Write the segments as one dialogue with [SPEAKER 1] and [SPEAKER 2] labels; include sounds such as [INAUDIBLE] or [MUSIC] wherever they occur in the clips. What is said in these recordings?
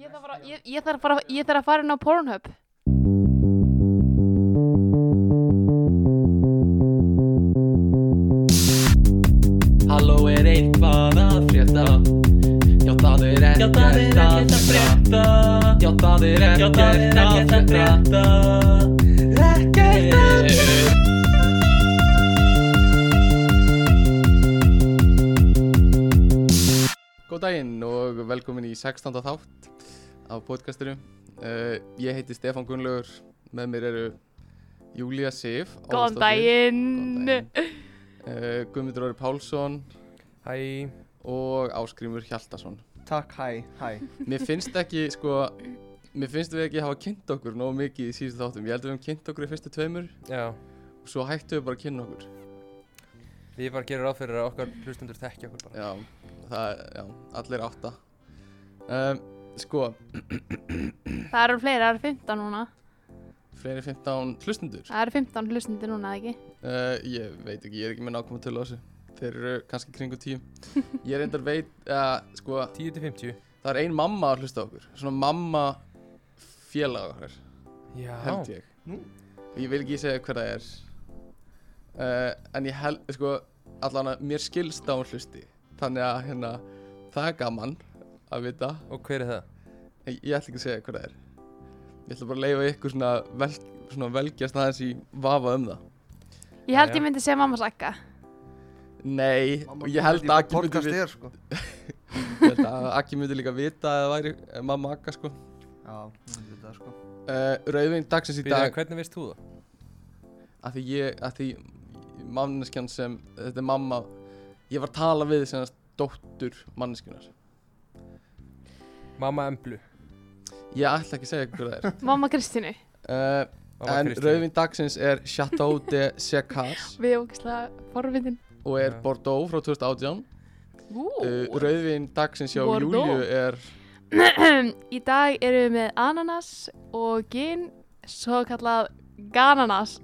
[SPEAKER 1] Ég þarf, að fara, ég, ég, þarf að fara, ég þarf að fara inn á Pornhub
[SPEAKER 2] Halló er eitthvað að frétta Já það er ekkert að frétta Já það er ekkert að frétta Ekkert að frétta
[SPEAKER 3] Góð daginn og velkomin í 16. þátt af podcastinu. Uh, ég heiti Stefán Gunnlaugur, með mér eru Júlia Sif.
[SPEAKER 1] Góðan
[SPEAKER 3] Ólafsdóttir.
[SPEAKER 1] daginn
[SPEAKER 3] Góðan daginn. Uh, Guðmundur Óri Pálsson
[SPEAKER 4] Hæ,
[SPEAKER 3] og Áskrímur Hjaltason.
[SPEAKER 4] takk, hæ, hæ
[SPEAKER 3] Mér finnst ekki, sko, mér finnst við ekki hafa kynnt okkur nógu mikið í síðustu þáttum. Ég held að við höfum kynnt okkur í fyrstu tveimur
[SPEAKER 4] Já,
[SPEAKER 3] og svo hættu við bara að kynna okkur.
[SPEAKER 4] við bara gerum ráð fyrir að okkar hlustundur þekkja okkur bara
[SPEAKER 3] Já, það, já, allir átta. Um, sko,
[SPEAKER 1] Það eru fleiri, það eru 15 núna
[SPEAKER 3] fleiri 15 hlustundur.
[SPEAKER 1] Það eru 15 hlustundi núna, eða ekki?
[SPEAKER 3] Uh, ég veit ekki, ég er ekki með nákvæmum tölu á þessu Þeir eru kannski kringu tíu Ég reyndar veit, uh, sko,
[SPEAKER 4] 10 til 50
[SPEAKER 3] það er ein mamma að hlusta á okkur Svona mamma félag okkar,
[SPEAKER 4] Já,
[SPEAKER 3] held ég
[SPEAKER 4] Nú.
[SPEAKER 3] Ég vil ekki segja hver það er uh, En ég held, sko, allan að mér skilst á hún hlusti Þannig að, hérna, það er gaman að vita
[SPEAKER 4] og hver er það?
[SPEAKER 3] Ég, ég ætla ekki að segja hver það er Ég ætla bara að leifa ykkur svona, vel, svona velgjast aðeins í vafa um það
[SPEAKER 1] Ég held
[SPEAKER 4] Jæja.
[SPEAKER 1] ég myndi segja mamma sakka
[SPEAKER 3] Nei, og ég held að ekki myndi
[SPEAKER 5] podcast
[SPEAKER 3] við
[SPEAKER 5] er sko
[SPEAKER 3] Ég held að Akki myndi líka vita að það væri eh, mamma Akka sko.
[SPEAKER 5] Já, ég myndi þetta sko
[SPEAKER 3] Uh, Rauðvinn dagsins í
[SPEAKER 4] Býðu,
[SPEAKER 3] dag,
[SPEAKER 4] hvernig veist þú það?
[SPEAKER 3] að því ég, að því manneskjan sem, þetta er mamma, ég var að tala við sem hans dóttur manneskjunar.
[SPEAKER 4] Mamma Emblu,
[SPEAKER 3] Ég ætla ekki að segja hver [LAUGHS] það er.
[SPEAKER 1] Mamma Kristínu
[SPEAKER 3] Uh,
[SPEAKER 4] mamma
[SPEAKER 3] en
[SPEAKER 4] Kristín
[SPEAKER 3] Rauðvinn dagsins er Chateau de Secas
[SPEAKER 1] Við erum ógislega forvitin
[SPEAKER 3] og er
[SPEAKER 4] Já.
[SPEAKER 3] Bordeaux frá 2018.
[SPEAKER 1] Ú.
[SPEAKER 3] Uh, Rauðvinn dagsins hjá
[SPEAKER 1] Bordeaux.
[SPEAKER 3] Júliu er,
[SPEAKER 1] Í dag erum við með ananas og gin Svo kallað gananas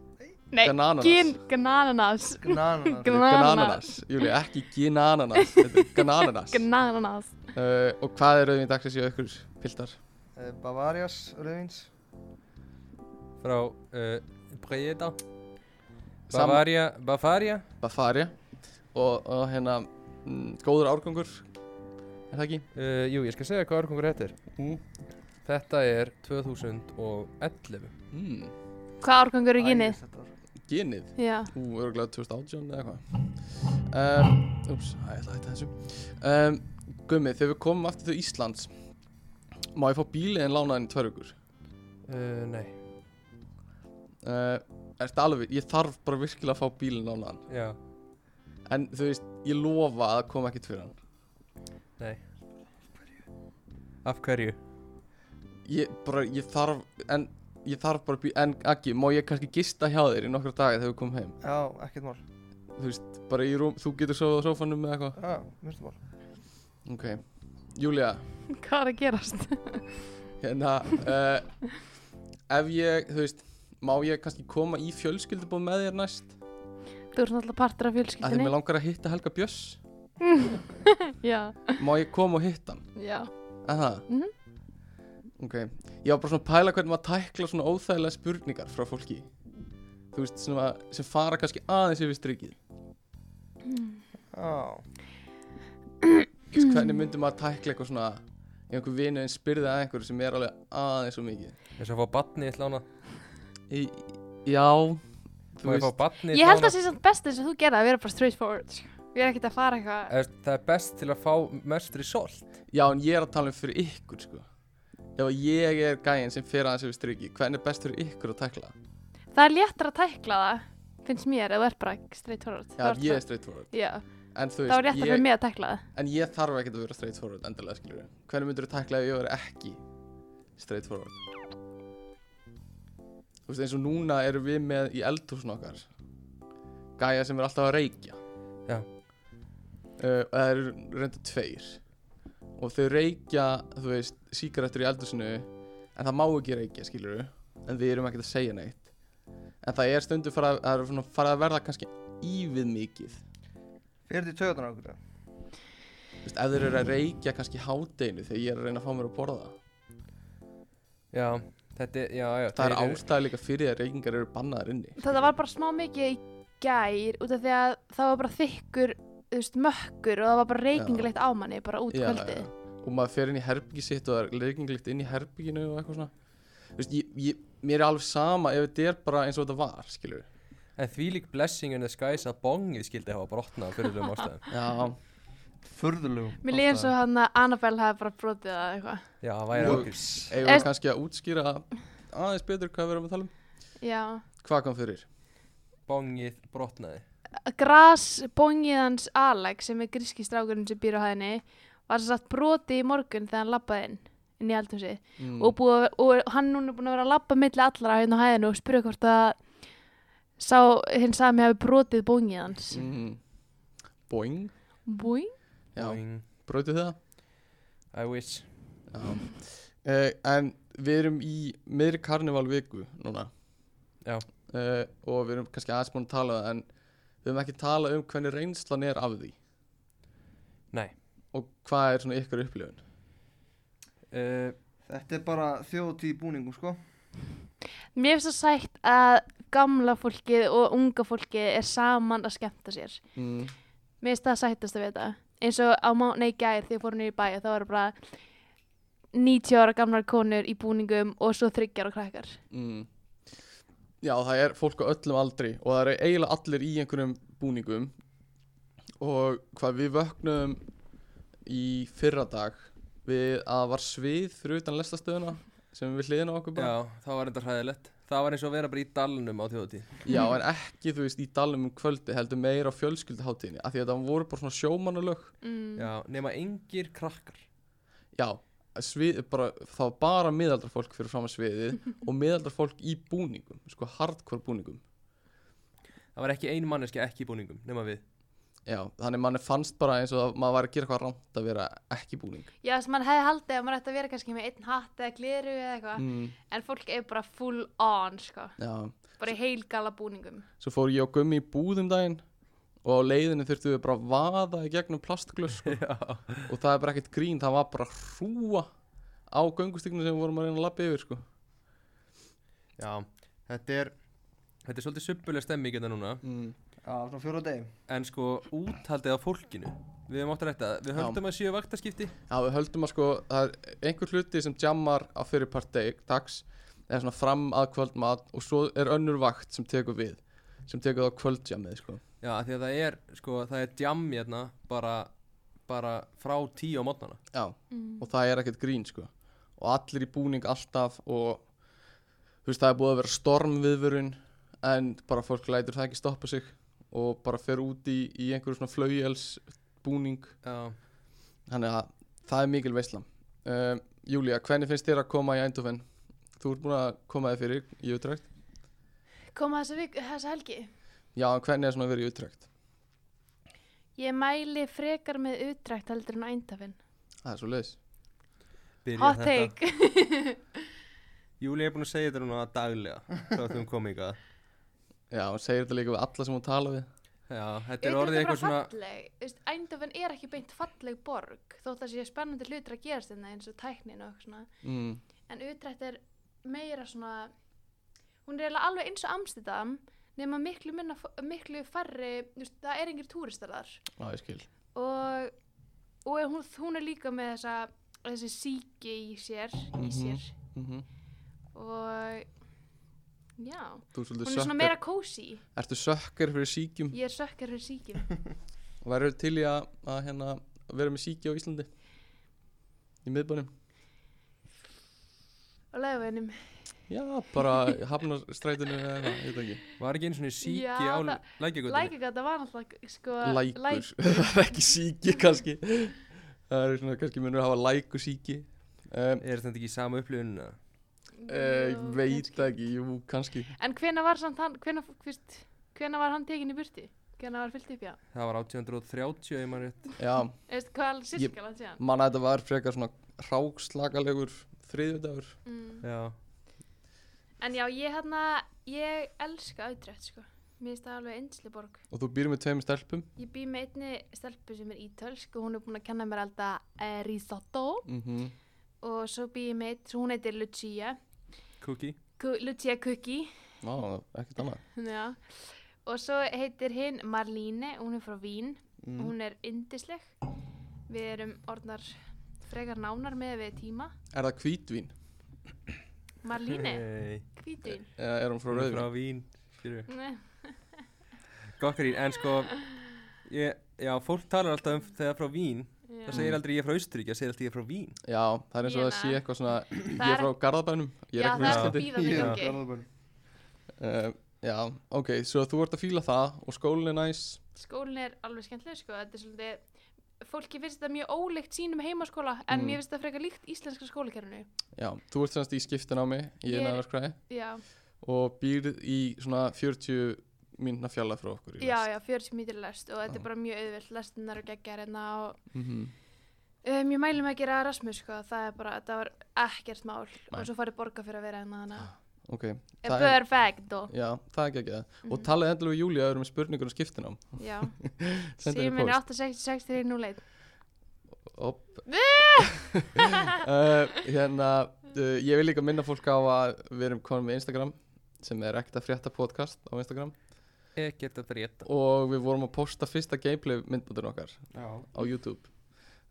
[SPEAKER 1] Nei,
[SPEAKER 3] Ganananas.
[SPEAKER 1] gin gananas
[SPEAKER 5] Gnananar
[SPEAKER 1] Gnananas.
[SPEAKER 3] Ganananas. Júliu, ekki Ginananas,
[SPEAKER 1] [LAUGHS]
[SPEAKER 3] þetta er Ganananas.
[SPEAKER 1] Gananas
[SPEAKER 3] Uh, og hvað er Rauðvinn dagsins hjá ykkur, piltar?
[SPEAKER 5] Eh, Bavarias rauðins
[SPEAKER 4] frá uh, Breda
[SPEAKER 3] Sam-
[SPEAKER 4] Bavaria, Bavaria
[SPEAKER 3] Bavaria og, og hérna mm, góður árgangur er það ekki?
[SPEAKER 4] uh, Jú, ég skal segja hvað árkongur þetta er
[SPEAKER 3] Mm.
[SPEAKER 4] Þetta er 2011
[SPEAKER 3] Mm,
[SPEAKER 1] Hvað árgangur er
[SPEAKER 5] Æ,
[SPEAKER 1] ginið?
[SPEAKER 5] þetta var-
[SPEAKER 3] genið,
[SPEAKER 1] Já,
[SPEAKER 3] ú, örgulega 2018 eða eitthvað um, Úps, það er þetta þessu um, Gummi, þegar við komum aftur til Íslands má ég fá bíliðin lánaðin í tvörgur
[SPEAKER 4] uh, Nei,
[SPEAKER 3] uh, Ertu alveg, ég þarf bara virkilega að fá bíliðin lánaðan
[SPEAKER 4] já,
[SPEAKER 3] en þú veist, ég lofa að koma ekkert fyrir hann
[SPEAKER 4] nei Af hverju?
[SPEAKER 3] ég bara, ég þarf en ég þarf bara, að bí- en Aggi, má ég kannski gista hjá þér í nokkra daga þegar við komum heim
[SPEAKER 5] Já, ekkert mál
[SPEAKER 3] þú veist, bara í rúm, þú getur sofað á sófanum eða eitthvað
[SPEAKER 5] Já, mjög mál
[SPEAKER 3] Ok, Júlia,
[SPEAKER 1] hvað er að gerast?
[SPEAKER 3] hérna, uh, ef ég, þú veist, má ég kannski koma í fjölskyldubóð með þér næst?
[SPEAKER 1] Þú ert náttúrulega partur af
[SPEAKER 3] Af því
[SPEAKER 1] fjölskyldinni
[SPEAKER 3] mér langar að hitta Helga Björs.
[SPEAKER 1] Já,
[SPEAKER 3] Má ég koma og hitta hann?
[SPEAKER 1] já
[SPEAKER 3] Er það?
[SPEAKER 1] Mhm.
[SPEAKER 3] Ok, ég var bara svona að pæla hvernig maður tækla svona óþægilega spurningar frá fólki. Þú veist, svona, sem fara kannski aðeins yfir strikið.
[SPEAKER 1] Mm.
[SPEAKER 5] Já,
[SPEAKER 3] Þú veist, Hvernig myndi maður tækla eitthvað svona, ef einhver vinu en spyrði að einhverju sem er alveg aðeins og mikið?
[SPEAKER 4] Þess að fá batni eitt lána
[SPEAKER 3] Í, já, þú
[SPEAKER 4] Má ég
[SPEAKER 3] veist,
[SPEAKER 4] fá batni eitt
[SPEAKER 1] Ég held
[SPEAKER 4] lánað?
[SPEAKER 1] að sé samt best eins og þú gerði að vera bara straight forward sko. Við erum ekkert að fara eitthvað
[SPEAKER 4] Eða, Það er best til að fá mest result
[SPEAKER 3] Já, en ég er að tala um fyrir ykkur, sko. Ef að ég er gæinn sem fer aðeins yfir strikið, hvernig er best fyrir ykkur að tækla? það?
[SPEAKER 1] Það er léttar að tækla það Finnst mér eða þú ert bara straight forward
[SPEAKER 3] Já,
[SPEAKER 1] Þá ert
[SPEAKER 3] ég er straight forward.
[SPEAKER 1] Já,
[SPEAKER 3] En þú
[SPEAKER 1] það var
[SPEAKER 3] veist,
[SPEAKER 1] rétt að fyrir
[SPEAKER 3] ég,
[SPEAKER 1] mig að tækla það
[SPEAKER 3] en ég þarf ekkert að vera straight forward endilega, skiljur. Hvernig myndur þú tækla ef ég verið ekki straight forward? Þú veist, eins og núna erum við með í eldhúsn okkar gæja sem er alltaf að reykja.
[SPEAKER 4] Já.
[SPEAKER 3] Uh, og það eru reynda tveir. Og þau reykja, þú veist, síkaretur í eldhúsinu en það má ekki reykja, skiljur en við erum ekkert að segja neitt en það er stundu farið að, að, fara að verða kannski ívið mikið Þú
[SPEAKER 5] fyrir því töðunar okkur
[SPEAKER 3] veist, ef þeir eru að reykja kannski hádeginu þegar ég er að reyna að fá mér að borða
[SPEAKER 4] Já, þetta er, já, já
[SPEAKER 3] Það er
[SPEAKER 4] þeir eru-
[SPEAKER 3] ástæða líka fyrir því að reykingar eru bannaðar inni
[SPEAKER 1] Þetta var bara smá mikið í gær út af því að það var bara þykkur, þú veist, mökkur og það var bara reykingilegt á manni bara út
[SPEAKER 3] Já,
[SPEAKER 1] kvöldið.
[SPEAKER 3] já. Og maður fer inn í herbyggi sitt og það er reykinglikt inn í herbygginu og eitthvað svona Þú veist, ég, ég, mér er alveg sama ef þetta er bara eins og þetta var, skilur
[SPEAKER 4] En því lík blessing in the skies að bongið skildi hafa brotnað fyrir um ástæðum [LAUGHS]
[SPEAKER 3] Já,
[SPEAKER 5] Furðulegum
[SPEAKER 1] Mér líður eins og hann að Annabelle hafi bara brotið það eitthvað.
[SPEAKER 4] Já, það væri
[SPEAKER 3] Og-
[SPEAKER 4] okkur
[SPEAKER 3] eigum
[SPEAKER 1] Er-
[SPEAKER 3] við kannski að útskýra aðeins betur hvað við erum að tala um
[SPEAKER 1] Já.
[SPEAKER 3] Hvað kom fyrir?
[SPEAKER 4] Bongið brotnaði
[SPEAKER 1] Gras bongiðans Alex sem er gríski strákurinn sem býr á hæðinni var svo satt brotið í morgun þegar hann labbaði inn inn í eldhúsið
[SPEAKER 3] Mm.
[SPEAKER 1] og, búið, að- og hann núna er búin að vera að labba milli allra hérna á hæðinu og spyrja hvort að sá hinn sami hafi brotið bóngið hans
[SPEAKER 3] mm. Boing
[SPEAKER 1] Búing?
[SPEAKER 3] Já,
[SPEAKER 4] Boing.
[SPEAKER 3] brotið það
[SPEAKER 4] I wish
[SPEAKER 3] Já. Uh, en við erum í meðri karnivalviku núna
[SPEAKER 4] Já.
[SPEAKER 3] Eh, og við erum kannski aðeins búin að tala um það, en við erum ekki að tala um hvernig reynslan er af því
[SPEAKER 4] Nei
[SPEAKER 3] og hvað er svona ykkur upplifun
[SPEAKER 4] uh,
[SPEAKER 5] Eh, Þetta er bara þjóðtíð í búningum sko
[SPEAKER 1] Mér finnst það sætt að gamla fólkið og unga fólkið er saman að skemmta sér
[SPEAKER 3] mm.
[SPEAKER 1] Mér finnst það sættast að vita eins og á mánu í gær þegar ég fór niður í bæ þá var bara 90 ára gamlar konur í búningum og svo þryggjar og krakkar
[SPEAKER 3] Mm. Já, það er fólk á öllum aldri og það eru eiginlega allir í einhverjum búningum og hvað við vöknum í fyrradag við að það var svið fyrir utan lestastöðuna sem við hliðin á okkur bara
[SPEAKER 4] Já, það var enda hræðilegt Það var eins og að vera bara í dalnum á þjóðutíð
[SPEAKER 3] Já, en ekki, þú veist, í dalum um kvöldi heldur meira á fjölskylduháttíðinni af því að það voru bara svona sjómanulög
[SPEAKER 1] mm.
[SPEAKER 4] Já, nema engir krakkar
[SPEAKER 3] Já, svið, bara, það var bara miðaldra fólk fyrir fram að sviðið og miðaldra fólk í búningum, sko hardcore búningum
[SPEAKER 4] Það var ekki ein manneski ekki í búningum, nema við
[SPEAKER 3] Já, þannig manni fannst bara eins og að maður var að gera eitthvað rámt að vera ekki í búning
[SPEAKER 1] Já, þess að mann hefði haldið að maður ætti að vera kannski með einn hatt eða gleru eða eitthvað
[SPEAKER 3] mm,
[SPEAKER 1] en fólk er bara full on sko
[SPEAKER 3] Já,
[SPEAKER 1] bara í heilgala búningum
[SPEAKER 3] svo fór ég og gummi í búðum daginn og á leiðinu þurftum við bara að vaða í gegnum plastglöss sko.
[SPEAKER 4] Já
[SPEAKER 3] og það er bara ekkert grín, það var bara hrúa á göngustíknu sem við vorum að reyna að lappa yfir sko.
[SPEAKER 4] Já, þetta er Þetta er svolítið subbulega stemming hérna núna
[SPEAKER 3] mm.
[SPEAKER 5] Já, svona fjóra degi
[SPEAKER 4] En sko, úthaldið á fólkinu Við höfum átt að rætta það. Við
[SPEAKER 3] Já.
[SPEAKER 4] höldum að séu vaktaskipti
[SPEAKER 3] Já, við höldum að sko, það er einhver hluti sem jammar á fyrirpart deg- dags eða svona fram að kvöldmat og svo er önnur vakt sem tekur við sem tekur það á kvöldjammið, sko
[SPEAKER 4] Já, af því að það er, sko, það er jam hérna bara, bara frá tíu á mótnana.
[SPEAKER 3] Já, og það er ekkert grín, sko og allir í búning alltaf og þú veist, það er búið að vera stormviðvörun en bara fólk lætur það ekki stoppa sig og bara fer út í, í einhverju svona flauels búning
[SPEAKER 4] Já,
[SPEAKER 3] þannig að það er mikil veislam um, Júlía, hvernig finnst þér að koma í Eindhoven? Þú ert búin að koma þér fyrir í utrækt
[SPEAKER 1] koma þessa, vik, þessa helgi
[SPEAKER 3] Já, en hvernig er svona að vera í útrækt?
[SPEAKER 1] ég mæli frekar með utrækt heldur en ændafinn
[SPEAKER 3] Það er svo leiðis.
[SPEAKER 4] byrja
[SPEAKER 1] hot take
[SPEAKER 4] Júli er búin að segja þetta núna daglega, þá ættum við komið ykkar.
[SPEAKER 3] Já, hún segir þetta líka við alla sem hún tala við.
[SPEAKER 4] [LAUGHS] Já, þetta er orðið eitthvað svona,
[SPEAKER 1] svona ændafinn er ekki beint falleg borg þótt að sé spennandi hlutur að gerast þetta eins og tæknin og eitthvað svona
[SPEAKER 3] Mm.
[SPEAKER 1] en utrækt er meira svona hún er eiginlega alveg eins og Amsterdam nema miklu, minna, miklu færri þú veist, það er engir túristar þar
[SPEAKER 3] Já, ég skil.
[SPEAKER 1] og, og hún, hún er líka með þessa þessi síki í sér, í
[SPEAKER 3] Mhm.
[SPEAKER 1] sér
[SPEAKER 3] Mm
[SPEAKER 1] og já,
[SPEAKER 3] Þú er svolítið
[SPEAKER 1] hún er svona
[SPEAKER 3] sökkar.
[SPEAKER 1] meira kósi
[SPEAKER 3] Ertu sökkar fyrir síkjum?
[SPEAKER 1] ég er sökkar fyrir síkin
[SPEAKER 3] Og verður til í að, að hérna, vera með síki á Íslandi? Í miðbænum?
[SPEAKER 1] og lögveinum
[SPEAKER 3] Já, bara
[SPEAKER 1] [LAUGHS]
[SPEAKER 3] hafnar strætinu eða eitthvað, ég veit ekki.
[SPEAKER 4] var ekki einu svona síki
[SPEAKER 1] Já,
[SPEAKER 4] á
[SPEAKER 1] það-
[SPEAKER 4] lækjagutunni?
[SPEAKER 1] lækagata var náttúrulega sko,
[SPEAKER 3] Lækur. [LAUGHS] Það er ekki síki kannski. Það er svona, kannski munur að hafa læku síki. Um,
[SPEAKER 4] Er þetta ekki í sama upplifunina?
[SPEAKER 3] Uh,
[SPEAKER 1] Jú,
[SPEAKER 3] veit
[SPEAKER 1] kannski.
[SPEAKER 3] ekki, jú, kannski
[SPEAKER 1] en hvena var samt hann hvena, hvist, hvena var hann tekin í burti hvena var fyllt upp já
[SPEAKER 4] Það var 1830, ég maður rétt.
[SPEAKER 3] Já,
[SPEAKER 1] Veist, hvað er sirkjala hann séðan?
[SPEAKER 3] manna þetta var frekar svona rákslagalegur þriðjudagur
[SPEAKER 1] Mm.
[SPEAKER 4] Já,
[SPEAKER 1] En já, ég hérna, ég elska auðrætt, sko. Mér finnst það alveg einsli borg.
[SPEAKER 3] og þú býr með tveim stelpum
[SPEAKER 1] Ég bý með einni stelpu sem er ítölsk og hún er búin að kenna mér alltaf eh, risotto
[SPEAKER 3] mm -hmm.
[SPEAKER 1] og svo bý ég meitt, svo hún heitir Lucia
[SPEAKER 4] Cookie
[SPEAKER 1] Ku, Lucia Cookie
[SPEAKER 3] Vá, ekkert annað
[SPEAKER 1] Já. Og svo heitir hinn Marlíne, hún er frá Vín,
[SPEAKER 3] mm.
[SPEAKER 1] hún er yndisleg. Við erum orðnar frekar nánar með við tíma.
[SPEAKER 3] Er það hvítvín?
[SPEAKER 1] Marlíne,
[SPEAKER 3] [LAUGHS]
[SPEAKER 4] Hey.
[SPEAKER 1] hvítvín.
[SPEAKER 3] Eða er hún frá
[SPEAKER 4] Hún er
[SPEAKER 3] rauðvín?
[SPEAKER 4] frá Vín skilurðu.
[SPEAKER 1] Nei.
[SPEAKER 4] Gott grín, en
[SPEAKER 1] [LAUGHS]
[SPEAKER 4] sko ég, Já, fólk talar alltaf um þegar frá Vín
[SPEAKER 1] Já.
[SPEAKER 4] Það segir aldrei ég er frá Austuríkja, það segir alltaf ég er frá Vín
[SPEAKER 3] Já, það er eins
[SPEAKER 1] Ég
[SPEAKER 3] og það sé
[SPEAKER 1] man.
[SPEAKER 3] eitthvað svona Ég
[SPEAKER 1] Það
[SPEAKER 3] er
[SPEAKER 1] er-
[SPEAKER 3] frá Garðabænum Ég er
[SPEAKER 1] Já, það er
[SPEAKER 3] ekki frá
[SPEAKER 4] Já.
[SPEAKER 1] að
[SPEAKER 3] Íslandi
[SPEAKER 1] býða þig
[SPEAKER 5] Já,
[SPEAKER 1] gangi.
[SPEAKER 5] Garðabæn.
[SPEAKER 3] uh, Já, ok, svo þú ert að fíla það og skólinn er næs
[SPEAKER 1] Skólinn er alveg skemmtileg, sko. Þetta er svolítið, fólki finnst þetta mjög ólíkt sínum heimaskóla, en
[SPEAKER 3] Mm.
[SPEAKER 1] mér finnst þetta frekar líkt íslenska skólakerfinu.
[SPEAKER 3] Já, þú ert semst í skiptin á mig Ég
[SPEAKER 1] Ég
[SPEAKER 3] er
[SPEAKER 1] er-
[SPEAKER 3] næðverkvæði
[SPEAKER 1] Já,
[SPEAKER 3] Og býr í svona 40 mínna fjalla frá okkur
[SPEAKER 1] já, já, 40 mítur lest og þetta
[SPEAKER 3] Já.
[SPEAKER 1] er bara mjög auðvelt, lestinnar og geggjar hérna og
[SPEAKER 3] mm -hmm.
[SPEAKER 1] Um, ég mælum að gera Erasmus, sko, það er bara, það var ekkert mál
[SPEAKER 3] Nei.
[SPEAKER 1] og svo farið borga fyrir að vera hérna Eh, þannig.
[SPEAKER 3] Ok,
[SPEAKER 1] að-
[SPEAKER 3] það er,
[SPEAKER 1] Perfect
[SPEAKER 3] [LAUGHS]
[SPEAKER 1] og,
[SPEAKER 3] já, það er ekki ekki það Og
[SPEAKER 1] Mhm.
[SPEAKER 3] talaði endilega við Júlíu að við erum með spurningur um skiptinám
[SPEAKER 1] já,
[SPEAKER 3] Sendu henni
[SPEAKER 1] símin
[SPEAKER 3] post.
[SPEAKER 1] 866-301.
[SPEAKER 3] Opp. [LAUGHS] uh, hérna, uh, ég vil líka minna fólk á að við erum konum með Instagram sem er ekkert að frétta podcast á Instagram
[SPEAKER 4] Ekkert að breyta
[SPEAKER 3] og við vorum að posta fyrsta gameplay myndbútur okkar
[SPEAKER 5] Já, Eh,
[SPEAKER 3] á YouTube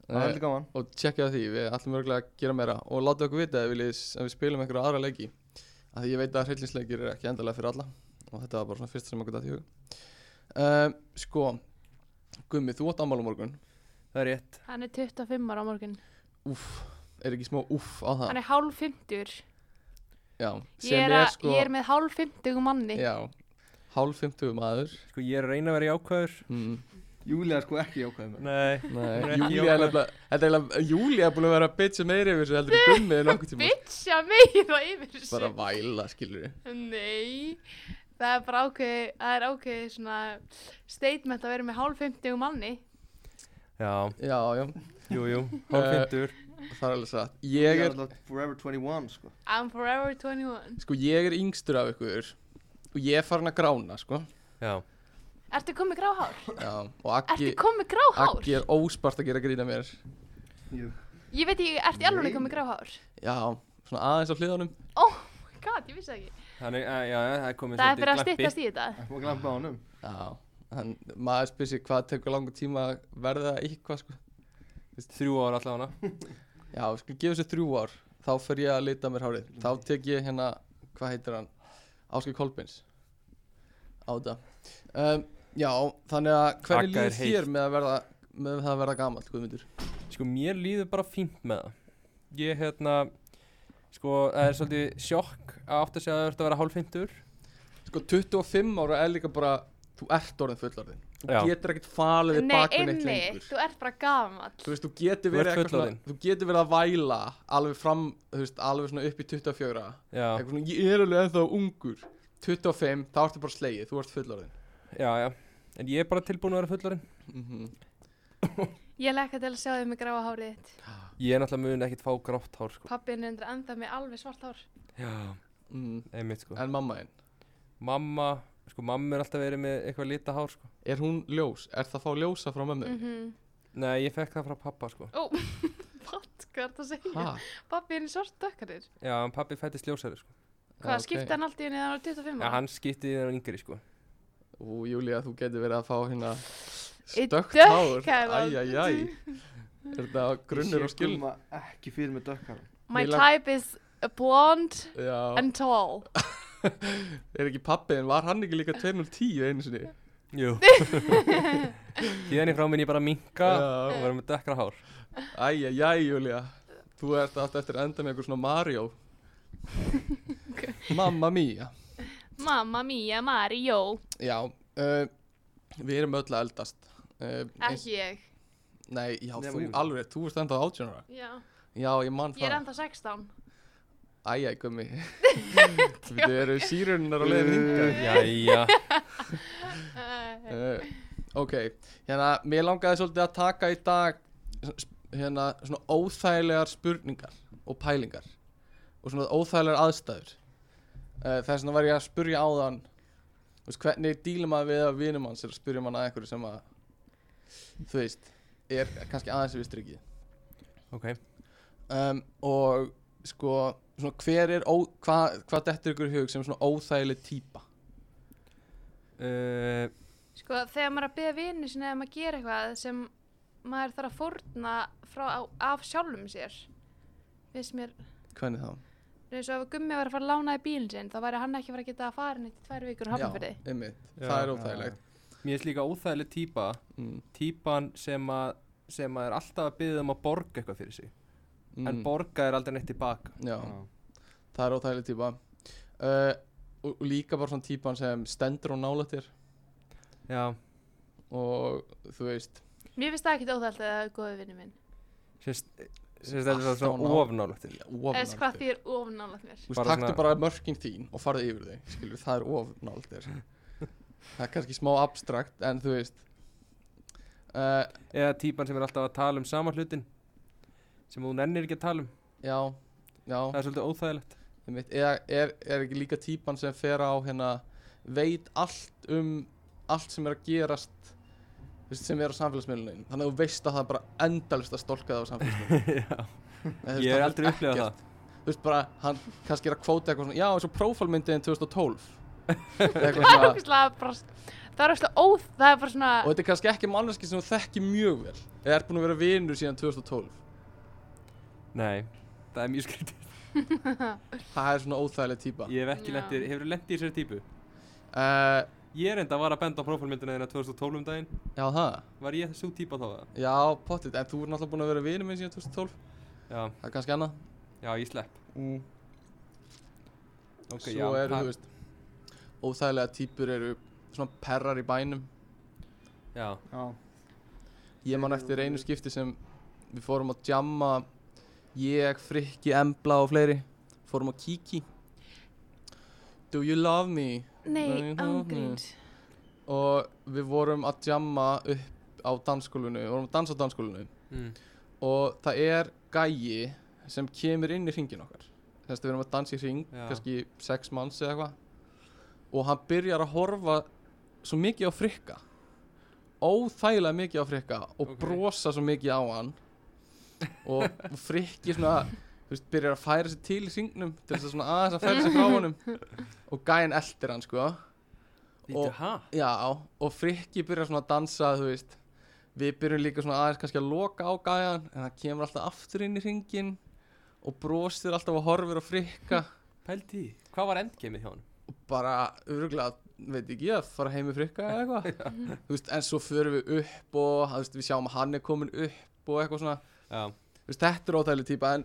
[SPEAKER 5] það er
[SPEAKER 3] uh,
[SPEAKER 5] heldur gaman
[SPEAKER 3] og tjekkja á því, við ætlum örgulega að gera meira og láta okkur vita ef við, ef við spilum einhverja aðra leiki af því ég veit að hryllinsleikir er ekki endalega fyrir alla og þetta var bara svona fyrsta sem okkur dætt í hug uh, Sko, Gummi, þú átt ammál á morgun
[SPEAKER 4] Það er rétt
[SPEAKER 1] Hann er 25 ára á morgun,
[SPEAKER 3] Úff, er ekki smá úff á það?
[SPEAKER 1] hann er hálf 50,
[SPEAKER 3] Já,
[SPEAKER 1] ég er, er, sko... ég er með hálf 50 manni.
[SPEAKER 3] Já, hálf 50 maður
[SPEAKER 4] Sko ég er að reyna að vera jákvæður
[SPEAKER 3] mm.
[SPEAKER 5] Júlía er sko ekki jákvæð með
[SPEAKER 4] Nei
[SPEAKER 3] Nei,
[SPEAKER 4] Hún er
[SPEAKER 3] Júlía
[SPEAKER 4] ekki
[SPEAKER 3] er
[SPEAKER 4] jákvæð.
[SPEAKER 3] nefnilega Þetta er eiginlega, Júlía er búin að vera að bitcha meiri yfir þessu heldur en gummi en okkur tíma
[SPEAKER 1] Bitcha meira yfir þessu.
[SPEAKER 3] Bara væla, skilur við
[SPEAKER 1] Nei, það er bara ákveðið, það er ákveðið svona statement að vera með hálf 50 manni.
[SPEAKER 4] Já,
[SPEAKER 3] Já, já,
[SPEAKER 4] jú, jú, hálfindur
[SPEAKER 3] það er alveg satt Ég er,
[SPEAKER 5] alltaf forever 21 sko
[SPEAKER 1] I'm forever 21.
[SPEAKER 3] sko, ég er yngstur af ykkur og ég er farin að grána, sko
[SPEAKER 4] Já,
[SPEAKER 1] Ertu komið gráhár?
[SPEAKER 3] Já, og
[SPEAKER 1] Ertu
[SPEAKER 3] Aggi,
[SPEAKER 1] komið gráhár?
[SPEAKER 3] Aggi er óspart að gera grína mér
[SPEAKER 5] Jú.
[SPEAKER 1] Ég veit ekki, ertu í alveg
[SPEAKER 5] Nei.
[SPEAKER 1] komið gráhár?
[SPEAKER 3] Já, svona aðeins á hliðanum
[SPEAKER 1] Oh God, ég vissi það ekki.
[SPEAKER 4] þannig, að- já, það er komið
[SPEAKER 1] Það er fyrir að
[SPEAKER 4] glampi.
[SPEAKER 1] styttast í þetta.
[SPEAKER 5] Það má glampa á honum
[SPEAKER 3] Já, hann, maður spyr sér hvað tekur langan tíma að verða eitthvað, sko
[SPEAKER 4] Þrjú ár allavega
[SPEAKER 3] Já, við skulum gefa sér þrjú ár Þá fer ég að leita mér hárið Þá tek ég hérna, hvað heitir hann? Áskei Kolbins Á þetta um, Já, þannig að hvernig
[SPEAKER 4] Agga er
[SPEAKER 3] líður
[SPEAKER 4] heitt.
[SPEAKER 3] þér með að verða með það að verða gamall, Guðmundur
[SPEAKER 4] Sko mér líður bara fínt með það Ég hérna Sko það er svolítið sjokk að átt að segja að það ert að vera hálfindur
[SPEAKER 3] Sko, 25 ára er líka bara Þú ert orðin fullarðin Þú
[SPEAKER 4] Já.
[SPEAKER 3] getur ekkert falið þig
[SPEAKER 1] Nei,
[SPEAKER 3] bakvinn eitt
[SPEAKER 1] einmitt,
[SPEAKER 3] lengur
[SPEAKER 1] þú ert bara gamall.
[SPEAKER 3] Þú veist, þú getur
[SPEAKER 4] Þú
[SPEAKER 3] verið
[SPEAKER 4] ert
[SPEAKER 3] eitthvað svona,
[SPEAKER 4] fullorðin.
[SPEAKER 3] Þú getur verið að væla alveg fram, þú veist, alveg svona upp í 24
[SPEAKER 4] Já,
[SPEAKER 3] Eitthvað svona, ég er alveg ennþá ungur 25, þá ertu bara slegið, þú ert fullarðin
[SPEAKER 4] já, já En ég er bara tilbúin að vera fullarinn
[SPEAKER 3] mm
[SPEAKER 1] Ég lekka til að sjá þig með gráa hárið þitt.
[SPEAKER 4] Ég er náttúrulega mun ekkert fá grátt hár sko
[SPEAKER 1] Pappin er undir enda með alveg svart hár.
[SPEAKER 4] Já,
[SPEAKER 3] mm.
[SPEAKER 4] einmitt sko
[SPEAKER 3] En mamma þinn,
[SPEAKER 4] Mamma, sko mamma er alltaf verið með eitthvað lita hár sko
[SPEAKER 3] er hún ljós? Er það að fá ljósa frá mömmu?
[SPEAKER 1] Mm
[SPEAKER 4] Nei, ég fekk það frá pappa sko
[SPEAKER 1] Ó, what, hvað er það að segja?
[SPEAKER 3] Ha?
[SPEAKER 1] Pappin er svart dökkarir.
[SPEAKER 4] Já, en pappi fættist ljósari sko
[SPEAKER 1] Hvað,
[SPEAKER 3] Já, ok.
[SPEAKER 1] skipta hann allt í henni þegar hann var 25
[SPEAKER 4] Já,
[SPEAKER 1] ára?
[SPEAKER 4] hann skipti þegar hann yngri sko
[SPEAKER 3] Ú, Júlía, þú getur verið að fá hérna
[SPEAKER 1] Eitt
[SPEAKER 3] stökkt
[SPEAKER 1] dökk [LAUGHS]
[SPEAKER 3] hár
[SPEAKER 1] hár.
[SPEAKER 3] Æjæjæj Er þetta grunnur
[SPEAKER 5] Ég
[SPEAKER 3] og
[SPEAKER 5] sé
[SPEAKER 3] skiln?
[SPEAKER 5] Gumma ekki fyrir með dökkar
[SPEAKER 1] My
[SPEAKER 3] Ég lak-
[SPEAKER 1] type is blonde
[SPEAKER 3] Já,
[SPEAKER 1] and tall.
[SPEAKER 3] er ekki pappi, en var hann ekki líka 2.010 einu sinni?
[SPEAKER 4] Jú [LAUGHS] Síðan í frá minn ég bara minka
[SPEAKER 3] Já.
[SPEAKER 4] og vera með dekkra hár
[SPEAKER 3] Æjæjæj, Júlía Þú ert allt eftir að enda með einhver svona Mario Mamma mia
[SPEAKER 1] Mamma mia, Mario.
[SPEAKER 3] Já, uh, við erum öll að eldast uh,
[SPEAKER 1] Ekki ég.
[SPEAKER 3] Nei, já,
[SPEAKER 5] Nema
[SPEAKER 3] þú
[SPEAKER 5] Júlía.
[SPEAKER 3] alveg, þú ert enda 18 ára
[SPEAKER 1] Já.
[SPEAKER 3] Já, ég man
[SPEAKER 1] Ég
[SPEAKER 3] það
[SPEAKER 1] er enda 16.
[SPEAKER 3] Æjæj, gummi
[SPEAKER 1] [LAUGHS]
[SPEAKER 3] Þú eru sírunar á
[SPEAKER 5] Eh,
[SPEAKER 3] leiðin hingað
[SPEAKER 4] Jæja
[SPEAKER 1] Uh,
[SPEAKER 3] uh, Ok, hérna, mér langaði svolítið að taka í dag s- hérna, svona óþægilegar spurningar og pælingar og svona óþægilegar aðstæður uh, þess vegna var ég að spurja á þann veist, hvernig dílum maður við að vinum hans er að spurja mann að einhverju sem að þú veist, er kannski aðeins við strykið
[SPEAKER 4] Ok,
[SPEAKER 3] um, og sko svona, hver er, ó, hva, hvað dettur ykkur í hug sem svona óþægileg típa
[SPEAKER 4] uh,
[SPEAKER 1] Sko, þegar maður er að byggja vinnu sinni eða maður gera eitthvað sem maður þarf að fórna frá, á, af sjálfum sér finnst mér,
[SPEAKER 3] hvernig þá?
[SPEAKER 1] eins og ef gummi var að fara að lána í bílinn sinn, þá væri hann ekki að fara að geta að fara neitt í tvær vikur og hafna fyrir
[SPEAKER 3] Já, einmitt,
[SPEAKER 4] Já,
[SPEAKER 3] það er
[SPEAKER 4] já,
[SPEAKER 3] óþægilegt
[SPEAKER 4] Mér finnst líka óþægileg típa
[SPEAKER 3] mm,
[SPEAKER 4] Típan sem að sem að er alltaf að byggja um að borga eitthvað fyrir sig
[SPEAKER 3] mm,
[SPEAKER 4] En borga er aldrei neitt tilbaka
[SPEAKER 3] já, það er óþægileg típa uh, og, og líka bara svona típan sem stendur og nálætt þér
[SPEAKER 4] Já,
[SPEAKER 3] og þú veist
[SPEAKER 1] Mér finnst það ekki óþælt að það er góði vinnu minn
[SPEAKER 4] sérst Sérst þetta er
[SPEAKER 3] Alltaf
[SPEAKER 4] svona
[SPEAKER 3] nálægt.
[SPEAKER 4] ofnálegt
[SPEAKER 3] ofnálætt
[SPEAKER 1] eða hvað því er ofnálat mér
[SPEAKER 3] Þú veist,
[SPEAKER 4] Bara
[SPEAKER 3] taktu
[SPEAKER 4] svona-
[SPEAKER 3] bara mörkin þín og farðu yfir þau, skilur, það er of nált þér.
[SPEAKER 4] [LAUGHS]
[SPEAKER 3] það er kannski smá abstrakt, en þú veist, uh,
[SPEAKER 4] Eða típan sem er alltaf að tala um sama hlutin Sem hún ennir ekki að tala um
[SPEAKER 3] já, já,
[SPEAKER 4] Það er svolítið óþægilegt
[SPEAKER 3] einmitt, eða er, er ekki líka típan sem fer á, hérna, veit allt um, allt sem er að gerast, þú veist, sem er á samfélagsmiðlunin, þannig að þú veist að það er bara endalist að stólka það á samfélagsmiðlunin.
[SPEAKER 4] [LAUGHS] Já, ég hef aldrei upplegað það
[SPEAKER 3] Þú veist, bara, hann kannski er að kvóta eitthvað svona, já, eins og prófálmyndiðin 2012. eitthvað
[SPEAKER 1] [LAUGHS]
[SPEAKER 3] svona,
[SPEAKER 1] Ógeðslega bara- Það er ógeðslega óþ, það er bara svona
[SPEAKER 3] og þetta er kannski ekki manneski sem þú þekki mjög vel eða er búin að vera vinur síðan 2012
[SPEAKER 4] Nei, það er mjög skrítið
[SPEAKER 3] það er svona óþægileg típa
[SPEAKER 4] Ég hef ekki
[SPEAKER 1] Já.
[SPEAKER 4] lendið, hefur lendið í þessari típu
[SPEAKER 3] uh,
[SPEAKER 4] Ég er enda að var að benda á prófálmyndina þeirna 2012 um daginn
[SPEAKER 3] já það,
[SPEAKER 4] Var ég þessu típa þá það?
[SPEAKER 3] já pottit en þú er náttúrulega búin að vera vinur minn síðan 2012
[SPEAKER 4] Já,
[SPEAKER 3] það er kannski annað
[SPEAKER 4] já, ég slepp
[SPEAKER 3] mm.
[SPEAKER 4] Ok,
[SPEAKER 3] svo
[SPEAKER 4] já,
[SPEAKER 3] eru,
[SPEAKER 4] það-
[SPEAKER 3] þú veist óþægilega típur eru svona perrar í bænum
[SPEAKER 4] Já,
[SPEAKER 5] Já.
[SPEAKER 3] ég man eftir einu skipti sem við fórum að jamma ég, Frikki, Embla og fleiri fórum að kíki Do you love me?
[SPEAKER 1] Nei,
[SPEAKER 3] Nei,
[SPEAKER 1] ángríns
[SPEAKER 3] og við vorum að jamma upp á dansskólinu, við vorum að dansa á dansskólinu
[SPEAKER 4] mm.
[SPEAKER 3] og það er gæi sem kemur inn í ringin okkar þess að við erum að dansa í ring,
[SPEAKER 4] Já.
[SPEAKER 3] kannski sex manns eða eitthvað og hann byrjar að horfa svo mikið á frikka óþægilega mikið á frikka og
[SPEAKER 4] Ok.
[SPEAKER 3] brosa svo mikið á hann og, og frikki svona þú veist, byrjar að færa sig til í ringnum til þess að svona aðeins að færa sig frá honum og gæin eldir hann sko
[SPEAKER 4] Vítu,
[SPEAKER 3] Og-
[SPEAKER 4] hæ?
[SPEAKER 3] Já, og Frikki byrjar svona að dansa, þú veist Við byrjum líka svona aðeins kannski að loka á gæjan En það kemur alltaf aftur inn í ringin Og brosir alltaf og horfir á Frikka
[SPEAKER 4] Pældi, í því. hvað var endgeimið hjá hann?
[SPEAKER 3] Og bara, örgulega, veit ekki, að fara heim með Frikka eða eitthvað Þú veist, en svo förum við upp og, þú veist, við sjáum að hann er komin upp og eitthvað svona
[SPEAKER 4] Já,
[SPEAKER 3] Þú veist, þetta er óþægileg típa, en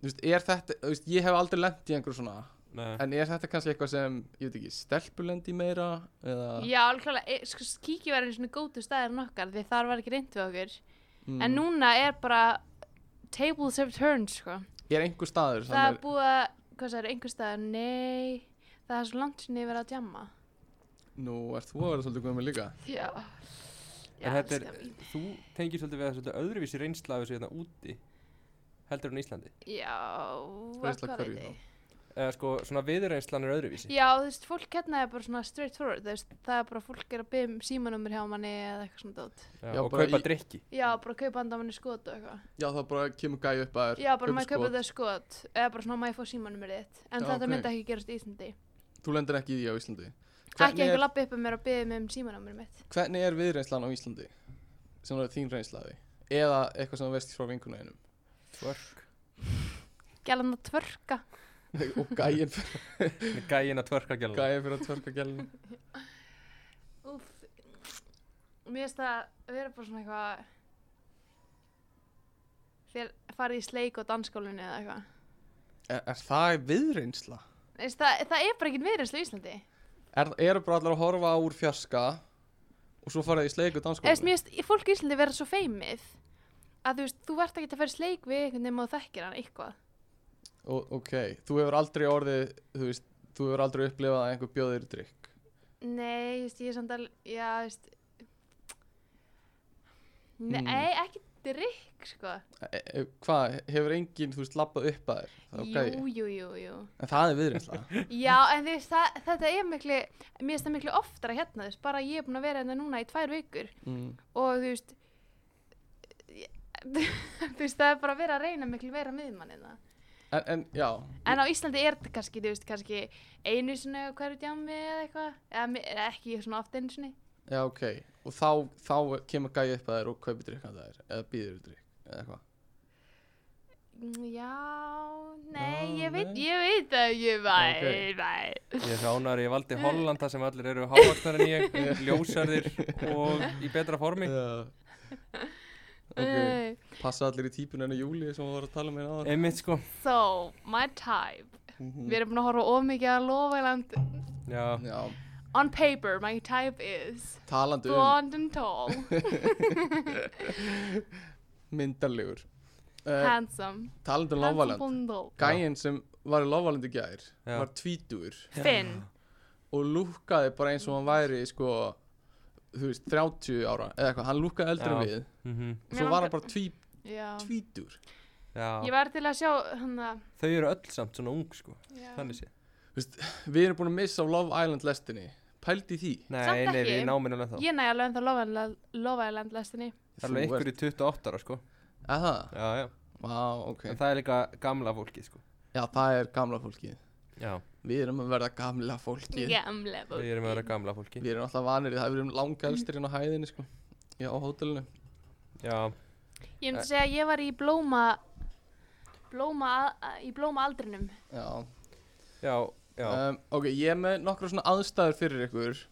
[SPEAKER 3] Þú veist, er þetta, þú veist, ég hef aldrei lent í einhverju svona
[SPEAKER 4] nei,
[SPEAKER 3] En er þetta kannski eitthvað sem, ég veit ekki, stelpulendi meira Eða,
[SPEAKER 1] Já, alveg klálega, e, sko, kíkja var einu svona gótu staðir en okkar því þar var ekki reynd við okkur
[SPEAKER 3] mm,
[SPEAKER 1] En núna er bara tables have turned, sko
[SPEAKER 3] er einhver staður sem
[SPEAKER 1] Það er búið að, hvað það er, einhver staðar, nei Það er svo langt sinni verið að djamma
[SPEAKER 3] Nú ert þú að vera svolítið gömur líka
[SPEAKER 1] Já
[SPEAKER 4] En þetta er-
[SPEAKER 1] elskan mín.
[SPEAKER 4] þú tengir svolítið við að svolítið öðruvísi reynsla af þessu hérna úti heldur en á Íslandi
[SPEAKER 1] Já, að
[SPEAKER 3] Reynsla
[SPEAKER 1] hvað
[SPEAKER 3] hverju
[SPEAKER 1] veit
[SPEAKER 3] þá?
[SPEAKER 1] ég?
[SPEAKER 4] eða sko, svona viðreynslan er öðruvísi
[SPEAKER 1] Já, þú veist, fólk hérna er bara svona straight forward þú veist, Það er bara fólk er að byggja um símanumur hjá manni eða eitthvað svona dót
[SPEAKER 4] Já,
[SPEAKER 3] Já,
[SPEAKER 4] og
[SPEAKER 3] bara
[SPEAKER 4] kaupa
[SPEAKER 3] í-
[SPEAKER 4] drikki
[SPEAKER 1] Já, bara kaupa handa manni skot og eitthvað
[SPEAKER 3] Já þá bara kemur gæði upp að þér
[SPEAKER 1] Já, bara
[SPEAKER 3] kaupir
[SPEAKER 1] maður kaupa
[SPEAKER 3] skot.
[SPEAKER 1] þau skot eða bara svona maður fór símanumur þitt en
[SPEAKER 3] Já,
[SPEAKER 1] þetta
[SPEAKER 3] ok.
[SPEAKER 1] myndi ekki gerast í Íslandi
[SPEAKER 3] Þú lendir ekki í því á Íslandi
[SPEAKER 1] ekki einhver
[SPEAKER 3] er,
[SPEAKER 1] lappi upp um mér og byggði mig um símanumur mitt
[SPEAKER 3] hvernig er viðreynslan á Íslandi? Sem er þín reynslaði Eða eitthvað sem þú veist frá vinkuna einum
[SPEAKER 4] tvörk
[SPEAKER 1] gælan að tvörka
[SPEAKER 3] [LAUGHS] Og gæin
[SPEAKER 4] gæin að tvörka gæla
[SPEAKER 3] gæi fyrir að tvörka gælinu
[SPEAKER 1] Úf. mér finnst það vera bara svona eitthvað þér farið í sleik og dansskólinu eða eitthvað
[SPEAKER 3] er, er það viðreynsla?
[SPEAKER 1] Veist, það, það er bara ekkert viðræslu í Íslandi
[SPEAKER 3] Er, eru bara allar að horfa á úr fjarska Og svo farið í sleik og
[SPEAKER 1] Eða, veist,
[SPEAKER 3] danskóla
[SPEAKER 1] mér finnst fólk í Íslandi vera svo feimið að þú veist, þú verðt ekki að fara í sleik við einhvern veginn og þú þekkir hann eitthvað
[SPEAKER 3] og, Ok, þú hefur aldrei orðið Þú veist, þú hefur aldrei upplifað að einhver bjóðir drikk
[SPEAKER 1] Nei, þú veist, ég er samt alveg, já, þú veist Nei,
[SPEAKER 3] Mm.
[SPEAKER 1] ekki drikk, sko
[SPEAKER 3] e, e, Hvað, hefur enginn, þú veist, labbað upp að þér? Það er
[SPEAKER 1] Jú, jú, jú, jú
[SPEAKER 3] En það er viðreynsla
[SPEAKER 1] Já, en þú veist, það, þetta er miklu Mér finnst það miklu oftar að hérna, þú veist [LAUGHS] Bara ég er búin að vera hérna núna í tvær vikur
[SPEAKER 3] mm.
[SPEAKER 1] Og þú veist þú veist, það er bara verið að reyna miklu meira miðmanninn það.
[SPEAKER 3] En, en já,
[SPEAKER 1] En á Íslandi er þetta kannski, þú veist, kannski einu sinni á hverju djámi eða eitthvað, eða mi- eða ekki svona oft einu sinni.
[SPEAKER 3] já ok Og þá, þá kemur gæði upp að þér og kaupir drikk að þér Eða býður þér drikk eða eitthvað
[SPEAKER 1] Mm, Já, nei, ég
[SPEAKER 4] Já,
[SPEAKER 1] veit,
[SPEAKER 4] nei.
[SPEAKER 1] ég veit að ég væ,
[SPEAKER 3] Ok.
[SPEAKER 1] væ.
[SPEAKER 4] Ég er ránar, ég valdi Holland þar sem allir eru hávaksnar en [LAUGHS] ég, ljósarðir og í betra formi.
[SPEAKER 3] Já Ok,
[SPEAKER 1] Okay.
[SPEAKER 3] passa allir í típun enn Júli sem við vorum að tala með hérna áðan
[SPEAKER 4] Einmitt sko.
[SPEAKER 1] So, my type.
[SPEAKER 3] Mhm.
[SPEAKER 1] Við erum búin að horfa of mikið að Lofaland.
[SPEAKER 4] Já,
[SPEAKER 3] Já,
[SPEAKER 1] On paper, my type is
[SPEAKER 3] talandi um
[SPEAKER 1] blonde and tall,
[SPEAKER 3] [LAUGHS] myndarlegur uh,
[SPEAKER 1] handsome,
[SPEAKER 3] Talandi um
[SPEAKER 1] handsome
[SPEAKER 3] Lávaland
[SPEAKER 1] blonde and tall.
[SPEAKER 3] Gæinn sem var í Lávaland í gær
[SPEAKER 4] Já.
[SPEAKER 3] var tvítur
[SPEAKER 1] Finn,
[SPEAKER 3] og lúkkaði bara eins og hann væri sko, þú veist, 30 ára eða eitthvað, hann lúkkaði eldri
[SPEAKER 4] Já.
[SPEAKER 3] en við
[SPEAKER 4] mhm,
[SPEAKER 1] Mér
[SPEAKER 3] og svo var
[SPEAKER 1] langar-
[SPEAKER 3] hann bara tví,
[SPEAKER 1] já.
[SPEAKER 3] tvítur
[SPEAKER 1] Ég
[SPEAKER 4] já.
[SPEAKER 1] var til að sjá, hann að,
[SPEAKER 4] Þau eru öll samt svona ung sko,
[SPEAKER 1] já.
[SPEAKER 4] þannig sé.
[SPEAKER 3] Við erum búin að missa af Love Island lestinni Pældi í því
[SPEAKER 4] Nei,
[SPEAKER 1] Samt
[SPEAKER 4] nei,
[SPEAKER 1] ekki.
[SPEAKER 4] við náminn alveg þá.
[SPEAKER 1] Ég næ alveg ennþá Love Island lestinni.
[SPEAKER 4] Það er alveg
[SPEAKER 3] Þú
[SPEAKER 4] ykkur í 28 ára sko.
[SPEAKER 3] ert- Aha,
[SPEAKER 4] Já, já.
[SPEAKER 3] vá, ok
[SPEAKER 4] En það er líka gamla fólkið sko.
[SPEAKER 3] Já, það er gamla fólkið
[SPEAKER 4] Já,
[SPEAKER 3] Við erum að verða gamla fólkið
[SPEAKER 1] Gamle
[SPEAKER 4] við erum að vera gamla fólki.
[SPEAKER 3] Við erum alltaf vanir í það, við erum langalstir inn á hæðinni sko. Já, á hótelinu
[SPEAKER 4] Já,
[SPEAKER 1] Ég myndi segja að ég var í blóma, blóma, í blóma aldrinum.
[SPEAKER 3] Já,
[SPEAKER 4] já, já.
[SPEAKER 3] Um, ok, ég er með nokkra svona aðstæður fyrir ykkur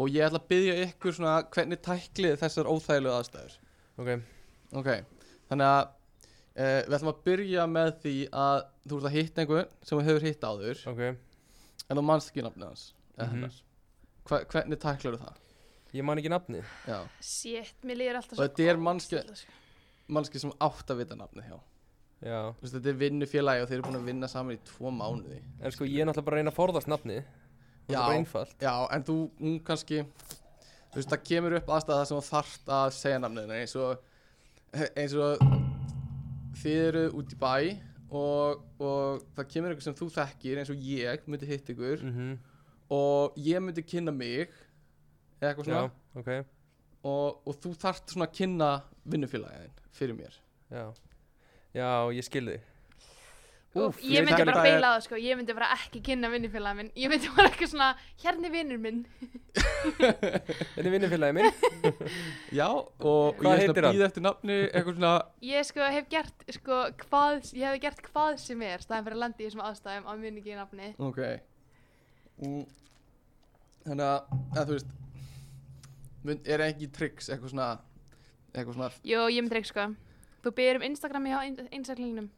[SPEAKER 3] og ég ætla að byggja ykkur svona hvernig tæklið þið þessar óþægilegu aðstæður.
[SPEAKER 4] Ok,
[SPEAKER 3] Ok, þannig að uh, við ætlum að byrja með því að þú ert að hitta einhvern sem þú hefur hitt áður
[SPEAKER 4] ok.
[SPEAKER 3] en þú manst ekki nafnið hans. eða
[SPEAKER 4] Mhm.
[SPEAKER 3] hennar. Hva, hvernig tæklar það?
[SPEAKER 4] Ég man ekki nafni.
[SPEAKER 3] Já,
[SPEAKER 1] Shit, mér líður alltaf
[SPEAKER 3] Og þetta er mannskja-
[SPEAKER 1] ógeðslega, sko.
[SPEAKER 3] mannski sem átt að vita nafnið hjá.
[SPEAKER 4] Já.
[SPEAKER 3] Þú veist, þetta er vinnufélagi og þeir eru búin að vinna saman í tvo mánuði.
[SPEAKER 4] En sko, ég er náttúrulega bara að reyna að forðast nafni. Það
[SPEAKER 3] Já.
[SPEAKER 4] er bara einfalt.
[SPEAKER 3] Já, en þú, hún kannski Þú veist, það kemur upp aðstæða sem þú þarft að segja nafnið eins og eins og þið eru út í bæ og, og það kemur einhver sem þú þekkir eins og ég myndi hitt ykkur
[SPEAKER 4] Mm
[SPEAKER 3] og ég myndi kynna mig eða eitthvað svona
[SPEAKER 4] Já, ok.
[SPEAKER 3] og, og þú þarft svona að kynna vinnufélagin fyrir mér
[SPEAKER 4] Já. Já, ég skil þig.
[SPEAKER 1] Úf,
[SPEAKER 3] Úff,
[SPEAKER 1] ég
[SPEAKER 3] ég
[SPEAKER 1] myndi
[SPEAKER 3] veit
[SPEAKER 1] bara
[SPEAKER 3] ekki-
[SPEAKER 1] beila á það sko, ég myndi bara ekki kynna vinnufélag minn, ég myndi bara eitthvað svona, hérna er vinnur minn,
[SPEAKER 4] Þetta er vinnufélagi minn.
[SPEAKER 3] Já, og, og ég
[SPEAKER 4] Hvað
[SPEAKER 3] er
[SPEAKER 4] heitir
[SPEAKER 3] svona
[SPEAKER 4] hann?
[SPEAKER 3] að býða eftir nafni eitthvað svona
[SPEAKER 1] ég sko hef gert sko hvað, ég hef gert hvað sem er, staðan fyrir að landa í þessum aðstæðum á munningi í nafni,
[SPEAKER 3] Ok mm. Þannig að, að þú veist mun- Er ekki tricks eitthvað svona Eitthvað svona
[SPEAKER 1] jú, ég myndi ekki sko, þú byrjum Instagrami hjá eins- einstaklingnum,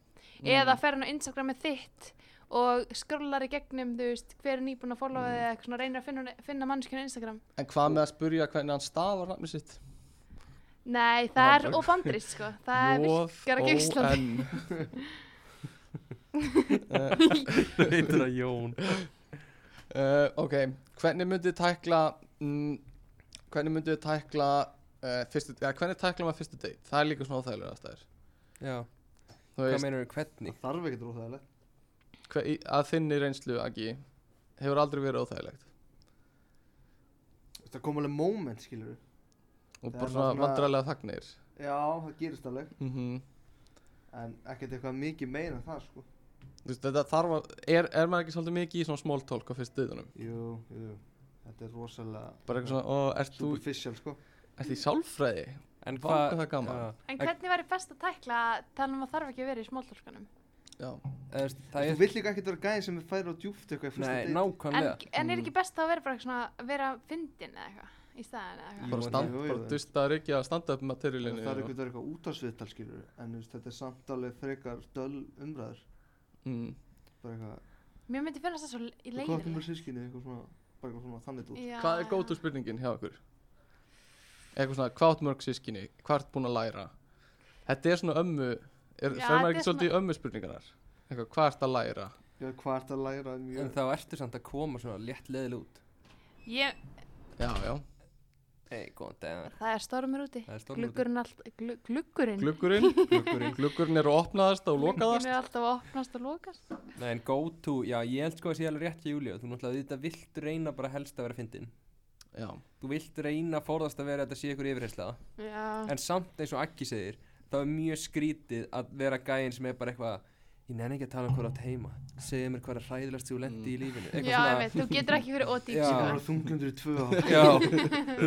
[SPEAKER 1] eða fer hann á Instagrami þitt og skrollar í gegnum, þú veist, hver er nýbúin að followa þig eða eitthvað svona reynir að finna, finna mannskjörn Instagram,
[SPEAKER 3] En hvað með að spurja hvernig hann stafar nafni sitt
[SPEAKER 1] nei, það er
[SPEAKER 3] Vandræði.
[SPEAKER 1] óbandrist sko, það er virkar ekki á Íslandi.
[SPEAKER 3] J-O-N
[SPEAKER 4] Þú heitir að Jón.
[SPEAKER 3] uh, Eh, Ok, hvernig myndið tækla mm, Hvernig myndið tækla uh, fyrstu, ja, Hvernig tækla maður fyrstu date Það er líka svona óþægilega aðstæður
[SPEAKER 4] Já.
[SPEAKER 3] Þú
[SPEAKER 4] Hvað
[SPEAKER 3] veist,
[SPEAKER 4] meinar við hvernig?
[SPEAKER 5] Það þarf ekkert óþægilegt.
[SPEAKER 3] hver, í- að þinni reynslu Aggi Hefur aldrei verið óþægilegt
[SPEAKER 5] Þú veist, Það kom alveg moment, skilur við.
[SPEAKER 3] Og
[SPEAKER 5] Það
[SPEAKER 3] bara
[SPEAKER 5] er
[SPEAKER 3] svona
[SPEAKER 5] náttúrulega-
[SPEAKER 3] vandrarlega þagnir
[SPEAKER 5] Já, það gerist alveg.
[SPEAKER 3] Mhm
[SPEAKER 5] En ekkert eitthvað mikið meira en það, sko.
[SPEAKER 3] Þú veist, þetta þarf að, er, er maður ekki svolítið mikið í svona small talk á fyrstu döðunum?
[SPEAKER 5] Jú, jú. Þetta er rosalega...
[SPEAKER 3] Bara eitthvað svona, ó, ert þú,
[SPEAKER 5] Superficial, sko.
[SPEAKER 3] ert í sálfræði?
[SPEAKER 4] En
[SPEAKER 3] Vá, hvað það er gaman.
[SPEAKER 4] Já.
[SPEAKER 1] En hvernig væri best að tækla að tala um að þarf ekki að vera í smáltorkanum?
[SPEAKER 3] Já.
[SPEAKER 4] Eða, þú veist, Það
[SPEAKER 5] Þú
[SPEAKER 4] er...
[SPEAKER 5] vill líka ekkert vera gæðin sem færir á djúft eitthvað í fyrsta
[SPEAKER 4] Nei,
[SPEAKER 5] date.
[SPEAKER 1] En,
[SPEAKER 4] nákvæmlega.
[SPEAKER 1] en er ekki best að vera bara svona, vera fyndin eða eitthvað í staðin eða eitthvað?
[SPEAKER 4] Jú,
[SPEAKER 3] Bara stand,
[SPEAKER 5] jú, jú,
[SPEAKER 3] bara
[SPEAKER 5] jú.
[SPEAKER 3] dusta að reykja að standa upp
[SPEAKER 5] Þú
[SPEAKER 3] materialinu.
[SPEAKER 5] veist, Það er ekkert eitthvað útarsviðtal, skilur við. En þú veist, þetta er samt alveg frekar döl umræður.
[SPEAKER 3] Mm.
[SPEAKER 5] Bara eitthvað...
[SPEAKER 1] Mér myndi finnast það svo le- í
[SPEAKER 5] Hvað áttum
[SPEAKER 1] leiðinu.
[SPEAKER 5] við sískinni? Eitthvað svona... Bara eitthvað svona þannig dút.
[SPEAKER 3] Hvað er gótu spurningin hjá ykkur? Eitthvað svona, hvað átt mörg sískinni? Hvað ert búin að læra? Þetta er svona ömmu, er,
[SPEAKER 1] Já,
[SPEAKER 3] fer
[SPEAKER 1] þetta
[SPEAKER 3] maður
[SPEAKER 1] er
[SPEAKER 3] ekki svolítið í ömmu spurningarnar? Eitthvað, hvað ert að læra?
[SPEAKER 5] Já, hvað ert að læra
[SPEAKER 4] En
[SPEAKER 5] mjög...
[SPEAKER 4] þá ertu samt að koma svona létt leðil út.
[SPEAKER 1] Ég,
[SPEAKER 3] Já, já.
[SPEAKER 4] Ei, góðan dagar.
[SPEAKER 1] það er stormur úti.
[SPEAKER 4] Það er stórn út.
[SPEAKER 1] Gluggurinn allt, glu, gluggurinn.
[SPEAKER 3] Gluggurinn,
[SPEAKER 4] Gluggurinn.
[SPEAKER 3] gluggurinn er að opnaðast og
[SPEAKER 1] Gluggurinn
[SPEAKER 3] lokaðast.
[SPEAKER 1] er alltaf að opnast og lokast.
[SPEAKER 4] Nei, en go to, já, ég held sko að sé alveg rétt hjá Júlíu. Þú náttúrulega þetta vilt reyna bara helst að vera fyndin.
[SPEAKER 3] já,
[SPEAKER 4] þú vilt reyna að forðast að vera að þetta sé ykkur yfirhersla
[SPEAKER 1] Já,
[SPEAKER 4] en samt eins og Akki segir þá er mjög skrítið að vera gæinn sem er bara eitthvað ég nenni ekki að tala um hvað þú átt heima segja mér hvað er hræðilegst þú lendi í lífinu
[SPEAKER 1] já,
[SPEAKER 4] eitthvað
[SPEAKER 1] ég veit, þú getur ekki verið ódýr
[SPEAKER 4] Já.
[SPEAKER 5] Það
[SPEAKER 1] sko.
[SPEAKER 5] var þungundur í tvö ár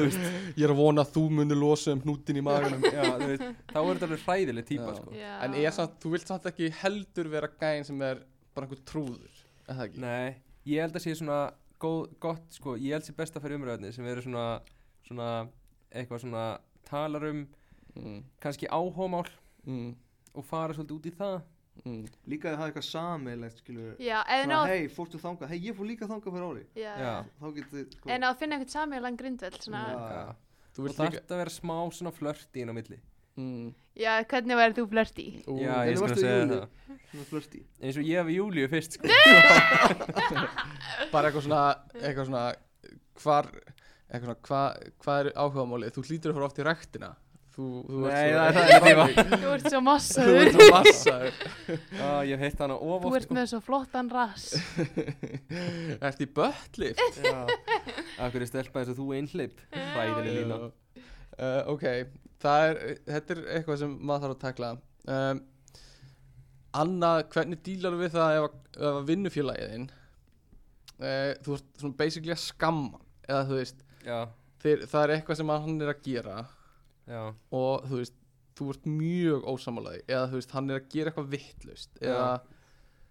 [SPEAKER 4] [LAUGHS] já,
[SPEAKER 3] ég er að vona að þú munir losa um hnútin í maganum
[SPEAKER 4] já, þú veist, þá er þetta alveg hræðileg típa
[SPEAKER 3] Já.
[SPEAKER 4] sko.
[SPEAKER 1] Já.
[SPEAKER 3] en ég er samt, þú vilt samt ekki heldur vera gæinn sem er bara einhver trúður er það ekki?
[SPEAKER 4] Nei, ég held að sé svona góð, gott, sko, ég held sé best að fara umræðinni sem eru svona, svona eitthvað svona talar um
[SPEAKER 3] Mm,
[SPEAKER 4] kannski áhómál
[SPEAKER 3] mm,
[SPEAKER 4] og fara svolítið út í það
[SPEAKER 3] mm.
[SPEAKER 5] Líka að það er eitthvað sameiglegt skilur
[SPEAKER 1] Já, en
[SPEAKER 5] Svona,
[SPEAKER 1] á,
[SPEAKER 5] hei, fórstu þangað, hei, ég fór líka þangað fyrir ári
[SPEAKER 1] já.
[SPEAKER 4] Já.
[SPEAKER 5] Þá getur sko,
[SPEAKER 1] En á að finna einhvern samílan grundvöld svona,
[SPEAKER 5] Já.
[SPEAKER 3] þú
[SPEAKER 4] og
[SPEAKER 3] vilt
[SPEAKER 4] það
[SPEAKER 3] líka
[SPEAKER 4] ætti að vera smá svona flörti inn á milli
[SPEAKER 3] mm,
[SPEAKER 1] já, hvernig væri þú flört
[SPEAKER 3] [LAUGHS]
[SPEAKER 1] í?
[SPEAKER 3] ú,
[SPEAKER 4] Já,
[SPEAKER 5] Hvernig
[SPEAKER 4] ég
[SPEAKER 5] varstu í
[SPEAKER 4] skal segja
[SPEAKER 5] júlí?
[SPEAKER 4] það
[SPEAKER 5] svona
[SPEAKER 1] [LAUGHS]
[SPEAKER 5] flörti
[SPEAKER 4] eins og ég hef Júlíu fyrst sko.
[SPEAKER 3] bara eitthvað svona, eitthvað svona hvar, eitthvað svona hvað hva er áhugamálið, þú hlýtur að fara oft í ræktina þú, þú ert
[SPEAKER 4] Nei,
[SPEAKER 3] svo- [LAUGHS]
[SPEAKER 4] það er- það er ekki tíma.
[SPEAKER 1] Þú ert svo
[SPEAKER 3] þú
[SPEAKER 1] massaður,
[SPEAKER 3] ert svo massaður
[SPEAKER 4] [LAUGHS]
[SPEAKER 3] [LAUGHS]
[SPEAKER 4] Já, ég hef heitt hana of
[SPEAKER 1] þú
[SPEAKER 4] oft
[SPEAKER 1] ert með svo flottan rass
[SPEAKER 3] Ertu í böllif?
[SPEAKER 4] Já, akkur er stelpa eins og þú einhleip Hræðileg lína
[SPEAKER 3] Uh, ok, það er, þetta er eitthvað sem maður þarf að tekla um, Annað, hvernig dílar við það ef, að- ef að vinnufélagiðin uh, Þú ert svona basically að skamma hann, Eða þú veist,
[SPEAKER 4] Já,
[SPEAKER 3] þeir, það er eitthvað sem hann er að gera
[SPEAKER 4] já,
[SPEAKER 3] Og þú veist, þú ert mjög ósamálaði Eða þú veist, hann er að gera eitthvað vittlust Eða,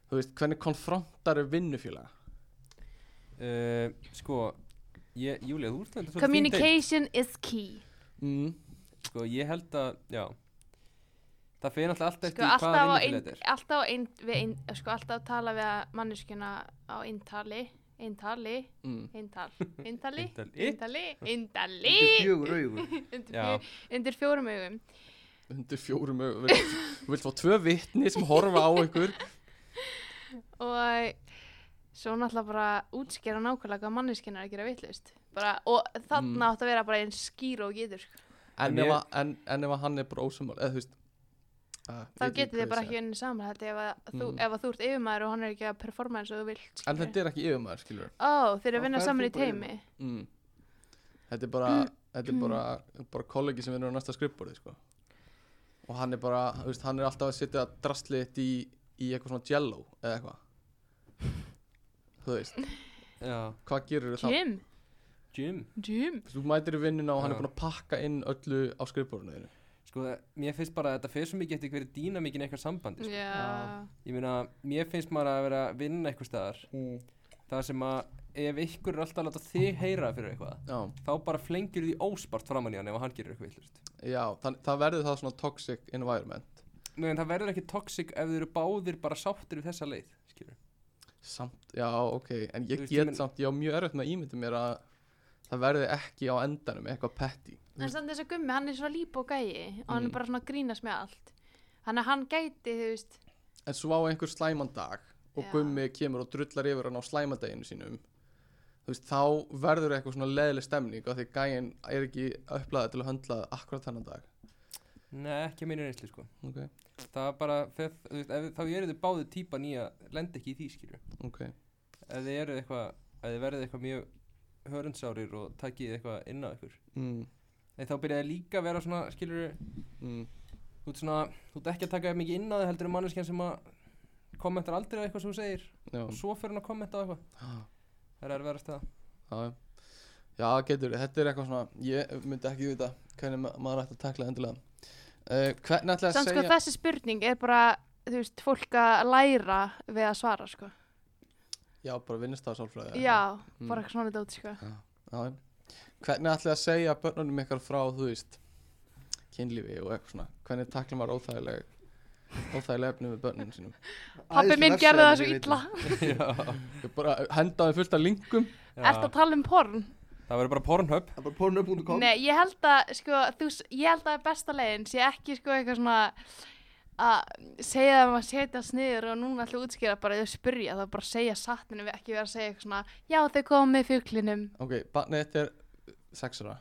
[SPEAKER 3] þú veist, hvernig konfrontar er vinnufélaga
[SPEAKER 4] uh, sko ég, Júlía, þú ert þetta svolítið þín deild.
[SPEAKER 1] Communication is key
[SPEAKER 3] mm,
[SPEAKER 4] Sko, ég held að, já Það fyrir alltaf allt
[SPEAKER 1] Sko,
[SPEAKER 4] eftir sko, hvað
[SPEAKER 1] alltaf, á ein,
[SPEAKER 4] vinnufélagið er
[SPEAKER 1] alltaf, á ein, við ein, sko, alltaf tala við að manneskjuna á eintali eintali,
[SPEAKER 3] mm,
[SPEAKER 1] eintal eintali,
[SPEAKER 4] Eintali.
[SPEAKER 1] eintali, eintali
[SPEAKER 5] Þetta er fjögur augur
[SPEAKER 1] undir,
[SPEAKER 4] Já.
[SPEAKER 1] fjö, undir fjórum augum
[SPEAKER 3] Undir fjórum augum, þú vilt- Þú vilt fá tvö vitni sem horfa á ykkur
[SPEAKER 1] og svo náttúrulega bara útskýra nákvæmlega hvað manneskjuna er að gera vittlust bara, og þarna
[SPEAKER 3] Mm.
[SPEAKER 1] átt að vera bara eins skýr og getur sko.
[SPEAKER 3] En,
[SPEAKER 4] [LAUGHS] En
[SPEAKER 3] ef,
[SPEAKER 4] ég-
[SPEAKER 3] að, en, en ef að hann er bara ósamál eða þú veist uh,
[SPEAKER 1] þá getur þið bara ekki unni saman held ég, ef, að þú,
[SPEAKER 3] Mm.
[SPEAKER 1] ef að þú ert yfirmaður og hann er ekki að performa eins og þú vilt
[SPEAKER 3] En
[SPEAKER 1] skilurðu.
[SPEAKER 3] þetta er ekki yfirmaður, skilur
[SPEAKER 1] ó, þeir eru
[SPEAKER 5] Þá
[SPEAKER 1] að vinna
[SPEAKER 5] ferð
[SPEAKER 1] saman
[SPEAKER 5] þú
[SPEAKER 1] í
[SPEAKER 5] bara
[SPEAKER 1] teimi
[SPEAKER 3] mm. Þetta er bara Þetta er bara, bara kollegi sem vinnur á næsta skrifborði sko. Og hann er bara þú veist, Hann er alltaf að setja drastlið þitt í, í eitthvað svona jello eða eitthvað Þú veist,
[SPEAKER 4] Já,
[SPEAKER 3] hvað gerir þú þá?
[SPEAKER 1] Jim,
[SPEAKER 4] Jim
[SPEAKER 1] Jim
[SPEAKER 3] Þú mætir í vinnuna og hann
[SPEAKER 4] Já.
[SPEAKER 3] er búin að pakka inn öllu á skrifborðinu þínu
[SPEAKER 4] Sko, það- mér finnst bara að þetta fyrir svo mikið eftir hverju dýna mikið
[SPEAKER 1] Mm.
[SPEAKER 4] eitthvað sambandi sko.
[SPEAKER 1] Já,
[SPEAKER 4] Ég meina, mér finnst maður að vera að vinna eitthvað staðar
[SPEAKER 3] mm.
[SPEAKER 4] Það sem að ef ykkur er alltaf að láta þig heyra fyrir eitthvað
[SPEAKER 3] Já,
[SPEAKER 4] Þá bara flengir því óspart framan í hann ef hann gerir eitthvað villust
[SPEAKER 3] já það, það verður það svona toxic environment
[SPEAKER 4] Nei, en það verður ekki toxic ef þau eru báðir bara sáttir við þessa leið Skilur
[SPEAKER 3] Samt, já, ok, en ég
[SPEAKER 4] Þú veist, ég
[SPEAKER 3] get
[SPEAKER 4] meina-
[SPEAKER 3] samt, ég á mjög erfitt með að ímynda mér að það verði ekki á endanum eitthvað petty.
[SPEAKER 1] en samt þess að gummi, hann er svona líp og gæi og hann
[SPEAKER 3] Mm.
[SPEAKER 1] er bara svona að grínast með allt Þannig að hann gæti, þú veist
[SPEAKER 3] En svo á einhver slæman dag og
[SPEAKER 1] Já.
[SPEAKER 3] gummi kemur og drullar yfir hann á slæmadeginu sínum, þú veist, þá verður eitthvað svona leðileg stemning af því gæin er ekki upplaðið til að höndla það akkurat þennan dag.
[SPEAKER 4] Nei, ekki að meina reynsli sko
[SPEAKER 3] Ok,
[SPEAKER 4] Það er bara, fer, þú veist, ef, þá eru þau báðir típa nýja Lend ekki í því skilur
[SPEAKER 3] ok,
[SPEAKER 4] ef þið eru eitthvað ef þið verðið eitthvað mjög hörundsárir og takkið eitthvað inn á ykkur
[SPEAKER 3] mm,
[SPEAKER 4] en þá byrjaði líka að vera svona skilur
[SPEAKER 3] mm,
[SPEAKER 4] þú ert svona þú ert ekki að taka jafn mikið inn á þig heldur en manneskjan sem að kommentar aldrei á eitthvað sem þú segir
[SPEAKER 3] já,
[SPEAKER 4] og svo fer hann að kommenta á eitthvað
[SPEAKER 3] Ah,
[SPEAKER 4] það er erfiðast það
[SPEAKER 3] já, já, getur, þetta er eitthvað svona, ég myndi ekki vita hvernig ma maður ætti að takla endilega. Uh, hvernig ætla ég að
[SPEAKER 1] Samt sko
[SPEAKER 3] segja...
[SPEAKER 1] þessi spurning er bara, þú veist, fólk að læra við að svara, sko
[SPEAKER 3] Já, bara vinnustafsálfræði.
[SPEAKER 1] Já,
[SPEAKER 3] Mm.
[SPEAKER 1] bara eitthvað svona dót, sko
[SPEAKER 3] Já, hvernig ætlið þið að segja börnunum ykkar frá, þú veist, kynlífi og eitthvað svona? Hvernig takla maður óþægileg, óþægileg efni með börnunum sínum?
[SPEAKER 1] Pappi
[SPEAKER 5] Æðisleg
[SPEAKER 1] minn gerði það
[SPEAKER 5] refsiefni,
[SPEAKER 1] svo
[SPEAKER 5] ég veit
[SPEAKER 1] illa
[SPEAKER 4] já,
[SPEAKER 3] Ég bara hendaði fullt af linkum.
[SPEAKER 4] já.
[SPEAKER 1] Ertu að tala um porn?
[SPEAKER 4] það verður bara pornhub
[SPEAKER 5] Það er bara porno.com
[SPEAKER 1] Nei, ég held að, sko, þú, s- ég held að besta leiðin sé ekki, sko, eitthvað svona að segja þeim að setja sniður og núna ætla að útskýra bara þau spyrja, þá bara segja sattinu við ekki vera að segja eitthvað svona, já þau komum með fuglinum,
[SPEAKER 3] Ok, barnið þetta er sexara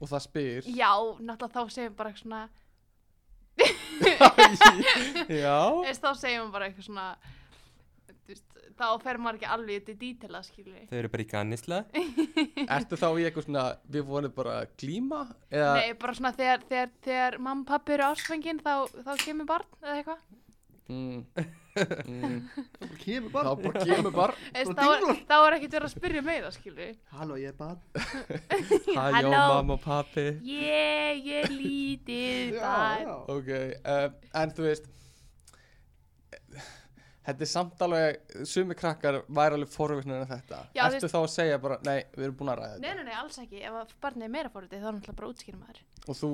[SPEAKER 3] og það spyr.
[SPEAKER 1] já, náttúrulega þá segjum bara eitthvað svona,
[SPEAKER 3] Já.
[SPEAKER 1] veist, þá segjum bara eitthvað svona, þú veist, þá fer maður ekki alveg þetta í dítela, skilur
[SPEAKER 4] Þau eru bara í
[SPEAKER 1] [LAUGHS]
[SPEAKER 4] gannisla
[SPEAKER 3] Ertu þá í eitthvað svona, við vorum bara að glíma? Eða,
[SPEAKER 1] Nei, bara svona þegar, þegar, þegar mamma og pappi eru ásfengin þá, þá kemur barn eða eitthvað. [LAUGHS]
[SPEAKER 3] Mm, mm,
[SPEAKER 5] Það kemur
[SPEAKER 3] þá
[SPEAKER 5] bara
[SPEAKER 3] bara kemur bara,
[SPEAKER 1] Þú veist,
[SPEAKER 5] Og
[SPEAKER 1] Þá er,
[SPEAKER 5] dinglar.
[SPEAKER 1] þá er ekkert verið að spyrja um meira, skilur.
[SPEAKER 5] Halló, ég er barn
[SPEAKER 3] hæjó mamma og pappi.
[SPEAKER 1] Ég, ég er lítið barn.
[SPEAKER 5] já
[SPEAKER 3] Ok, uh, en þú veist, þetta er samt alveg, sumi krakkar væri alveg forvittnir en þetta.
[SPEAKER 1] Já, þú
[SPEAKER 3] Ertu
[SPEAKER 1] veist-
[SPEAKER 3] þá að segja bara, nei, við erum búin að ræða
[SPEAKER 1] Nei,
[SPEAKER 3] þetta.
[SPEAKER 1] nei, nei, alls ekki. Ef að barnið er meira fórhaldið þá er náttúrulega bara útskýra maður.
[SPEAKER 3] Og þú,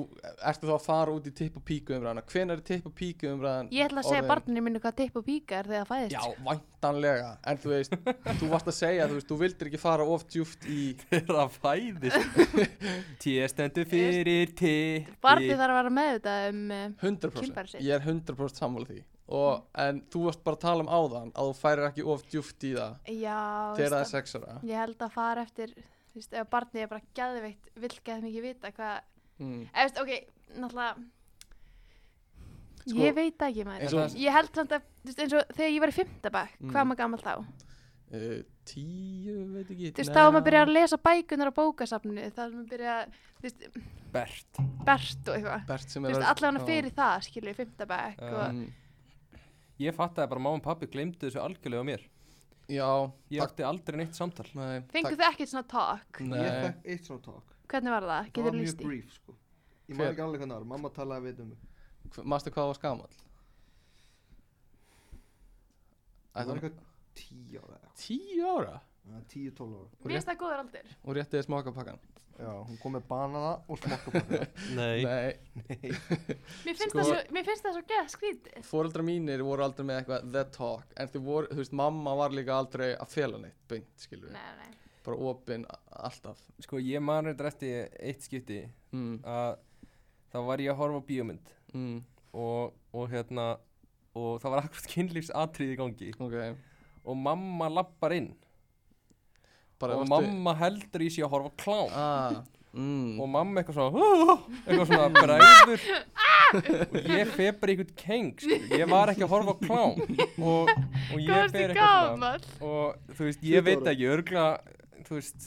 [SPEAKER 3] ertu þá að fara út í tipp og píku umræðana? Hvenær er tipp og píku umræðan?
[SPEAKER 1] Ég ætla að segja
[SPEAKER 3] orðin?
[SPEAKER 1] barninu mínu hvað tipp og píka er þegar það fæðist.
[SPEAKER 3] Já, væntanlega, en þú veist, þú varst að segja, þú veist, þú vildir ekki fara of djúft í
[SPEAKER 4] Þeirra fæðist T stendur fyrir T
[SPEAKER 1] Barnið þarf að vera með þetta um... eh,
[SPEAKER 3] 100%
[SPEAKER 1] Kynfæri sitt.
[SPEAKER 3] ég er 100% sammála því og, en þú varst bara að tala um áðan að þú færir ekki of djúft í það
[SPEAKER 1] Já,
[SPEAKER 3] þegar það er
[SPEAKER 1] veist það.
[SPEAKER 3] sexara
[SPEAKER 1] ég held að fara eftir, þú veist, ef barnið er bara geðveikt, vill geð mikið vita hvað
[SPEAKER 3] mm.
[SPEAKER 1] Eða, veist, ok, náttúrulega
[SPEAKER 3] Sko,
[SPEAKER 1] Ég veit það ekki maður
[SPEAKER 3] eins og-
[SPEAKER 1] Ég held samt að, þú veist, eins og þegar ég var í fimmtabæk
[SPEAKER 3] Mm.
[SPEAKER 1] Hvað maður gammal þá?
[SPEAKER 3] uh, tíu, veit ekki
[SPEAKER 1] Þú veist, þá var
[SPEAKER 3] nei.
[SPEAKER 1] maður byrjað að lesa bækunar á bókasafninu Það maður byrjað, að, þú veist,
[SPEAKER 4] Bert
[SPEAKER 1] bert og eitthvað
[SPEAKER 3] Bert sem
[SPEAKER 1] Þú
[SPEAKER 3] er
[SPEAKER 1] veist,
[SPEAKER 3] að-
[SPEAKER 1] allavega
[SPEAKER 3] já.
[SPEAKER 1] fyrir það, skilur, í fimmtabæk
[SPEAKER 4] Já.
[SPEAKER 1] og,
[SPEAKER 3] Mm,
[SPEAKER 4] Ég fattaði bara að mamma og pappi glemdu þessu algjörlega á mér
[SPEAKER 3] já,
[SPEAKER 4] Ég átti aldrei neitt samtal
[SPEAKER 3] nei,
[SPEAKER 1] Fengu
[SPEAKER 3] takk-
[SPEAKER 1] þið ekkert svona talk?
[SPEAKER 5] Ég
[SPEAKER 3] nei,
[SPEAKER 5] fekk eitt svona talk
[SPEAKER 1] Hvernig var það?
[SPEAKER 5] Það var
[SPEAKER 1] Getur
[SPEAKER 5] mjög
[SPEAKER 1] líst í?
[SPEAKER 5] brief sko Ég maður
[SPEAKER 3] Hver?
[SPEAKER 5] ekki alveg hvernig var Mamma talaði við um mig
[SPEAKER 3] maður hvað það var skamall
[SPEAKER 5] Það var
[SPEAKER 3] Ætla,
[SPEAKER 5] eitthvað tíu ára eða
[SPEAKER 3] tíu ára
[SPEAKER 5] eitthvað. Tíu, tólf ára
[SPEAKER 1] Mér finnst það góður aldur
[SPEAKER 3] og réttiði smakapakkan
[SPEAKER 5] Já, hún kom með banana og [LAUGHS] smokkabakka
[SPEAKER 4] Nei
[SPEAKER 3] nei,
[SPEAKER 1] Mér finnst
[SPEAKER 3] Sko-
[SPEAKER 1] það svo, mér finnst það svo geð skrítið
[SPEAKER 3] fóreldrar mínir voru aldrei með eitthvað the talk en þau voru, þú veist, mamma var líka aldrei að fela neitt beint, skilur
[SPEAKER 1] Nei, nei, nei.
[SPEAKER 3] bara opinn alltaf
[SPEAKER 4] Sko ég man reyndar eftir eitt skipti
[SPEAKER 3] mm,
[SPEAKER 4] að þá var ég að horfa á bíómynd
[SPEAKER 3] mm,
[SPEAKER 4] og, og hérna og það var akkurat kynlífs atrið í gangi
[SPEAKER 3] ok,
[SPEAKER 4] og mamma lappar inn
[SPEAKER 3] bara
[SPEAKER 4] og
[SPEAKER 3] varstu-
[SPEAKER 4] mamma heldur í sig að horfa á klám
[SPEAKER 3] ah, mm,
[SPEAKER 4] og mamma eitthvað svona eitthvað svona bræður og ég fer bara í einhvern keng skilur. ég var ekki að horfa á klám og, og
[SPEAKER 1] Hvað
[SPEAKER 4] ég fer
[SPEAKER 1] varstu
[SPEAKER 4] eitthvað svona
[SPEAKER 1] gammal?
[SPEAKER 4] og þú veist, ég veit
[SPEAKER 5] ára.
[SPEAKER 4] ekki örgla, þú veist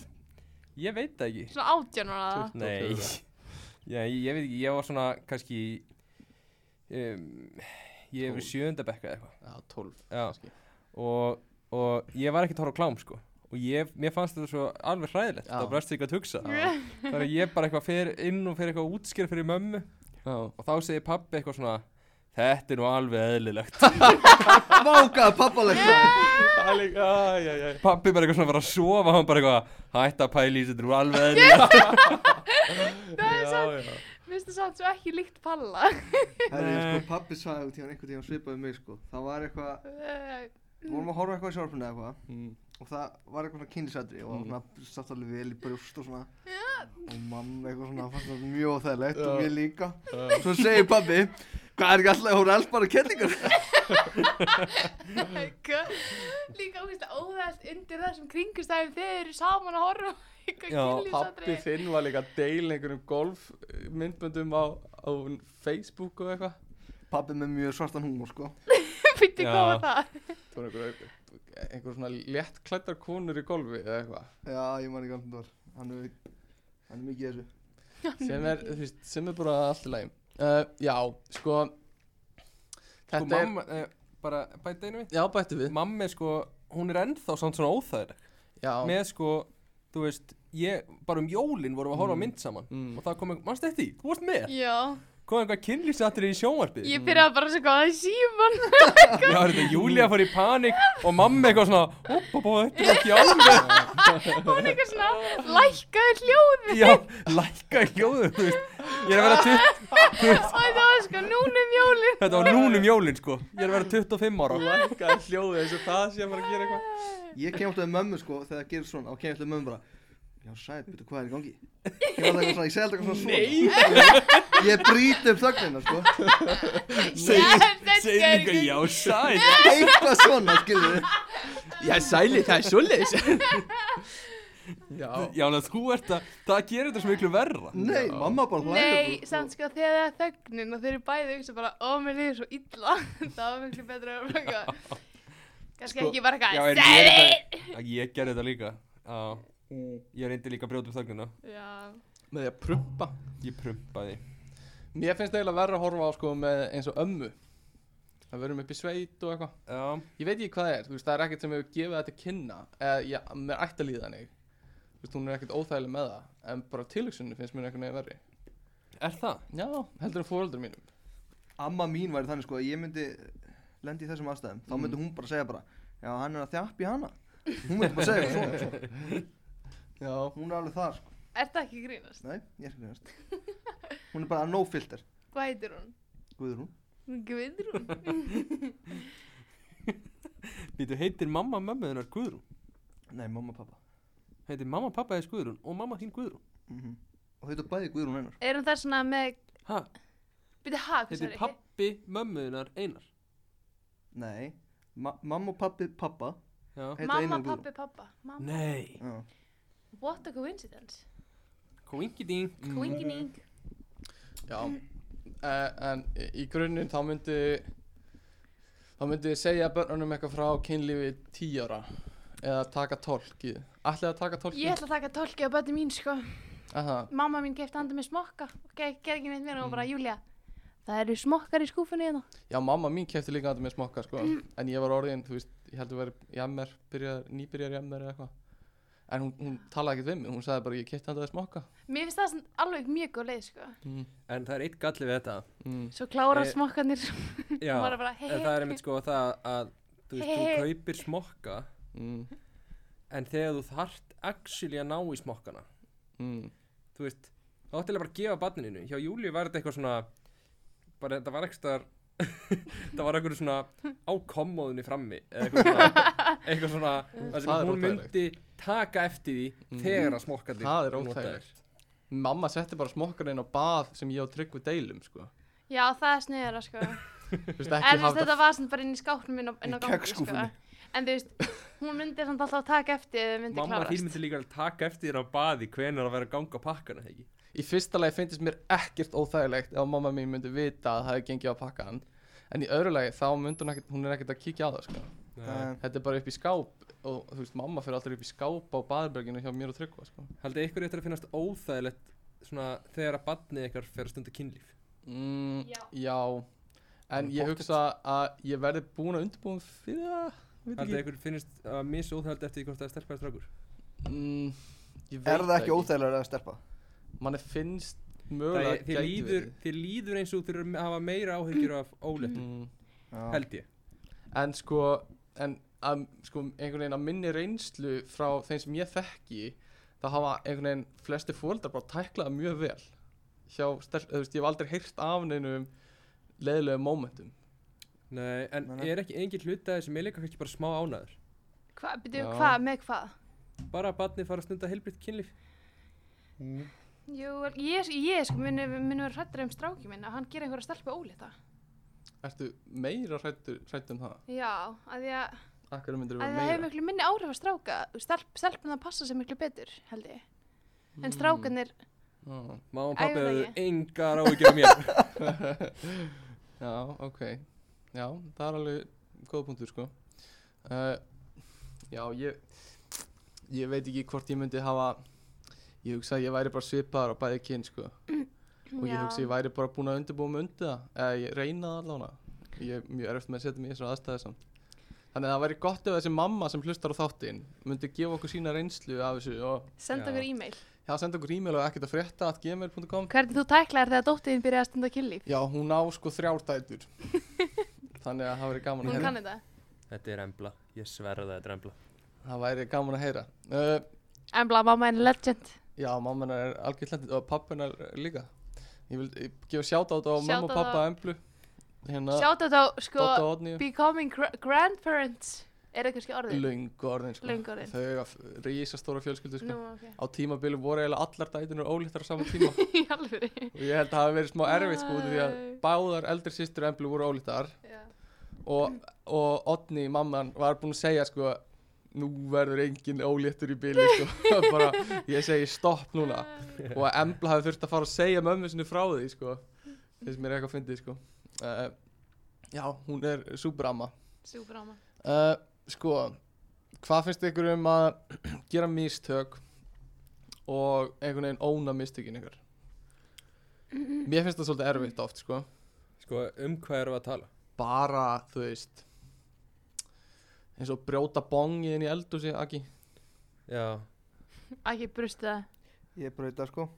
[SPEAKER 4] ég veit það ekki
[SPEAKER 1] Svona átján var það
[SPEAKER 4] Nei, já, ég, ég veit ekki, ég var svona kannski um, ég hefur
[SPEAKER 3] Tólf.
[SPEAKER 4] sjöndabekka eða eitthvað
[SPEAKER 3] já, 12
[SPEAKER 4] Já.
[SPEAKER 3] kannski.
[SPEAKER 4] og, og ég var ekki að horfa á klám sko og ég, mér fannst þetta svo alveg hræðilegt
[SPEAKER 3] Já.
[SPEAKER 4] það var bræst ekki að hugsa
[SPEAKER 1] [LAUGHS]
[SPEAKER 3] Já.
[SPEAKER 4] þannig að ég bara eitthvað fer inn og fer eitthvað að útskýra fyrir mömmu
[SPEAKER 3] Já.
[SPEAKER 4] og þá segir pabbi eitthvað svona þetta er nú alveg eðlilegt
[SPEAKER 5] Vákaði pappaleg
[SPEAKER 3] Það er líka, æj, æj, æj.
[SPEAKER 4] pabbi bara eitthvað svona var að sofa hann bara eitthvað hætt að pæla í þessu, þetta er nú alveg eðlilegt
[SPEAKER 1] Það er
[SPEAKER 3] Já,
[SPEAKER 1] samt,
[SPEAKER 3] já.
[SPEAKER 1] minnst það samt svo ekki líkt palla [LAUGHS]
[SPEAKER 5] Herri, sko, pappi sagði einhvern tíðan, einhvern tíðan svipaði mig sko Það var eitthvað,
[SPEAKER 1] Mm.
[SPEAKER 5] vorum að horfa á eitthvað í sjálfinu eða eitthvað
[SPEAKER 3] Mm,
[SPEAKER 5] og það var eitthvað svona kynlisætri og svona satt alveg vel í brjóst og svona og mamma eitthvað svona fannst það mjög óþægilegt og
[SPEAKER 3] Já.
[SPEAKER 5] mér líka
[SPEAKER 3] Já.
[SPEAKER 5] svo segir pabbi hvað er ekki alltaf, hún er alls bara kellingar
[SPEAKER 1] Líka ógæslega óðæðast undir þessum kringustæðum þeir eru saman að horfa á eitthvað
[SPEAKER 4] Já,
[SPEAKER 3] Pappi
[SPEAKER 1] kynlífsatriði.
[SPEAKER 3] þinn var líka að deila einhverjum golf myndböndum á, á Facebook og eitthvað
[SPEAKER 5] pabbi með mjög svartan húmor sko
[SPEAKER 1] Bíddu,
[SPEAKER 4] Já.
[SPEAKER 1] hvað var það?
[SPEAKER 3] Það var einhver, einhver svona léttklættar konur í golfi eða eitthvað
[SPEAKER 5] já, ég man ekki alltaf var hann er, hann er mikið í þessu
[SPEAKER 3] sem er, þú veist, sem er bara allt í lagi uh, Já, sko Þetta
[SPEAKER 4] sko mamma, eh, bara bæta einu við
[SPEAKER 3] er Já, bættu við
[SPEAKER 4] mamma er sko, hún er ennþá samt svona óþægileg
[SPEAKER 3] Já,
[SPEAKER 4] með sko, þú veist ég, bara um jólin vorum við að
[SPEAKER 3] Mm.
[SPEAKER 4] horfa á mynd saman
[SPEAKER 3] Mm.
[SPEAKER 4] og það kom eitthvað, mannst eftir, því? þú varst með
[SPEAKER 1] Já,
[SPEAKER 4] kom eitthvað kynlýsatri í sjónvarpið
[SPEAKER 1] ég byrjaði bara svo góða í síman
[SPEAKER 4] Já, þetta Júlia fór í panik og mamma eitthvað svona Oppa, bó, þetta er ekki alveg
[SPEAKER 1] Hún er eitthvað
[SPEAKER 4] [LAUGHS]
[SPEAKER 1] svona lækkaði hljóði
[SPEAKER 4] Já, lækka í hljóðu, þú veist Ég er að vera 20,
[SPEAKER 1] Og það var sko núna um jólin
[SPEAKER 4] þetta var núna um jólin, sko Ég er að vera 25 ára
[SPEAKER 3] lækkaði hljóðið eins og það sé að fara að gera eitthvað
[SPEAKER 5] ég kem alltaf með mömmu sko þegar það gerir svona og kem alltaf með mömmu bara já, sæt, betur hvað er í gangi ég var alltaf eitthvað svona, ég segi alltaf eitthvað svona svona ég brýt upp þögnina sko
[SPEAKER 4] Segir líka, já, sæt
[SPEAKER 5] eitthvað svona, skilur
[SPEAKER 3] Já, sæli, það er svoleiðis [LAUGHS] Já,
[SPEAKER 4] Já, en þú ert að, það gerir þetta svo miklu verra
[SPEAKER 5] nei, mamma bara hlæður
[SPEAKER 1] Nei, samt sko þegar það er þögnin [LAUGHS] og þeir eru bæði að hugsa bara, ó, mér liður svo illa, það var miklu betra að vera bara eitthvað. kannski ekki bara
[SPEAKER 4] Sko, Já,
[SPEAKER 1] eitthvað
[SPEAKER 4] en ég er þetta Ég gerði þetta líka Já Ég reyndi líka að brjóta upp þögnina
[SPEAKER 1] Já,
[SPEAKER 3] með því að prumpa
[SPEAKER 4] Ég prumpaði
[SPEAKER 3] Mér finnst eiginlega verra að horfa á sko með eins og ömmu Það verðum upp í sveit og eitthvað
[SPEAKER 4] Já
[SPEAKER 3] Ég veit ekki hvað það er, þú veist, það er ekkert sem hefur gefið þetta kynna Eða, já, mér ætti að líða þannig Þú veist, hún er ekkert óþægileg með það En bara tilhugsunni finnst mér einhvern veginn verri
[SPEAKER 4] Er það?
[SPEAKER 3] Já, heldur en fóröldur mínum
[SPEAKER 5] Amma mín væri þannig sko að ég myndi lendi í þessum aðstæðum Þá myndi hún bara segja bara Já, hann er að þjappi hana Hún myndi bara segja svona [LAUGHS] sko.
[SPEAKER 3] Já,
[SPEAKER 5] Hún er alveg það sko
[SPEAKER 1] er það ekki að grínast?
[SPEAKER 5] Nei, ég er ekki veist Hún er bara no filter
[SPEAKER 1] Hvað heitir hún?
[SPEAKER 5] Guðrún
[SPEAKER 1] Guðrún?
[SPEAKER 4] [LAUGHS] Býtu, heitir mamma mömmu þinnar Guðrún?
[SPEAKER 5] Nei, mamma og pappa
[SPEAKER 4] Heitir mamma pappa þess Guðrún og mamma þín Guðrún?
[SPEAKER 5] mm Og þau þetta bæði Guðrún einar
[SPEAKER 1] er hún það svona með,
[SPEAKER 4] Ha?
[SPEAKER 1] byrja hag,
[SPEAKER 4] Heitir pappi mömmu þinnar Einar?
[SPEAKER 5] Nei, ma mamma og pappi pappa
[SPEAKER 4] Já
[SPEAKER 5] heita Einar
[SPEAKER 1] Mamma,
[SPEAKER 5] og Guðrún.
[SPEAKER 1] pappi, pappa. Mamma.
[SPEAKER 4] Nei
[SPEAKER 5] Já.
[SPEAKER 1] What a coincidence.
[SPEAKER 4] Kóingidín
[SPEAKER 1] Kvingining.
[SPEAKER 3] já eh, En í- í grunninn þá myndi Þá myndi ég segja börnunum eitthvað frá kynlífi 10 ára Eða taka tólkið Ætlið að taka tólkið?
[SPEAKER 1] Ég ætla að taka tólki á bönni mín, sko.
[SPEAKER 3] Aha,
[SPEAKER 1] Mamma mín gefti handa með smokka. Ok, ger ekki neitt mér og
[SPEAKER 4] Mm.
[SPEAKER 1] bara, Júlia, það eru smokkar í skúfunni hérna.
[SPEAKER 3] Já, mamma mín kefti líka þetta með smokka, sko
[SPEAKER 1] Mm.
[SPEAKER 3] En ég var orðin, þú veist, ég heldur verið í MR, byrjar, nýbyrjar í MR eða eitthvað En hún, hún talaði ekkert við mig, hún sagði bara ég kefti þetta með smokka
[SPEAKER 1] Mér finnst það svona alveg mjög góð leið, sko.
[SPEAKER 3] mm.
[SPEAKER 4] En það er eitt galli við þetta
[SPEAKER 3] Mm.
[SPEAKER 1] Svo klára
[SPEAKER 4] Eh,
[SPEAKER 1] smokkanir.
[SPEAKER 4] Já
[SPEAKER 1] Hún var bara, "Hey,
[SPEAKER 4] En það er einmitt sko það að Þú veist, þú
[SPEAKER 1] Hey.
[SPEAKER 4] kaupir smokka
[SPEAKER 3] Mm.
[SPEAKER 4] En þegar þú þart actually að ná í smokkana
[SPEAKER 3] Mm.
[SPEAKER 4] þú veist, þá ættilega bara að gefa barninu hjá Júli var þetta eitthvað svona bara þetta var eitthvað staðar- [LAUGHS] þetta var eitthvað svona á kommóðunni frammi eða eitthvað
[SPEAKER 1] [LAUGHS]
[SPEAKER 4] svona, eitthvað svona það
[SPEAKER 3] Það er
[SPEAKER 4] sem hún
[SPEAKER 3] óþægilegt. Mhm.
[SPEAKER 4] myndi taka eftir því þegar að smokkandi
[SPEAKER 3] Það er óþægilegt Mamma setti bara smokkan inn á bað sem ég á tryggvi deilum, sko
[SPEAKER 1] Já, það er sniðara, sko.
[SPEAKER 3] Þú veist, ekki
[SPEAKER 1] En þú
[SPEAKER 3] hafa
[SPEAKER 1] veist, þetta var svona bara inn í skáknum inn á, inn á
[SPEAKER 5] Í
[SPEAKER 1] gangi, sko.
[SPEAKER 5] kexskúffunni.
[SPEAKER 1] En þú veist, hún myndi samt alltaf taka eftir ef þau myndi
[SPEAKER 4] mamma
[SPEAKER 1] klárast.
[SPEAKER 4] þín myndi líka alveg taka eftir þér á baði hvenar að vera að ganga á pakkana ekki?
[SPEAKER 3] Í fyrsta lagi finnst mér ekkert óþægilegt ef mamma mín myndi vita að það hefði gengið á pakkan En í öðru lagi, þá myndi hún ekkert, hún er ekkert að kíkja á það, sko
[SPEAKER 5] Uh,
[SPEAKER 3] Þetta er bara upp í skáp og þú veist, mamma fyrir alltaf upp í skáp á baðberginu hjá mér og tryggva, sko
[SPEAKER 4] haldið ykkur eftir að finnast óþægilegt svona þegar að barnið ykkar fer að stunda kynlíf
[SPEAKER 3] mm,
[SPEAKER 1] Já.
[SPEAKER 3] já en
[SPEAKER 4] Alveg
[SPEAKER 3] ég
[SPEAKER 4] pottþétt.
[SPEAKER 3] hugsa að ég verði búin að undirbúin fyrir það Veit
[SPEAKER 4] haldið
[SPEAKER 3] ekki.
[SPEAKER 4] ykkur finnist að misa óþægilegt eftir því hvort það er stelpa eða strákur
[SPEAKER 3] Mm, ég veit
[SPEAKER 5] Er það ekki óþægilega að stelpa?
[SPEAKER 3] manni finnst
[SPEAKER 4] Það
[SPEAKER 3] mögulega
[SPEAKER 4] er- þér
[SPEAKER 3] gæti
[SPEAKER 4] líður,
[SPEAKER 3] verið.
[SPEAKER 4] þér líður eins og þú þurfur að hafa meira
[SPEAKER 3] [CLEARS THROAT]
[SPEAKER 4] áhyggjur af óléttu
[SPEAKER 3] mm,
[SPEAKER 5] Já.
[SPEAKER 4] held ég
[SPEAKER 3] en sko en að, sko einhvern veginn að minni reynslu frá þeim sem ég þekki það hafa einhvern veginn flesti fóldar bara tæklaða mjög vel hjá stelp, þú veist, ég hef aldrei heyrt af neinum leiðilegum mómentum
[SPEAKER 4] Nei, en
[SPEAKER 5] Nei, nei.
[SPEAKER 4] er ekki engin hlutaði sem er líka kannski bara smá ánæður?
[SPEAKER 1] Hva, byrju,
[SPEAKER 3] Já.
[SPEAKER 1] hvað, með hvað?
[SPEAKER 4] Bara að barnið fara að stunda helbriðt kynlíf?
[SPEAKER 1] Jú, vel, ég, ég sko muni, muni vera hrættur um strákið minn að hann gera einhverja stelpu ólita.
[SPEAKER 3] ertu meira hrættu, hrættu um það?
[SPEAKER 1] Já, að því að,
[SPEAKER 3] Akkur myndir
[SPEAKER 1] að það hefur miklu minni áhrif að stráka. Stelp, stelpun það passa sér miklu betur, held ég.
[SPEAKER 3] Mm.
[SPEAKER 1] En strákanir,
[SPEAKER 3] Já,
[SPEAKER 4] Má
[SPEAKER 1] Æ,
[SPEAKER 4] og pappi
[SPEAKER 1] ég veit
[SPEAKER 4] hefur
[SPEAKER 1] ekki.
[SPEAKER 4] engar áhyggjur
[SPEAKER 3] [LAUGHS]
[SPEAKER 4] af mér.
[SPEAKER 3] já, ok Já, það er alveg góða punktur sko uh, Já, ég ég veit ekki hvort ég myndi hafa ég hugsa að ég væri bara svipaðar á bæði kyn sko og ég
[SPEAKER 1] Já.
[SPEAKER 3] hugsa að ég væri bara búin að undirbúa mig undir það eða ég reyna það allavega ég er mjög erfitt með að setja mig í þessar aðstæði samt Þannig að það væri gott ef þessi mamma sem hlustar á þáttinn myndi gefa okkur sína reynslu af þessu og
[SPEAKER 1] senda
[SPEAKER 4] Já.
[SPEAKER 1] okkur e-mail.
[SPEAKER 3] já, senda okkur e-mail og ekkert að frétta at gmail.com
[SPEAKER 1] Hvernig þú tæklaðir þegar dóttiðin byrjaði að stunda kynlíf?
[SPEAKER 3] Já, hún á sko þrjár
[SPEAKER 1] [LAUGHS]
[SPEAKER 3] dætur Þannig að það væri gaman að
[SPEAKER 1] Hún
[SPEAKER 3] heyra
[SPEAKER 1] kann þetta.
[SPEAKER 4] Þetta er embla. Ég sverða þetta er embla.
[SPEAKER 3] Það væri gaman að heyra uh,
[SPEAKER 1] Embla, mamma er legend.
[SPEAKER 3] Já, mamma hennar er algjörð lendið og pappa hennar líka Ég vil ég gefa sjátt á þetta á mamma og
[SPEAKER 1] Shoutout á-
[SPEAKER 3] pappa Emblu Hérna,
[SPEAKER 1] Sjátt þetta á, sko,
[SPEAKER 3] Dotta og Odni
[SPEAKER 1] becoming gra- grandparents. Er það kannski orðið?
[SPEAKER 3] Lung orðin sko
[SPEAKER 1] Löng orðin.
[SPEAKER 3] Þau eru rísastóra fjölskyldu sko
[SPEAKER 1] Nú, ok.
[SPEAKER 3] [LAUGHS] Á tímabili voru eiginlega allar dætunur ólítar á sama tíma og
[SPEAKER 1] Í alveg.
[SPEAKER 3] ég held að það hafi verið smá erfitt sko út af því að
[SPEAKER 1] Nei.
[SPEAKER 3] báðar eldri systur Emblu voru ólítar og, og Otni, mamman, var búin að segja sko nú verður engin óléttur í bíli sko. [LAUGHS] bara, ég segi stopp núna og að Embla hafi þurft að fara að segja mömmu sinni frá því sko. þess mér er Eh, eitthvað fyndið sko. uh, já, hún er súbramma
[SPEAKER 1] Súper áma.
[SPEAKER 3] uh, sko, hvað finnst ykkur um að [CLEARS THROAT] gera mistök og einhvern veginn óna mistökin ykkur? Mér finnst það svolítið erfitt oft, sko.
[SPEAKER 4] Sko, um hvað erum við að tala?
[SPEAKER 3] Bara, þú veist, eins og brjóta bongið inn í eldhúsi, Aki.
[SPEAKER 4] Já,
[SPEAKER 1] Ekki brusti það.
[SPEAKER 5] Ég brauta sko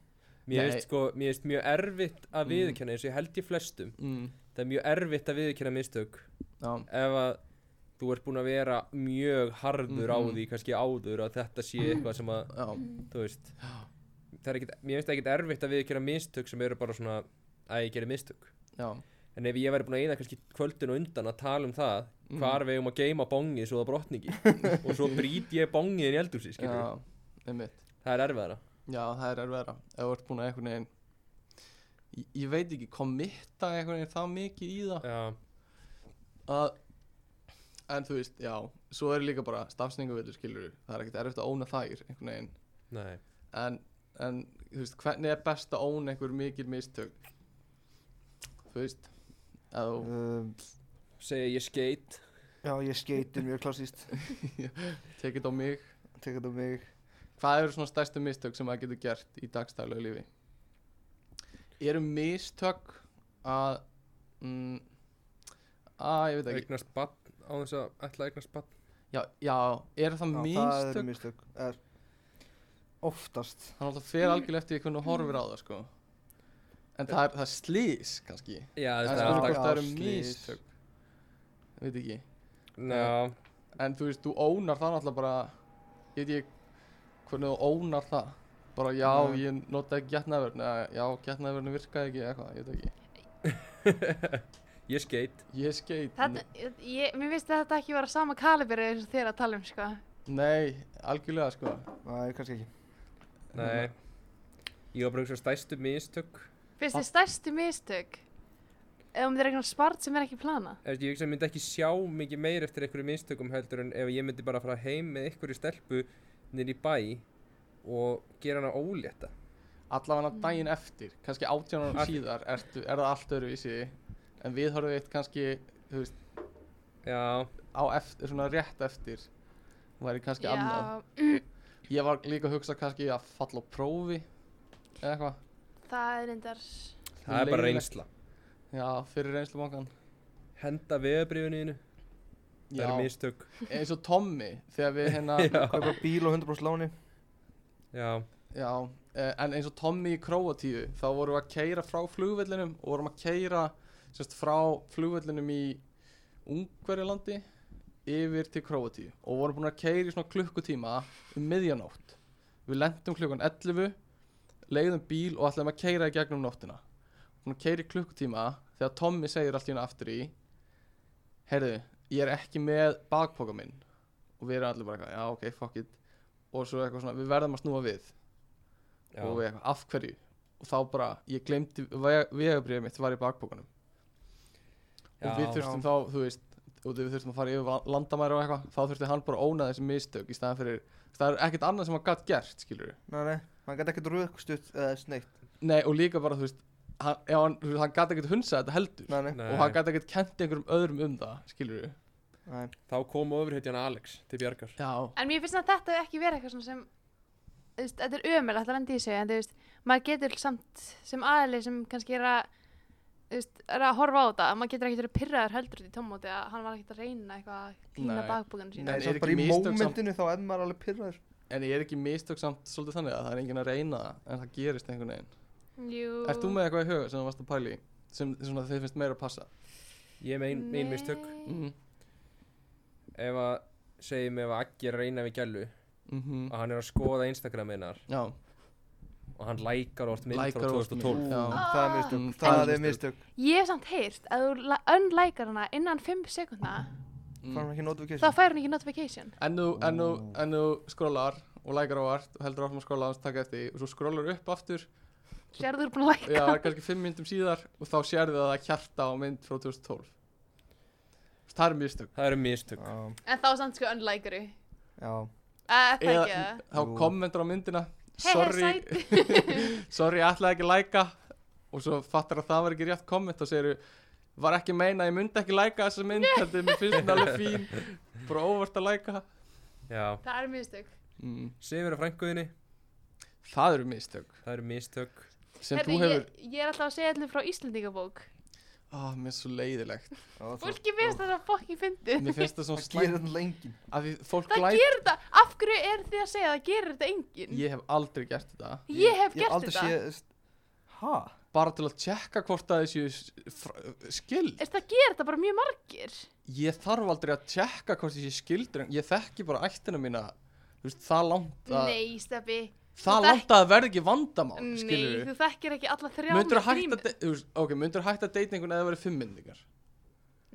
[SPEAKER 4] mér
[SPEAKER 3] Nei.
[SPEAKER 4] veist sko, mér veist mjög erfitt að viðurkenna eins og ég held ég flestum
[SPEAKER 3] Mm.
[SPEAKER 4] Það er mjög erfitt að viðurkenna mistök
[SPEAKER 3] Já,
[SPEAKER 4] ef að þú ert búin að vera mjög harður
[SPEAKER 3] Mhm.
[SPEAKER 4] á því, kannski áður að þetta sé eitthvað sem að,
[SPEAKER 3] já,
[SPEAKER 4] þú veist það er ekkit, mér finnst ekkit erfitt að viðurkenna mistök sem eru bara svona að ég gerir mistök
[SPEAKER 3] já.
[SPEAKER 4] en ef ég væri búin að eyða kannski kvöldin og undan að tala um það
[SPEAKER 3] Mhm.
[SPEAKER 4] hvar við eigum að geima bongið svo
[SPEAKER 3] [LAUGHS]
[SPEAKER 4] það brotningi og svo brýt ég bongið inn í eldursi
[SPEAKER 3] Já, einmitt.
[SPEAKER 4] það er erfiðara
[SPEAKER 3] Já, það er erfiðara. Ef þú ert búin að einhvern veginn, ég, ég veit ekki, kommitta einhvern veginn það mikið í það.
[SPEAKER 4] já,
[SPEAKER 3] að en þú veist, já, svo er líka bara stafsningavillu skilur það er ekkert erfitt að óna þær einhvern veginn,
[SPEAKER 4] nei,
[SPEAKER 3] en, en þú veist, hvernig er best að óna einhver mikil mistök þú veist að þú,
[SPEAKER 5] um,
[SPEAKER 4] segja ég skeit
[SPEAKER 5] Já, ég skeiti mjög klassíst
[SPEAKER 3] [LAUGHS] tekið á mig
[SPEAKER 5] Tekka þetta á mig
[SPEAKER 3] hvað eru svona stærstu mistök sem maður getur gert í dagstæðlega lífi eru mistök að mm, að, ég veit ekki
[SPEAKER 4] eignast bann á þess að ætla að eignast bann
[SPEAKER 3] já, já, eru það
[SPEAKER 5] Já, Það
[SPEAKER 3] mistök
[SPEAKER 5] eru mistök er, Oftast
[SPEAKER 3] Það er alltaf fer algjörlega eftir því hvernig þú horfir á það sko En það er, það er slís kannski
[SPEAKER 4] já,
[SPEAKER 3] En
[SPEAKER 4] það
[SPEAKER 3] það
[SPEAKER 4] er
[SPEAKER 3] er
[SPEAKER 5] alltaf-
[SPEAKER 3] hvort það eru
[SPEAKER 5] Já, slys.
[SPEAKER 3] mistök Ég veit ekki
[SPEAKER 4] alltaf
[SPEAKER 3] En þú veist, þú ónar það náttúrulega bara Ég veit ekki hvernig þú ónar það Bara já,
[SPEAKER 5] Nei.
[SPEAKER 3] ég nota ekki getnaverðin Eða já, getnaverðin virkaði ekki eða eitthvað, ég veit ekki
[SPEAKER 4] ég skeit
[SPEAKER 3] Ég skeit
[SPEAKER 1] Þetta, ég, mér finnst þetta ekki vera sama kalibri eins og þér að tala um, sko.
[SPEAKER 3] Nei, algjörlega sko
[SPEAKER 5] Nei, kannski ekki
[SPEAKER 4] nei,
[SPEAKER 3] Mhm.
[SPEAKER 4] ég var bara eins og stæstu mistök
[SPEAKER 1] Finnst þið stærsti mistök? Ef um þér eitthvað spart sem er ekki plana?
[SPEAKER 4] Þú veist, ég hugsa að ég myndi ekki sjá mikið meir eftir einhverju mistökum heldur en ef ég myndi bara fara heim með einhverju stelpu niður í bæ og gera hana ólétta.
[SPEAKER 1] Mm.
[SPEAKER 3] Allavega daginn eftir, kannski átján árum
[SPEAKER 4] Allt-
[SPEAKER 3] síðar er, er það allt öðruvísi En við horfum eitt kannski, þú veist
[SPEAKER 4] Já,
[SPEAKER 3] á eftir, svona rétt eftir væri kannski annað
[SPEAKER 1] Já,
[SPEAKER 3] ég var líka að hugsa kannski að falla á prófi eða eitthvað
[SPEAKER 1] það er endar...
[SPEAKER 4] það er bara
[SPEAKER 3] Leiðinlegt.
[SPEAKER 4] reynsla.
[SPEAKER 3] já, fyrir reynslu bankan
[SPEAKER 4] Henda veðabriðuninu, það
[SPEAKER 3] já,
[SPEAKER 4] eru mistök.
[SPEAKER 3] eins og Tommy þegar við hérna
[SPEAKER 4] Já,
[SPEAKER 5] [LAUGHS] Kaupa bíl og 100% láni
[SPEAKER 4] já,
[SPEAKER 3] já, eh, en eins og Tommy í Króatíu þá vorum við að keira frá flugvellinum og vorum að keira sérst, frá flugvellinum í Ungverjalandi yfir til Króatíu og vorum búin að keira í svona klukkutíma um miðjanótt við lendum klukkan 11 leiðum bíl og ætlum að keira í gegnum nóttina hún keiri klukkutíma þegar Tommy segir allt í hérna aftur í heyrðu, ég er ekki með bakpoka minn og við erum allir bara eitthvað, já ok, fuck it og svo eitthvað svona, við verðum að snúa við
[SPEAKER 4] já.
[SPEAKER 3] og við eitthvað, af hverju og þá bara, ég glemdi vegabriðið mitt var í bakpokanum og við
[SPEAKER 4] já.
[SPEAKER 3] þurftum þá, þú veist og við þurftum að fara yfir landamæri og eitthvað þá þurfti hann bara að óna þessi mistök í staðan fyrir, það er ekkert annað sem hann gætt gert skilur
[SPEAKER 5] Nei, nei, hann gæti ekkert rökstutt eða sneitt
[SPEAKER 3] nei og líka bara, þú veist hann, ef hann, þú veist, hann gætt ekkert hunsa þetta heldur
[SPEAKER 5] Nei, nei,
[SPEAKER 4] Nei.
[SPEAKER 3] og hann gæti ekkert kent einhverjum öðrum um það skilur við
[SPEAKER 5] nei.
[SPEAKER 4] Þá kom ofurhetjan Alex til Bjarkar.
[SPEAKER 3] já,
[SPEAKER 1] En mér finnst að þetta hafi ekki verið eitthvað svona sem þú veist, þetta er ömulegt að landa í sig en þú veist, maður getur samt sem aðli sem kannski er að þú veist, er að horfa á þetta, að maður getur ekkert verið pyrraður heldur út í tómóti að hann var ekkert að reyna eitthvað að
[SPEAKER 3] Nei.
[SPEAKER 1] klína bakbúkanu sína
[SPEAKER 3] Nei.
[SPEAKER 5] nei
[SPEAKER 3] er
[SPEAKER 5] samt
[SPEAKER 3] ekki
[SPEAKER 5] bara í
[SPEAKER 3] mistök samt?
[SPEAKER 5] mómentinu þá er maður alveg pyrraður
[SPEAKER 3] en ég er ekki mistök samt svolítið þannig að það er enginn að reyna það en það gerist einhvern veginn
[SPEAKER 1] Jú,
[SPEAKER 3] Ert þú með eitthvað í huga sem þú varst að pæli sem svona, þið finnst meira að passa
[SPEAKER 4] Ég er með ein, ein mistök.
[SPEAKER 1] Nei.
[SPEAKER 3] mm
[SPEAKER 4] Ef að, segjum ef að Aggi er að reyna við gælu
[SPEAKER 3] -hmm.
[SPEAKER 4] og hann er að skoða Instagraminar
[SPEAKER 3] Já,
[SPEAKER 4] og hann lækar oft mynd
[SPEAKER 3] Lækar
[SPEAKER 4] frá
[SPEAKER 3] oft
[SPEAKER 4] 2012.
[SPEAKER 3] mynd.
[SPEAKER 5] Ú,
[SPEAKER 3] Já.
[SPEAKER 5] Það er mistök,
[SPEAKER 3] Mm,
[SPEAKER 5] það er mistök
[SPEAKER 1] Ég hef samt heyrt að þú önlækar hana innan 5 sekundna
[SPEAKER 5] Fárum ekki
[SPEAKER 1] þá
[SPEAKER 5] notification
[SPEAKER 1] fær hún ekki notification
[SPEAKER 3] en þú, en þú, en þú skrólar og lækar á vart og heldur áfram að skróla og taka eftir því og svo skrólar upp aftur
[SPEAKER 1] Sér þú er búin að læka
[SPEAKER 3] já, kannski fimm myndum síðar og þá sérðu að það er hjarta á mynd frá 2012 Það er mistök
[SPEAKER 4] Það eru mistök.
[SPEAKER 5] Já,
[SPEAKER 1] En þá samt sko önlækari
[SPEAKER 5] já
[SPEAKER 1] Það ekki það
[SPEAKER 3] þá
[SPEAKER 5] Jú.
[SPEAKER 3] kommentar á myndina
[SPEAKER 1] Hei, hei,
[SPEAKER 3] Sorry,
[SPEAKER 1] sæti
[SPEAKER 3] sorry, ég ætlaði ekki að læka og svo fattar að það var ekki rétt komment og segir var ekki að meina, ég myndi ekki læka þessa mynd heldur, mér finnst þetta alveg fín bara óvart að læka
[SPEAKER 4] Já,
[SPEAKER 1] Það er mistök.
[SPEAKER 3] mm,
[SPEAKER 4] sefur á frænguðinni,
[SPEAKER 3] það eru mistök
[SPEAKER 4] það eru mistök
[SPEAKER 3] sem
[SPEAKER 1] Heyrðu,
[SPEAKER 3] þú hefur,
[SPEAKER 1] Ég, ég er alltaf að segja allir frá Íslandingabók.
[SPEAKER 3] á, mér er svo leiðilegt
[SPEAKER 1] Fólki finnst það svo fokkin fyndið.
[SPEAKER 3] mér finnst það svo
[SPEAKER 5] Það gerir
[SPEAKER 3] slæmt
[SPEAKER 5] þetta lengin
[SPEAKER 3] af því fólk
[SPEAKER 1] Það
[SPEAKER 3] læk,
[SPEAKER 1] gerir þetta. Af hverju er þið að segja það? Gerir þetta enginn?
[SPEAKER 3] ég hef aldrei gert þetta
[SPEAKER 1] Ég hef
[SPEAKER 5] Ég hef
[SPEAKER 1] gert
[SPEAKER 5] aldrei
[SPEAKER 1] þetta.
[SPEAKER 5] séð
[SPEAKER 1] [LAUGHS]
[SPEAKER 5] Hæ?
[SPEAKER 3] bara til að tjekka hvort að þessu skild
[SPEAKER 1] Ég... Það gerir þetta bara mjög margir.
[SPEAKER 3] ég þarf aldrei að tjekka hvort ég sé skildur en ég þekki bara ættina mína þú veist, það langt að
[SPEAKER 1] Nei, Steffi.
[SPEAKER 3] það
[SPEAKER 1] þú þekk-
[SPEAKER 3] langt að það verði ekki vandamál
[SPEAKER 1] Nei,
[SPEAKER 3] skilur við
[SPEAKER 1] þú þekkir ekki alla þrjá
[SPEAKER 3] myndur að hætta de- þú veist, ok, myndur að hætta að deyta einhvern eða það verið fimm myndingar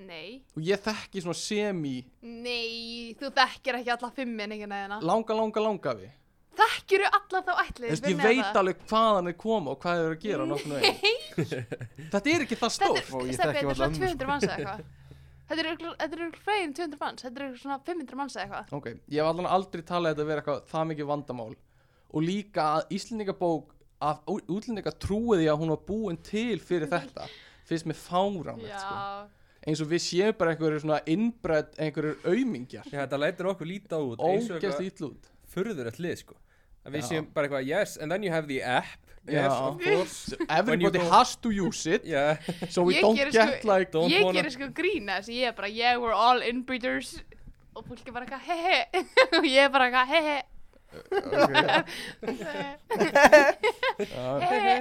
[SPEAKER 1] Nei,
[SPEAKER 3] og ég þekki svona semi
[SPEAKER 1] nei, þú þekkir ekki alla fimm menningina þeirna.
[SPEAKER 3] langa, langa, langa við
[SPEAKER 1] Þekkir þú alla þá ætlið?
[SPEAKER 3] Þú veist, ég veit alveg hvaðan er koma og hvað þið eru að gera nokkurnu veginn
[SPEAKER 1] [LAUGHS]
[SPEAKER 3] þetta er ekki
[SPEAKER 1] Þetta
[SPEAKER 3] það
[SPEAKER 1] er,
[SPEAKER 5] Ó,
[SPEAKER 3] stór
[SPEAKER 5] ég
[SPEAKER 1] Steffi,
[SPEAKER 5] þekki
[SPEAKER 1] þetta er
[SPEAKER 5] varla
[SPEAKER 1] svona
[SPEAKER 5] ömmu,
[SPEAKER 1] 200
[SPEAKER 5] sko.
[SPEAKER 1] manns eða
[SPEAKER 5] [LAUGHS]
[SPEAKER 1] eitthvað. Þetta eru örugglega- þetta eru fleiri en 200 manns, þetta eru svona 500 manns eða eitthvað.
[SPEAKER 3] ok, ég hef allan aldrei talað þetta að vera eitthvað það mikið vandamál og líka að Íslendingabók að útlendinga trúiði að hún var búin til fyrir þetta finnst mér fáránlegt sko.
[SPEAKER 1] Já,
[SPEAKER 3] eins og við séum bara einhverju svona innbredd einhverjur aumingjar
[SPEAKER 4] Já, þetta lætur okkur líta út eins
[SPEAKER 3] ógæst
[SPEAKER 4] og eitthvað
[SPEAKER 3] ítl út
[SPEAKER 4] furðurett lið sko að við
[SPEAKER 3] Já.
[SPEAKER 4] séum bara eitthvað yes and then you have the app yes
[SPEAKER 3] Já.
[SPEAKER 4] of
[SPEAKER 1] [LAUGHS]
[SPEAKER 4] course
[SPEAKER 3] So
[SPEAKER 4] When
[SPEAKER 3] everybody
[SPEAKER 4] you go-
[SPEAKER 3] has to use
[SPEAKER 4] [LAUGHS]
[SPEAKER 3] it
[SPEAKER 4] yeah.
[SPEAKER 3] so we
[SPEAKER 1] Ég
[SPEAKER 3] don't
[SPEAKER 1] geri
[SPEAKER 3] get
[SPEAKER 1] sko-
[SPEAKER 3] like
[SPEAKER 4] Don't
[SPEAKER 1] ég
[SPEAKER 4] wanna-
[SPEAKER 1] gerir sko grína þess að ég er bara, yeah, we're all inbreeders og fólk er bara eitthvað, hehe, [LAUGHS] og ég er bara eitthvað,
[SPEAKER 5] [LAUGHS]
[SPEAKER 1] hehe,
[SPEAKER 3] Já.
[SPEAKER 1] [LAUGHS] hehe.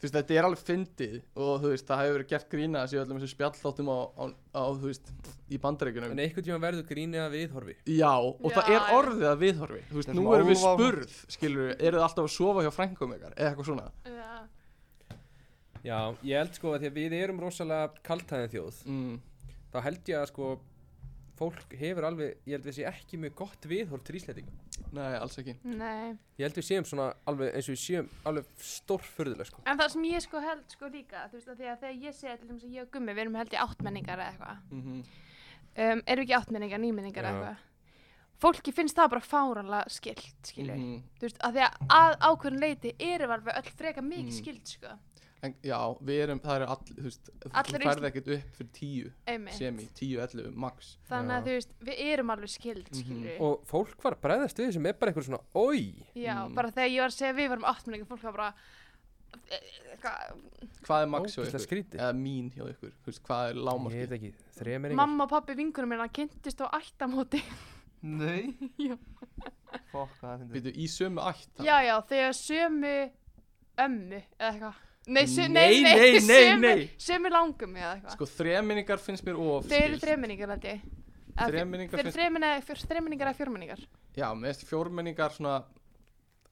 [SPEAKER 3] þú veist þetta er alveg fyndið og þú veist það hefur verið gert grína þessi öllum þessum spjallþáttum á, á, á þú veist í bandaríkunum
[SPEAKER 4] en einhvern tíma verður grínið að viðhorfi
[SPEAKER 3] Já, og það
[SPEAKER 1] Já,
[SPEAKER 3] er
[SPEAKER 1] já.
[SPEAKER 3] orðið að viðhorfi Þú veist,
[SPEAKER 5] Þetta er
[SPEAKER 3] nú
[SPEAKER 5] svona
[SPEAKER 3] erum við
[SPEAKER 5] álfa-
[SPEAKER 3] spurð Skilur við, eru þið alltaf að sofa hjá frængum ykkar Eða eitthvað svona
[SPEAKER 1] Já.
[SPEAKER 4] já ég held sko að því að við erum rosalega kaltæðin þjóð
[SPEAKER 3] mm.
[SPEAKER 4] þá held ég að sko fólk hefur alveg ég held við sé ekki mjög gott viðhorf til Íslandinga
[SPEAKER 3] Nei, alls ekki
[SPEAKER 1] Nei.
[SPEAKER 4] ég held við séum svona alveg eins og við séum alveg stórfurðulega sko
[SPEAKER 1] En það sem ég sko held sko líka, þú veist að því að þegar ég segja til þess að ég og Gummi, við erum held í áttmenningar eða eitthvað,
[SPEAKER 3] mm
[SPEAKER 1] um, erum við ekki áttmenningar, nýmenningar eða
[SPEAKER 4] Já.
[SPEAKER 1] eitthvað, fólki finnst það bara fáranlega skilt, skilur við,
[SPEAKER 3] -hmm.
[SPEAKER 1] þú veist, að því að að ákveðin leiti erum við alveg öll freka mikið
[SPEAKER 3] Mm.
[SPEAKER 1] skilt, sko,
[SPEAKER 3] En já, við erum, það eru all Þú veist,
[SPEAKER 1] Allir
[SPEAKER 3] þú færði ekkert upp fyrir tíu
[SPEAKER 1] einmitt,
[SPEAKER 3] Semi, tíu, ellu, max
[SPEAKER 1] þannig að þú veist, við erum alveg skilt,
[SPEAKER 3] Mhm.
[SPEAKER 1] skilur við,
[SPEAKER 4] og fólk var að bregðast við sem er bara eitthvað svona oi
[SPEAKER 1] já,
[SPEAKER 3] Mm.
[SPEAKER 1] bara þegar ég var að segja að við varum áttmenningar, fólk var bara, e- e- eitthvað,
[SPEAKER 3] Hvað er max hjá
[SPEAKER 4] Ógeðslega
[SPEAKER 3] ykkur?
[SPEAKER 4] skrítið.
[SPEAKER 3] Eða mín hjá ykkur, þú veist, hvað er
[SPEAKER 4] ég
[SPEAKER 3] lámarkið
[SPEAKER 4] veit ekki þremeringar
[SPEAKER 1] mamma og pappi vingunum minna kynntist á
[SPEAKER 3] [LAUGHS]
[SPEAKER 1] ættamóti,
[SPEAKER 5] Nei
[SPEAKER 1] Já.
[SPEAKER 5] Fokk, hvað það finnst
[SPEAKER 3] Býtu, í sömu ætt það?
[SPEAKER 1] Já, já, þegar sömu ömmu eða eitthvað Nei, sö, nei,
[SPEAKER 3] Nei,
[SPEAKER 1] nei, [LAUGHS]
[SPEAKER 3] nei, nei,
[SPEAKER 1] sömu,
[SPEAKER 3] nei.
[SPEAKER 1] sömu langum eða eitthvað
[SPEAKER 3] Sko, þreminningar finnst mér of
[SPEAKER 1] Þau eru
[SPEAKER 3] skýrt.
[SPEAKER 1] þremenningar, held ég Eða fjö-
[SPEAKER 3] Þremenningar
[SPEAKER 1] Þeir eru
[SPEAKER 3] finnst-
[SPEAKER 1] þremenningar, þremenningar eða fjórmenningar
[SPEAKER 3] Já, mér finnst fjórmenningar svona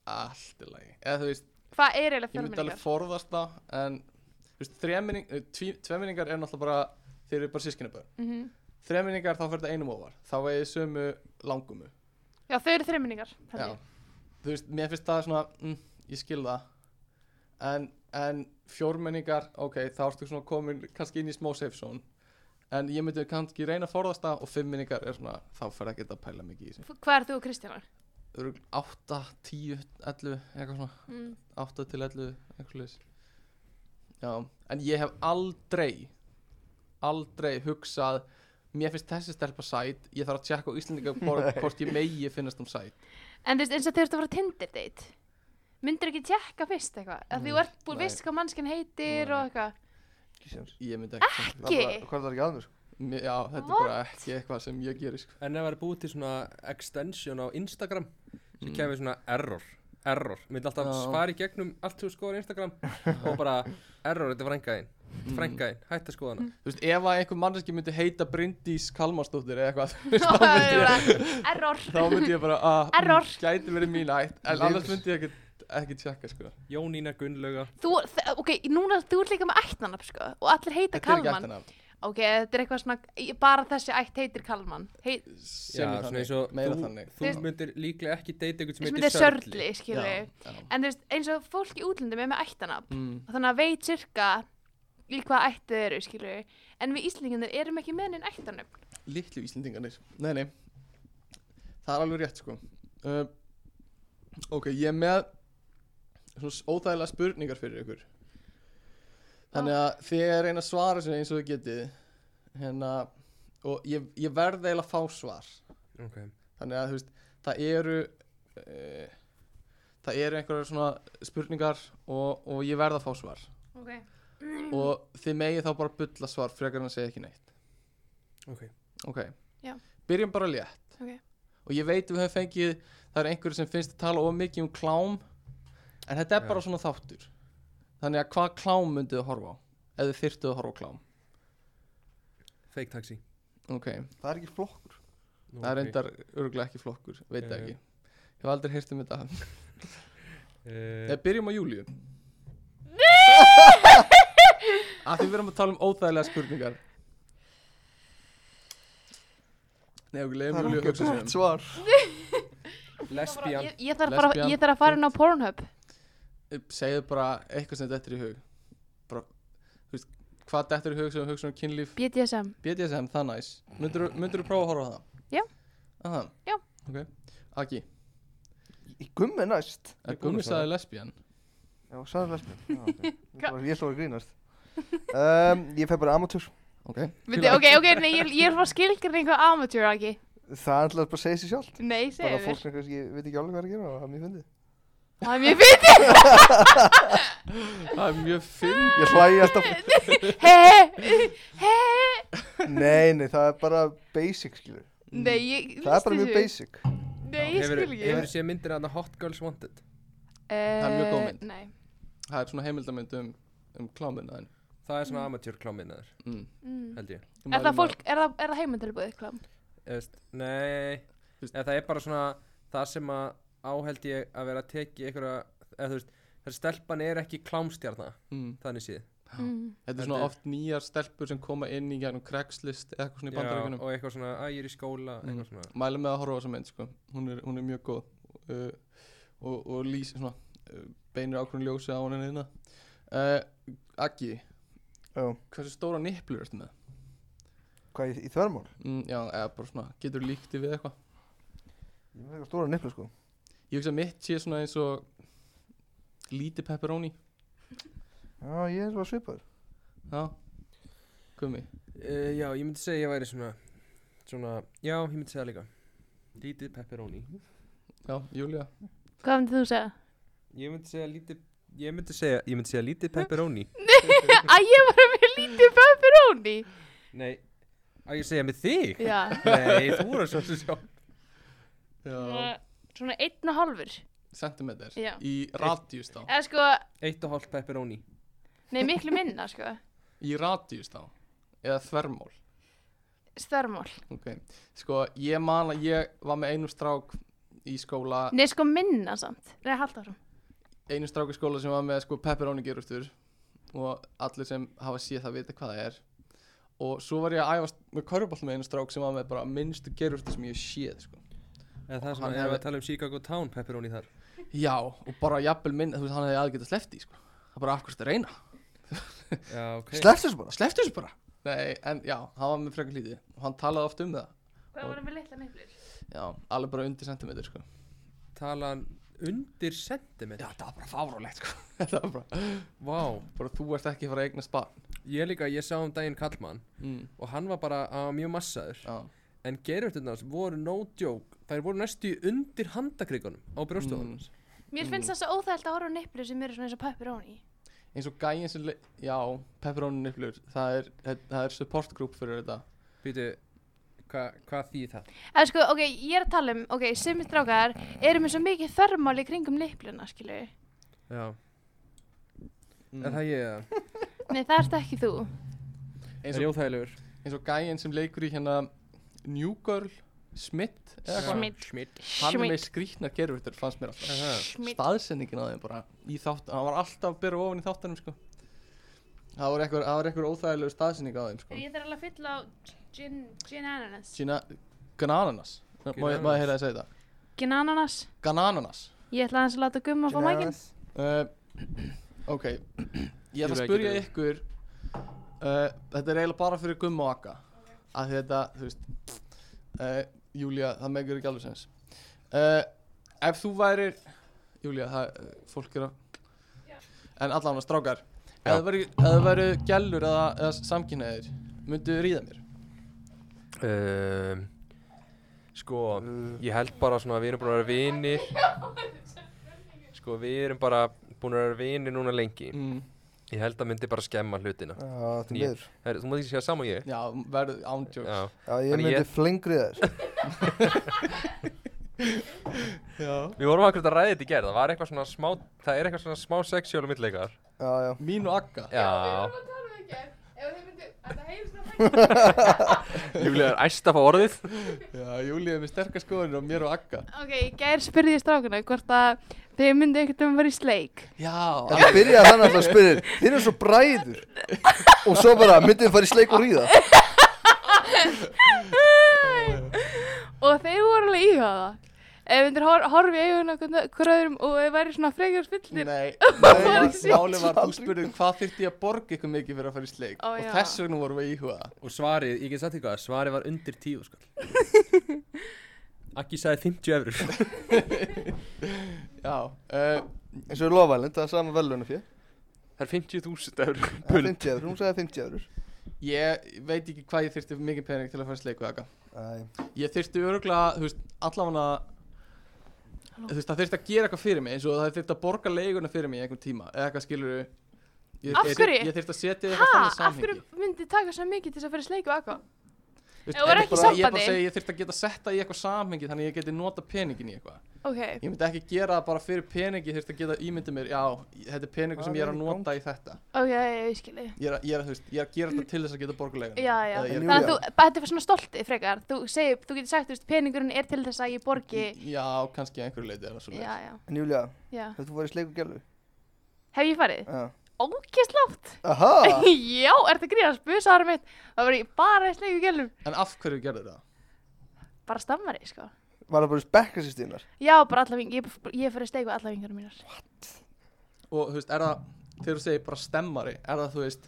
[SPEAKER 3] Allt í lagi Eða þú veist
[SPEAKER 1] Hvað er eiginlega
[SPEAKER 3] ég myndi alveg
[SPEAKER 1] fjórmenningar?
[SPEAKER 3] forðast það en þú veist, eh, þreminning, tveminningar er náttúrulega bara þeir eru bara sískinaböð
[SPEAKER 1] Mm
[SPEAKER 3] þreminningar þá fer þetta einum ofar þá er ég sömu langumu
[SPEAKER 1] Já, þau eru þremenningar, held
[SPEAKER 3] Já.
[SPEAKER 1] ég
[SPEAKER 3] þú veist, mér finnst það svona mm, ég skil það en, en fjórmenningar, ok, þá ertu svona komin kannski inn í smó safe zone en ég myndi kannski reyna að forðast það og fimmminningar er svona, þá fer ekki að pæla mikið í þessu
[SPEAKER 1] F- Hvað er þú og Kristjana?
[SPEAKER 3] Þú eru 8, 10, 11 eitthvað svona 8 til 11 eitthvað leys já, en ég hef aldrei aldrei hugsað mér finnst þessi stelpa sæt ég þarf að tjekka á Íslandinga [LAUGHS] hvort ég megi finnast hún sæt
[SPEAKER 1] En þú veist, eins og þau eru að fara á Tinder date Myndir ekki tjekka fyrst eitthvað? Af því
[SPEAKER 3] Nei,
[SPEAKER 1] þú ert búin
[SPEAKER 3] nei.
[SPEAKER 1] veist hvað mannskinn heitir
[SPEAKER 3] Nei.
[SPEAKER 1] og
[SPEAKER 3] [LAUGHS]
[SPEAKER 1] eitthvað
[SPEAKER 5] ekki séns
[SPEAKER 3] ég myndi ekki samt-
[SPEAKER 5] Það er bara- Hvað er það ekki að mér sko?
[SPEAKER 3] Mér- já, þetta
[SPEAKER 1] What?
[SPEAKER 3] er bara ekki eitthvað sem ég gerir sko.
[SPEAKER 4] en ef það er búið til svona extension á Instagram sem
[SPEAKER 3] Mm.
[SPEAKER 4] kemur svona error error, myndi alltaf
[SPEAKER 3] Já.
[SPEAKER 4] svara í gegnum allt þú skoðar á Instagram og bara error, þetta er frængaðinn,
[SPEAKER 3] Mm.
[SPEAKER 4] þetta er frængaðinn hætt að skoða
[SPEAKER 1] Mm.
[SPEAKER 4] hana,
[SPEAKER 3] þú veist, ef að einhver manneski myndi heita Bryndís Kalmarsdóttir eða eitthvað [LAUGHS] þú veist,
[SPEAKER 1] Og
[SPEAKER 3] þá
[SPEAKER 1] það
[SPEAKER 3] myndi
[SPEAKER 1] er
[SPEAKER 3] ég-
[SPEAKER 1] bara, Error
[SPEAKER 3] þá myndi ég bara að
[SPEAKER 1] Error.
[SPEAKER 3] mm, gæti verið mín ætt en
[SPEAKER 5] Liður.
[SPEAKER 3] annars myndi ég ekki, ekki tjekka sko.
[SPEAKER 4] Jónína Gunnlauga
[SPEAKER 1] Þú, þ- ok, núna, þú ert líka með ætnanab, sko, og allir heita
[SPEAKER 3] þetta er ekki
[SPEAKER 1] Kalman.
[SPEAKER 3] ættina
[SPEAKER 1] Ok, þetta er eitthvað svona, ég- bara þessi ætt heitir Kalman. Heit,
[SPEAKER 3] sem er
[SPEAKER 4] Já, svona
[SPEAKER 3] þannig,
[SPEAKER 4] eins og
[SPEAKER 3] meira
[SPEAKER 4] þú,
[SPEAKER 3] þannig
[SPEAKER 4] þú
[SPEAKER 1] Þú-
[SPEAKER 4] myndir líklega ekki deyta einhvern sem
[SPEAKER 1] sem
[SPEAKER 4] heitir
[SPEAKER 1] heitir Sörli, skilur við.
[SPEAKER 3] já, já.
[SPEAKER 1] En þú veist, eins og fólk í útlöndum er með ættanab,
[SPEAKER 3] Mm.
[SPEAKER 1] og þannig að veit sirka í hvað ætti þau eru, skilur við. En við Íslingarnir erum ekki með neinn ættanab.
[SPEAKER 3] litlu Íslendingarnir Nei, nei Það er alveg rétt sko uh, Ok, ég er með svona s- óþægilega spurningar fyrir ykkur Þannig að þið er reyna að svara sér eins og þið getið hérna, og ég, ég verð eiginlega að fá svar
[SPEAKER 4] ok
[SPEAKER 3] þannig að þú veist, það eru uh, það eru einhverjar svona spurningar og, og ég verð að fá svar
[SPEAKER 1] Ok, Mhm.
[SPEAKER 3] og þið megið þá bara bulla svar frekar en að segja ekki neitt
[SPEAKER 4] Ok.
[SPEAKER 3] Ok.
[SPEAKER 1] Já.
[SPEAKER 3] byrjum bara létt
[SPEAKER 1] ok.
[SPEAKER 3] og ég veit við höfum fengið það er einhverju sem finnst að tala of mikið um klám en þetta er
[SPEAKER 4] Já.
[SPEAKER 3] bara svona þáttur þannig að hvað klám mynduðu horfa á ef þið þyrftuðu að horfa á klám
[SPEAKER 4] Fake taxi
[SPEAKER 3] ok,
[SPEAKER 5] Það er ekki flokkur
[SPEAKER 4] Nú,
[SPEAKER 3] það er
[SPEAKER 4] ok. Eh.
[SPEAKER 3] reyndar örgulega ekki flokkur, veit
[SPEAKER 4] Já,
[SPEAKER 3] það
[SPEAKER 4] já.
[SPEAKER 3] ekki ég hef aldrei heyrt um þetta
[SPEAKER 4] Eh,
[SPEAKER 3] Nei, byrjum á
[SPEAKER 4] [LAUGHS]
[SPEAKER 3] Júlíu Af því við erum að tala um óþægilega spurningar Nei, okkur
[SPEAKER 5] Það
[SPEAKER 3] leiðum
[SPEAKER 5] er
[SPEAKER 3] Júlíu að
[SPEAKER 5] ekki
[SPEAKER 3] hugsa
[SPEAKER 5] gott
[SPEAKER 3] sér um
[SPEAKER 5] svar
[SPEAKER 1] Bara,
[SPEAKER 4] Lesbían
[SPEAKER 1] ég, ég þarf bara, ég þarf að fara inn á Pornhub.
[SPEAKER 3] Eh, Segðu bara eitthvað sem þetta er í hug Bara, þú veist, hvað þetta er í hug sem við hugsa um kynlíf
[SPEAKER 1] BDSM.
[SPEAKER 3] BDSM, það er næs Myndur þú prófa að horfa á það?
[SPEAKER 1] Já.
[SPEAKER 3] Aha.
[SPEAKER 1] Já.
[SPEAKER 3] Ok, Aki,
[SPEAKER 5] Í gummi næst
[SPEAKER 3] er gummisaði lesbían?
[SPEAKER 5] Já, sagði lesbín Ég slóði grínast um, Ég fæ bara amatúr
[SPEAKER 3] Ok,
[SPEAKER 1] Myndi, ok, ok, nei, ég, ég er bara skilgrinning á amateur, ekki?
[SPEAKER 5] Það er alltaf bara að segja sér sjálf
[SPEAKER 1] Nei,
[SPEAKER 5] Bara
[SPEAKER 1] segir
[SPEAKER 5] fólk
[SPEAKER 1] mér.
[SPEAKER 5] sem kannski veit ekki alveg hvað er að gera og það er mjög fyndið
[SPEAKER 1] Það er mjög
[SPEAKER 5] [LAUGHS]
[SPEAKER 1] fyndið.
[SPEAKER 3] það er mjög finn
[SPEAKER 5] Ég hlægi alltaf
[SPEAKER 1] [LAUGHS] Hei, hei.
[SPEAKER 5] Nei, nei, það er bara basic skilur
[SPEAKER 1] Nei, ég...
[SPEAKER 5] Það er bara
[SPEAKER 1] lýsti
[SPEAKER 5] mjög
[SPEAKER 1] þessu.
[SPEAKER 5] basic
[SPEAKER 1] Nei, ég skil
[SPEAKER 4] Hefur
[SPEAKER 1] ekki.
[SPEAKER 4] hefurðu séð myndir að Hot Girls Wanted
[SPEAKER 1] Það
[SPEAKER 3] er mjög góð mynd.
[SPEAKER 1] Nei.
[SPEAKER 3] Það er svona heimildamönd um, um kláminna
[SPEAKER 4] Það er svona amatjör kláminnaður
[SPEAKER 3] mm.
[SPEAKER 1] Mm.
[SPEAKER 4] held ég
[SPEAKER 1] Er það fólk, er það, er það heimundelbúið klám?
[SPEAKER 4] Eðst, Nei
[SPEAKER 3] Þú veist-
[SPEAKER 4] eða, Það er bara svona það sem að áheld ég að vera að teki einhverja eða, þú veist, Þessi stelpan er ekki klámstjarna
[SPEAKER 3] mm.
[SPEAKER 4] Þannig séð
[SPEAKER 1] Mm.
[SPEAKER 3] Þetta
[SPEAKER 4] Þetta
[SPEAKER 3] er svona
[SPEAKER 4] er-
[SPEAKER 3] oft nýjar stelpur sem koma inn í gegnum Craigslist eða eitthvað svona í
[SPEAKER 4] Já,
[SPEAKER 3] bandaríkunum.
[SPEAKER 4] Og eitthvað svona að ég er í skóla
[SPEAKER 3] Mm.
[SPEAKER 4] Eitthvað svona
[SPEAKER 3] Mælum með að horfa á þessa mynd, sko. Hún er, hún er mjög góð uh, og, og lýs, svona, uh, beinir ákveðin ljósi á henni hérna. Uh, Aggi,
[SPEAKER 5] Já,
[SPEAKER 3] hversu stóra niplur ertu með?
[SPEAKER 5] hvað í, í þvermál?
[SPEAKER 3] Mm, já, eða bara svona, getur líkti við eitthvað?
[SPEAKER 5] Ég með eitthvað stóra niplu sko
[SPEAKER 3] Ég hugsa að mitt sé svona eins og lítið pepperoni.
[SPEAKER 5] Já, ég er bara svipaður
[SPEAKER 3] Já, komi.
[SPEAKER 4] Eh, Já, ég myndi segja ég væri svona Svona, já, ég myndi segja það líka Lítið pepperoni
[SPEAKER 3] Já, Júlia.
[SPEAKER 1] Hvað myndið þú
[SPEAKER 5] [LAUGHS]
[SPEAKER 1] segja?
[SPEAKER 4] Ég myndi segja lítið Ég myndi segja, ég myndi segja lítið pepperoni
[SPEAKER 1] Æ, ég var með lítið pepperoni.
[SPEAKER 4] Nei, að ég segja með þig
[SPEAKER 1] Já.
[SPEAKER 4] Nei, þú voru svo sem sjá
[SPEAKER 3] Já.
[SPEAKER 1] Svona, svona einn og hálfur.
[SPEAKER 3] Centimeter.
[SPEAKER 1] Já.
[SPEAKER 3] Í radíust á.
[SPEAKER 1] Eða sko,
[SPEAKER 4] Eitt og hálft pepperoni
[SPEAKER 1] nei, miklu minna, sko.
[SPEAKER 3] Í radíust á. Eða þvermól.
[SPEAKER 1] Stærmál.
[SPEAKER 3] Ok, sko ég man að ég var með einum strák í
[SPEAKER 5] Ah.
[SPEAKER 3] skóla,
[SPEAKER 1] Nei, sko minna samt. Nei, halda áfram.
[SPEAKER 3] einum strák í skóla sem var með sko pepperoni gerustur og allir sem hafa séð það vita hvað það er og svo var ég að æfast með körfball með einum strák sem var með bara minnstu gerustur sem ég hef séð sko.
[SPEAKER 4] Eða það sem
[SPEAKER 3] Hann
[SPEAKER 4] að hefur
[SPEAKER 3] hefði-
[SPEAKER 4] að tala um Chicago Town pepperoni þar
[SPEAKER 3] Já, og bara jafnvel minn, þú veist hann hefði aðgeta sleppt í sko. Það er bara afhverjast að reyna,
[SPEAKER 4] Já, ok
[SPEAKER 5] Sleppstu þessu bara
[SPEAKER 3] slepptu þessu bara. Nei, en já, hann var með frekar lítið og hann talaði oft um það.
[SPEAKER 1] Hvað var það með litla nefnir?
[SPEAKER 3] Já, alveg bara undir sentimeter sko.
[SPEAKER 4] Tala hann undir sentimetr
[SPEAKER 3] Já, það var bara fárálegt [LAUGHS] sko. það var bara,
[SPEAKER 4] Vá,
[SPEAKER 3] bara þú ert ekki að fara að eigna spa.
[SPEAKER 4] ég líka, ég sá um daginn Kallmann
[SPEAKER 3] Mm,
[SPEAKER 4] Og hann var bara, hann var mjög massaður
[SPEAKER 3] já.
[SPEAKER 4] En gerurtunars voru no joke Þær voru næstu í undir handakrikunum Á brjóstofunum mm.
[SPEAKER 1] Mér finnst það svo óþægilt að horfa á nefnir sem eru svona eins og pepperoni.
[SPEAKER 3] eins og gæin sem le- já, pepperoni niflur það er, það það er support group fyrir þetta
[SPEAKER 4] Býtu, hva, hvað þýð það?
[SPEAKER 1] Eða sko, ok, ég er að tala um, ok, sumir strákar eru með svo mikið þörmál í kringum nefnina, skilju.
[SPEAKER 4] Já,
[SPEAKER 3] Mm.
[SPEAKER 4] er það ég eða?
[SPEAKER 1] Nei, það ert ekki þú.
[SPEAKER 3] eins,
[SPEAKER 4] Er ég
[SPEAKER 3] og,
[SPEAKER 4] óþægilegur?
[SPEAKER 3] eins og gæin sem leikur í hérna New Girl Smith eða
[SPEAKER 1] Já.
[SPEAKER 3] hvað
[SPEAKER 1] Schmidt.
[SPEAKER 4] Schmidt
[SPEAKER 3] hann er með skrýtnar gerfittur fannst mér alltaf
[SPEAKER 1] Schmidt.
[SPEAKER 3] staðsendingin á þeim bara í þátt hann var alltaf að byrja ofan í þáttanum sko það var eitthvað, það var eitthvað óþægilegu staðsending á þeim sko
[SPEAKER 1] Ég þarf alveg að fylla á gin, gin ananas.
[SPEAKER 3] sína Gananas má ég má ég heyra að segja þetta
[SPEAKER 1] Gin ananas.
[SPEAKER 3] Gananas
[SPEAKER 1] Ég ætla aðeins að láta gumma fá mækinn.
[SPEAKER 3] uh, ok ég ætla að
[SPEAKER 4] Júlía,
[SPEAKER 3] spyrja
[SPEAKER 4] geturðu-
[SPEAKER 3] ykkur uh, þetta er eiginlega bara fyrir gumma og akka að þetta, þú veist uh, Júlía, það megur ekki alveg sens uh, ef þú værir Júlía, það, uh, fólk er að en allan að strákar Ef það væru- ef það væru gælur eða, eða samkynnaðir Myndu ríða mér
[SPEAKER 4] um, Sko, ég held bara svona að við erum búin að vera vinir Sko, við erum bara búin að vera vinir núna lengi
[SPEAKER 3] mm.
[SPEAKER 4] Ég held að myndi bara skemma hlutina
[SPEAKER 6] Já, því
[SPEAKER 4] Ég-
[SPEAKER 6] miður.
[SPEAKER 4] Her, Þú maður ekki segja saman ég
[SPEAKER 3] Já, verðu ándjóks
[SPEAKER 4] Já,
[SPEAKER 6] Já, ég
[SPEAKER 4] Þannig
[SPEAKER 6] myndi
[SPEAKER 4] ég-
[SPEAKER 6] flengri þér.
[SPEAKER 4] Við vorum akkur að ræða þetta í gerð, það var eitthvað svona smá, það er eitthvað svona smá sexuál og milleikar.
[SPEAKER 6] Já, já.
[SPEAKER 3] Mín og Agga
[SPEAKER 4] Já.
[SPEAKER 1] um Já.
[SPEAKER 4] Júlía er æst að fá orðið.
[SPEAKER 3] Já, Júlíu er með sterkar skoðunir og mér og Agga
[SPEAKER 1] [LAUGHS] Ok, í gær spurði ég strákuna hvort að þau myndu einhvern veginn að vera í sleik.
[SPEAKER 3] Já,
[SPEAKER 6] Þetta byrjaði þannig alltaf að spyrja, þeir eru svo bræður. Og svo bara, myndið þið fara í sleik og ríða?
[SPEAKER 1] og þeir voru alveg íhugað það. Ef myndir hor horfi í augun okkur hver öðrum og þau væri svona frekar spillir. [LAUGHS]
[SPEAKER 3] Nei,
[SPEAKER 1] var í
[SPEAKER 3] nei
[SPEAKER 1] sítt.
[SPEAKER 3] máli var þú spurðið hvað þyrfti ég að borga ykkur mikið fyrir að fara í sleik
[SPEAKER 1] Ó,
[SPEAKER 3] og
[SPEAKER 1] já.
[SPEAKER 3] þess vegna vorum við að íhuga það. [LAUGHS]
[SPEAKER 4] Og svarið, ég get sagt eitthvað, svarið var undir tíu skall. Akki sagði 50 eurur.
[SPEAKER 3] Já, eh,
[SPEAKER 6] Eins og lofaðlind, það er sama velunum fyrir.
[SPEAKER 4] Það er 50.000 eurur.
[SPEAKER 6] Það er 50 eurur, hún sagði 50 eurur.
[SPEAKER 3] uh, ég veit ekki hvað ég þyrfti mikið pening til að fara í sleik við Agga
[SPEAKER 6] Æ,
[SPEAKER 3] Ég þyrfti öruglega, þú veist, allavega Þú veist, það þyrfti að gera eitthvað fyrir mig eins og það þyrfti að borga leiguna fyrir mig í einhvern tíma eða eitthvað skilur ég,
[SPEAKER 1] Af
[SPEAKER 3] ég-
[SPEAKER 1] hverju?
[SPEAKER 3] Ég þyrfti að
[SPEAKER 1] Ha,
[SPEAKER 3] setja eitthvað þannig
[SPEAKER 1] af
[SPEAKER 3] samhengi
[SPEAKER 1] hverju myndi taka svona mikið til þess að fara í sleik og akko?
[SPEAKER 3] Þú veist,
[SPEAKER 1] Ef þú er
[SPEAKER 3] ég
[SPEAKER 1] ekki
[SPEAKER 3] bara- Ég er bara
[SPEAKER 1] sambandi?
[SPEAKER 3] að segja, ég þyrfti að geta setta í eitthvað samhengi þannig að ég geti nota peningin í eitthvað
[SPEAKER 1] Ok,
[SPEAKER 3] Ég myndi ekki gera það bara fyrir peningi, þurfti að geta ímyndið mér, já, þetta er peningur sem ég er að nota í þetta.
[SPEAKER 1] ok, ég skilji.
[SPEAKER 3] Ég er að, ég er að, þú veist, ég er að gera þetta til þess að geta borgulegan.
[SPEAKER 1] Já, já.
[SPEAKER 6] En
[SPEAKER 1] Þannig að þú,
[SPEAKER 6] Júlía-
[SPEAKER 1] þetta er svona stoltið frekar. Þú segir, þú getur sagt, þú veist, peningurinn er til þess að ég borgi.
[SPEAKER 3] Já, kannski að einhverju leiti er það svo
[SPEAKER 1] Já, já,
[SPEAKER 6] En Júlia,
[SPEAKER 1] já.
[SPEAKER 6] hefur þú farið í sleik og gælu?
[SPEAKER 1] Hef ég farið?
[SPEAKER 6] Já.
[SPEAKER 1] Ókesslátt.
[SPEAKER 6] Aha!
[SPEAKER 1] [LAUGHS] Já, ertu að gríðast, busaðar mitt. Það var ég bara í sleik og gælum.
[SPEAKER 3] En af hverju gerðu það?
[SPEAKER 1] Bara stammari, sko.
[SPEAKER 6] Var það bara spekkasýstíðunar?
[SPEAKER 1] Já, bara alla vingar. Ég, ég fyrir steik við alla vingar mínar.
[SPEAKER 3] Og, þú veist, er það, þegar þú segir bara stemmari, er það, þú veist,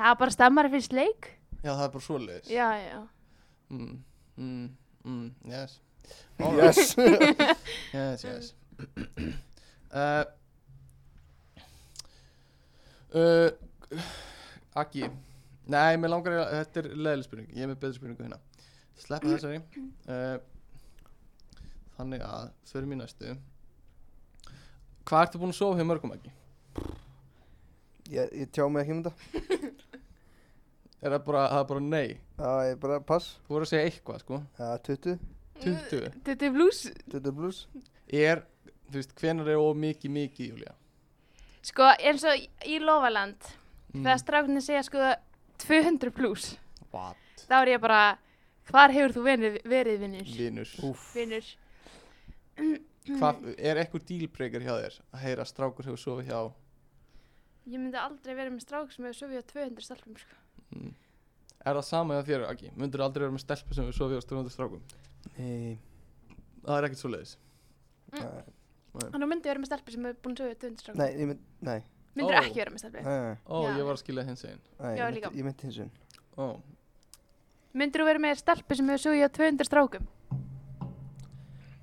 [SPEAKER 1] Það var bara stammari fyrir sleik.
[SPEAKER 3] já, það er bara svoleiðis.
[SPEAKER 1] Já, já.
[SPEAKER 3] Mm, mm, mm, yes,
[SPEAKER 5] [LAUGHS]
[SPEAKER 6] Yes!
[SPEAKER 3] yes, yes. uh, uh, Akki, nei, mér langar að, þetta er leðileg spurning, ég er með betri spurningu hérna. Sleppa þessari. Uh, þannig að, förum í næstu. Hvað ertu búin að sofa hjá mörgum ekki?
[SPEAKER 6] Ég, ég tjá mig ekki um þetta.
[SPEAKER 3] Er það bara, það er bara nei?
[SPEAKER 6] Já, ég bara pass.
[SPEAKER 3] Þú voru að segja eitthvað, sko.
[SPEAKER 6] Já, 20.
[SPEAKER 3] 20.
[SPEAKER 1] Þetta er blús.
[SPEAKER 6] 20 pluss.
[SPEAKER 3] Er, þú veist, hvenar er of mikið, mikið, Júlía?
[SPEAKER 1] Sko, eins og í Lofaland,
[SPEAKER 3] Mm.
[SPEAKER 1] þegar strákunni segja, sko, 200 blús,
[SPEAKER 3] What?
[SPEAKER 1] þá er ég bara, hvar hefur þú verið, verið vinnur?
[SPEAKER 3] Linur. Úf.
[SPEAKER 1] Vinnur.
[SPEAKER 3] Hvað, er eitthvað dílbreykar hjá þér að heyra að strákur hefur sofið hjá?
[SPEAKER 1] Ég myndi aldrei verið með strák sem hefur sofið á 200 stelpum, sko.
[SPEAKER 3] Mm. Er það sama hjá þér, Akki? Myndur aldrei vera með stelpu sem hefur sofið hjá strákundur strákum?
[SPEAKER 6] Nei.
[SPEAKER 1] Mm.
[SPEAKER 6] uh,
[SPEAKER 3] Það er ekkert svo leiðis.
[SPEAKER 1] Þannig myndi ég verið með stelpur sem hefur búin að sofið á 200 stelpum.
[SPEAKER 6] Nei, ég mynd, nei.
[SPEAKER 1] Myndir
[SPEAKER 3] Ó.
[SPEAKER 1] ekki verið með stelpur.
[SPEAKER 6] Nei,
[SPEAKER 3] Ó,
[SPEAKER 1] Já.
[SPEAKER 3] ég var að skilja hins einn.
[SPEAKER 6] nei,
[SPEAKER 1] Eh. Já,
[SPEAKER 6] ég
[SPEAKER 1] líka.
[SPEAKER 6] myndi, ég myndi hins veginn.
[SPEAKER 3] Ó,
[SPEAKER 1] Myndir þú verið með stelpur sem hefur sofið á 200 strákum?
[SPEAKER 2] Eh,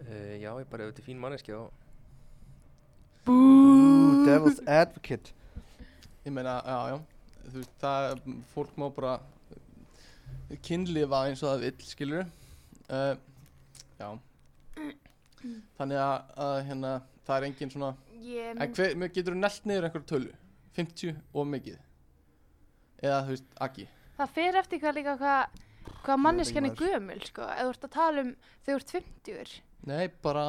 [SPEAKER 4] Uh, já, ég bara, ef þetta er fín manneski og...
[SPEAKER 6] Ooh, devil's advocate.
[SPEAKER 3] ég meina, já, já. Þú veist, það, fólk má bara eh, kynlifa eins og það vill, skilur. Uh, já. Þannig að, að, hérna, það er engin svona...
[SPEAKER 1] Ég
[SPEAKER 3] En hver, mér getur þú nellt niður einhverju tölu? 50 og mikið? Eða, þú veist, Akki?
[SPEAKER 1] Það fer eftir hvað líka hvað, hvað manneskjan er
[SPEAKER 6] maður.
[SPEAKER 1] gömul, sko. Ef þú ert að tala um þegar þú ert 50-ur.
[SPEAKER 3] Nei, bara,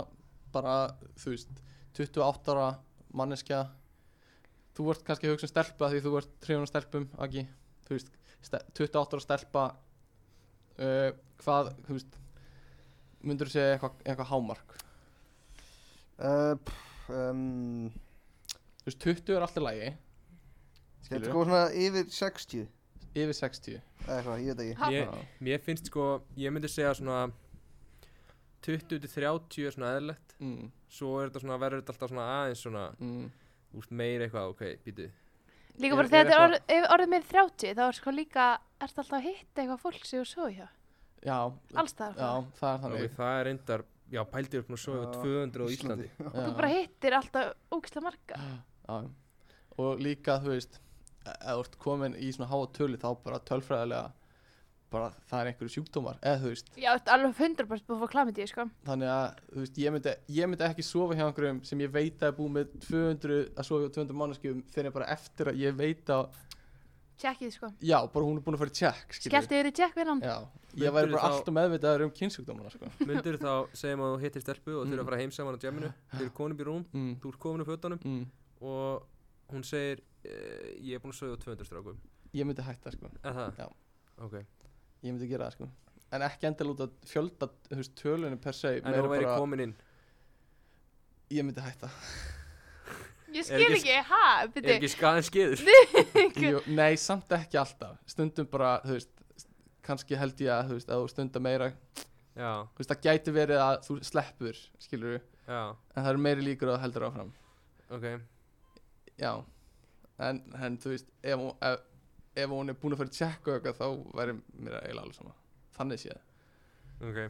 [SPEAKER 3] bara, þú veist, 28 ára manneskja, þú ert kannski að hugsa um stelpa því þú ert 300 stelpum, Aggi, þú veist, ste- 28 ára stelpa, uh, hvað, þú veist, myndur þú segja eitthvað eitthva hámark?
[SPEAKER 6] Uh, pff, um,
[SPEAKER 3] Þú veist, 20 er alltaf lægi,
[SPEAKER 6] þetta er
[SPEAKER 3] skilur,
[SPEAKER 6] sko svona yfir 60.
[SPEAKER 3] yfir 60.
[SPEAKER 6] Eða eitthvað, ég veit ekki.
[SPEAKER 1] Ha.
[SPEAKER 4] Mér,
[SPEAKER 3] Já.
[SPEAKER 4] mér finnst sko, ég myndi segja svona 20-30 er svona eðlilegt.
[SPEAKER 3] Mm,
[SPEAKER 4] Svo er þetta svona, verður þetta alltaf svona aðeins svona,
[SPEAKER 3] mm.
[SPEAKER 4] úst, meira eitthvað, ok, býtu.
[SPEAKER 1] Líka
[SPEAKER 3] Er-
[SPEAKER 1] bara
[SPEAKER 3] er
[SPEAKER 1] þegar þetta er
[SPEAKER 3] eitthvað-
[SPEAKER 1] orð, ef orðið með 30, þá er sko líka, ert alltaf að hitta eitthvað fólk sem þú sofið hjá.
[SPEAKER 3] Já,
[SPEAKER 1] Alls það.
[SPEAKER 3] já, það er
[SPEAKER 4] Ok,
[SPEAKER 3] þannig.
[SPEAKER 4] það er reyndar, já, pældir upp nú svo
[SPEAKER 6] Já,
[SPEAKER 4] 200 á Íslandi.
[SPEAKER 3] Já.
[SPEAKER 1] Þú bara hittir alltaf ógislega marga.
[SPEAKER 3] Já, og líka þú veist eða þú ert komin í svona háa tölu þá bara tölfræðilega bara það er einhverju sjúkdómar eða þú veist,
[SPEAKER 1] Já, þetta er alveg 100% búið að fá klamið sko.
[SPEAKER 3] þannig að þú veist, ég, myndi, ég myndi ekki sofa hjá einhverjum sem ég veit að er búið með 200 að sofa hjá 200 manneskjum fyrir bara eftir að ég veit að
[SPEAKER 1] Tjekkið, sko.
[SPEAKER 3] já, bara hún er búin að fara í tjekk skilurðu.
[SPEAKER 1] Skelltu yfir í tjekk við hann.
[SPEAKER 3] já, ég væri
[SPEAKER 4] Myndirðu
[SPEAKER 3] bara
[SPEAKER 4] þá-
[SPEAKER 3] alltaf meðvitaður um kynnsjúkdómana sko. [LAUGHS]
[SPEAKER 4] Myndur þá segjum að þú hittir stelpu og þau eru að fara heim saman á jamminu Þau eru konum í rúm,
[SPEAKER 3] mm,
[SPEAKER 4] þú ert komin úr fötunum
[SPEAKER 3] mm.
[SPEAKER 4] Og hún segir, eh, ég er búin að sögja á 200 strákum
[SPEAKER 3] ég myndi hætta sko.
[SPEAKER 4] Er það?
[SPEAKER 3] Já.
[SPEAKER 4] Ok
[SPEAKER 3] ég myndi gera það sko. en ekki endilega út að fjölda þú veist, tölunum per se
[SPEAKER 4] En
[SPEAKER 3] meira
[SPEAKER 4] ef hún væri
[SPEAKER 3] bara-
[SPEAKER 4] komin inn
[SPEAKER 3] ég myndi hætta
[SPEAKER 1] Ég
[SPEAKER 4] Er
[SPEAKER 1] skil
[SPEAKER 4] ekki-
[SPEAKER 1] ekki, ha,
[SPEAKER 4] Er
[SPEAKER 1] byrju.
[SPEAKER 4] ekki skaðin skiður?
[SPEAKER 1] [LAUGHS] Hver-
[SPEAKER 3] Jú, nei, samt ekki alltaf stundum bara, þú veist kannski held ég að, þú veist, að þú stundar meira þú
[SPEAKER 4] Já,
[SPEAKER 3] veist, það gæti verið að þú sleppur skilur
[SPEAKER 4] já,
[SPEAKER 3] en það eru meiri líkur að það heldur áfram
[SPEAKER 4] ok
[SPEAKER 3] já, en, en þú veist ef hún, ef, ef hún er búin að fara að tjekka og eitthvað, þá væri mér eiginlega alveg sama þannig séð,
[SPEAKER 4] Ok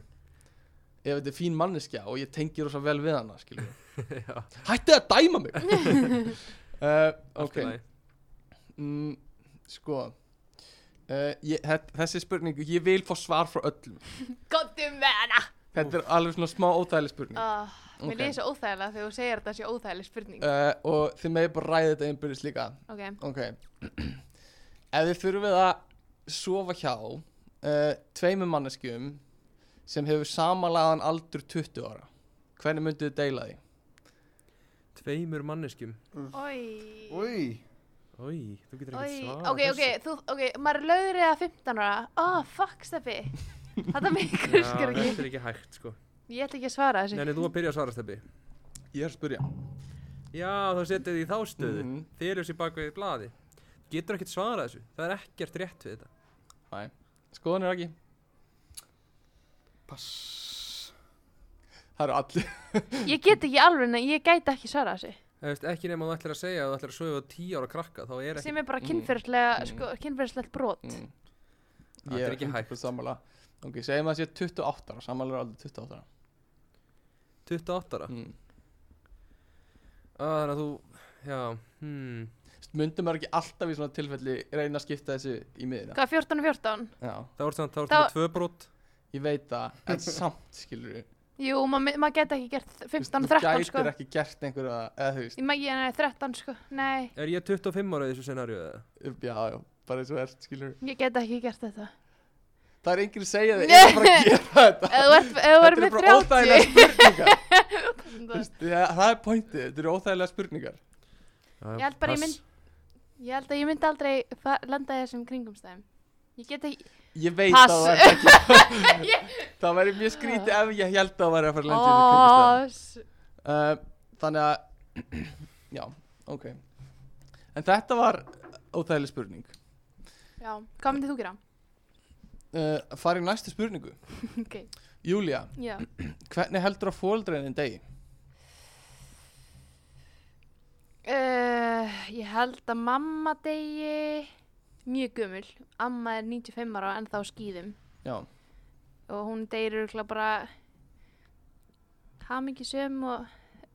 [SPEAKER 3] ef þetta er fín manneskja og ég tengi rosa vel við hana, skilur
[SPEAKER 4] [LAUGHS] Já,
[SPEAKER 3] hætti að dæma mig
[SPEAKER 4] [LAUGHS]
[SPEAKER 3] uh,
[SPEAKER 4] allt
[SPEAKER 3] ok
[SPEAKER 4] í lagi
[SPEAKER 3] mm, sko uh, ég, þe- þessi spurningu, ég vil fá svar frá öllum
[SPEAKER 1] Góttu með um hana.
[SPEAKER 3] Þetta er alveg svona smá óþægileg spurning
[SPEAKER 1] Ah, Mér
[SPEAKER 3] Ok.
[SPEAKER 1] okay. lýsa óþægilega þegar þú segir að þetta sé óþægileg spurning.
[SPEAKER 3] uh, Og þið meði bara ræði þetta einbyrðis líka
[SPEAKER 1] Ok,
[SPEAKER 3] Ok Ef þið þurfið að sofa hjá uh, Tveimur manneskjum Sem hefur samanlegaðan aldur 20 ára Hvernig mynduð þið deila því?
[SPEAKER 4] Tveimur manneskjum
[SPEAKER 1] oi.
[SPEAKER 5] Úi,
[SPEAKER 4] Í, þú getur
[SPEAKER 1] Oi,
[SPEAKER 4] ekkert svar
[SPEAKER 1] ok, ok, þú, ok, maður er laugri að 15 ára, oh, fuck steppi,
[SPEAKER 3] [LAUGHS]
[SPEAKER 1] þetta mikil skar ekki,
[SPEAKER 4] Þetta er ekki hægt sko
[SPEAKER 1] ég ætla ekki að svara þessu,
[SPEAKER 4] Nei, nei, þú að byrja að svara stefni
[SPEAKER 3] Ég er að spurja
[SPEAKER 4] Já, þá setið þið í þá stöðu
[SPEAKER 3] Mhm.
[SPEAKER 4] Þið eru sér bak við blaði Getur ekkert svarað þessu Það er ekkert rétt við þetta
[SPEAKER 3] Skoðan er ekki
[SPEAKER 5] pass
[SPEAKER 3] Það eru allir
[SPEAKER 1] ég get ekki alveg, nei, ég gæti ekki svara þessu,
[SPEAKER 4] Það veist ekki nema þú ætlir að segja að Þú ætlir að sögja á tíu ára krakka Þá er ekki
[SPEAKER 1] sem er bara
[SPEAKER 3] Mm.
[SPEAKER 1] kynferðslega,
[SPEAKER 3] Mm.
[SPEAKER 1] sko, kynferðslegt brot,
[SPEAKER 3] mm.
[SPEAKER 4] Þetta er ekki hægt.
[SPEAKER 3] samanlega Ok, segjum að það sé 28 ára Samanlega aldur 28 ára
[SPEAKER 4] 28 ára
[SPEAKER 3] mm.
[SPEAKER 4] ah, Þannig að þú, já, hmm
[SPEAKER 3] Myndum er ekki alltaf í svona tilfelli Reyna að skipta þessu í miðina
[SPEAKER 1] hvað, 14 og 14,
[SPEAKER 3] Já
[SPEAKER 4] Það voru samt, það voru
[SPEAKER 1] Þá-
[SPEAKER 4] tvö brot
[SPEAKER 3] Ég veit það, en samt skilur við
[SPEAKER 1] jú, maður ma gæti ekki gert 15 og 13,
[SPEAKER 3] Þú
[SPEAKER 1] sko,
[SPEAKER 3] gætir ekki gert einhverja, eða þú veist
[SPEAKER 1] ég maður, nei, 13, sko, nei,
[SPEAKER 4] Er ég 25 ára í þessu scenariu eða?
[SPEAKER 3] upp, Já, já, bara eins og ert, skilur við
[SPEAKER 1] ég get ekki gert
[SPEAKER 3] [LAUGHS]
[SPEAKER 1] þetta,
[SPEAKER 3] Það er enginn að segja þig,
[SPEAKER 1] Nei.
[SPEAKER 3] ég er bara að gera þetta
[SPEAKER 1] ef þú ert, ef þú ert
[SPEAKER 3] Þetta
[SPEAKER 1] með
[SPEAKER 3] eru
[SPEAKER 1] 30, [LAUGHS]
[SPEAKER 3] bara óþægilega spurningar Þú
[SPEAKER 1] Þetta-
[SPEAKER 3] veist, ja, Það er pointið, þetta eru óþægilega spurningar
[SPEAKER 4] Já,
[SPEAKER 1] Ég held bara ég
[SPEAKER 4] pass.
[SPEAKER 1] mynd- ég held að ég myndi aldrei fa- lenda í þessum kringumstæðum, ég get ekki,
[SPEAKER 3] Ég veit
[SPEAKER 1] Pass.
[SPEAKER 3] að það er ekki Það væri mjög skrítið ef ég held að það væri að fara að lenda í
[SPEAKER 1] Ó,
[SPEAKER 3] þessu
[SPEAKER 1] s-
[SPEAKER 3] kringustæðan Þannig að [CLEARS THROAT] Já, ok En þetta var óþægileg spurning
[SPEAKER 1] Já, hvað myndið þú gera? [LAUGHS]
[SPEAKER 3] uh, Farið næstu spurningu
[SPEAKER 1] ok,
[SPEAKER 3] Júlia,
[SPEAKER 1] já.
[SPEAKER 3] hvernig heldur að fóldreiðin degi?
[SPEAKER 1] Uh, ég held að mamma degi mjög gömul. Amma er 95 ára en þá skýðum.
[SPEAKER 3] Já,
[SPEAKER 1] Og hún degir örgulega bara hamingisum og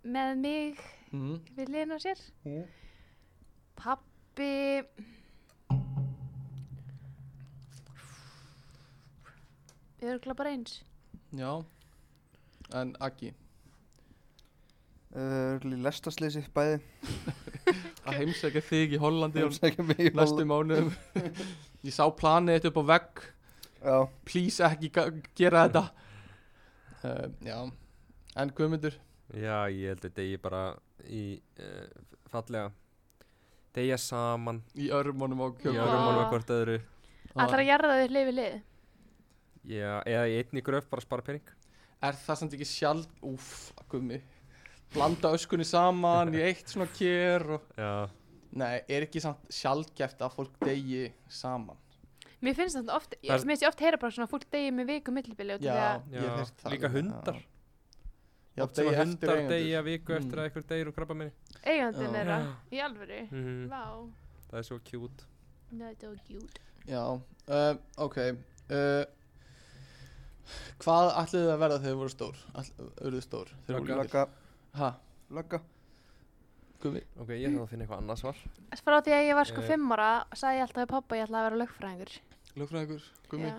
[SPEAKER 1] með mig
[SPEAKER 3] mhm
[SPEAKER 1] við liðin á sér.
[SPEAKER 3] Mm.
[SPEAKER 1] Pappi... Örgulega bara eins.
[SPEAKER 3] Já En Aggi
[SPEAKER 6] Örgli lestasleysi Uh, bæði
[SPEAKER 3] Að heimsækja þig í Hollandi á
[SPEAKER 6] Heimsækja mig í
[SPEAKER 3] næstu mánuðum [LAUGHS] Ég sá planið þetta upp á vegg
[SPEAKER 6] Já,
[SPEAKER 3] Please ekki ga- gera þetta uh, Já En Guðmundur
[SPEAKER 4] Já, ég held að degi bara í
[SPEAKER 2] eh,
[SPEAKER 4] uh, fallega Degja saman
[SPEAKER 3] Í örmónum á
[SPEAKER 4] Í
[SPEAKER 1] Já.
[SPEAKER 3] kjöfum
[SPEAKER 4] öðrum málum að hvort öðru
[SPEAKER 1] Allra jarða þau hlið við lið.
[SPEAKER 4] Já, eða í einni gröf bara spara pening
[SPEAKER 3] Er það samt ekki sjálf Úf, Guðmi Blanda öskunni saman í eitt svona kér og...
[SPEAKER 4] Já
[SPEAKER 3] Nei, er ekki samt sjálfgeft að fólk degi saman
[SPEAKER 1] Mér finnst þetta oft,
[SPEAKER 4] Það er-
[SPEAKER 1] ég, mér finnst ég oft heyra bara svona fólk degi með viku millibili og til því að
[SPEAKER 3] Já, ég
[SPEAKER 4] Já,
[SPEAKER 3] hef heyrt það
[SPEAKER 4] líka
[SPEAKER 3] líka,
[SPEAKER 4] hundar.
[SPEAKER 3] Já,
[SPEAKER 4] Oft sem að
[SPEAKER 3] degi eftir
[SPEAKER 4] hundar
[SPEAKER 3] eigendur
[SPEAKER 4] degja viku eftir
[SPEAKER 3] Mm.
[SPEAKER 4] að einhver degir úr krabba minni
[SPEAKER 1] eigandi
[SPEAKER 3] Já.
[SPEAKER 1] þeirra í alvöru
[SPEAKER 2] Mhm.
[SPEAKER 1] Vá,
[SPEAKER 4] Það er svo kjút
[SPEAKER 1] þetta var gjút
[SPEAKER 3] Já, uh, ok uh, Hvað ætlið þið að verða þegar þið voru stór? All, Urðu stór?
[SPEAKER 4] Lögga.
[SPEAKER 6] lögga
[SPEAKER 3] Hæ?
[SPEAKER 6] Lögga
[SPEAKER 3] Gumi
[SPEAKER 2] Ok, ég þarf að finna eitthvað annað svar
[SPEAKER 1] Frá því að ég var sko
[SPEAKER 2] Eh.
[SPEAKER 1] fimm ára sagði ég alltaf við pappa að ég ætlaði að vera lögfræðingur
[SPEAKER 3] Lögfræðingur, Gumi
[SPEAKER 1] Já.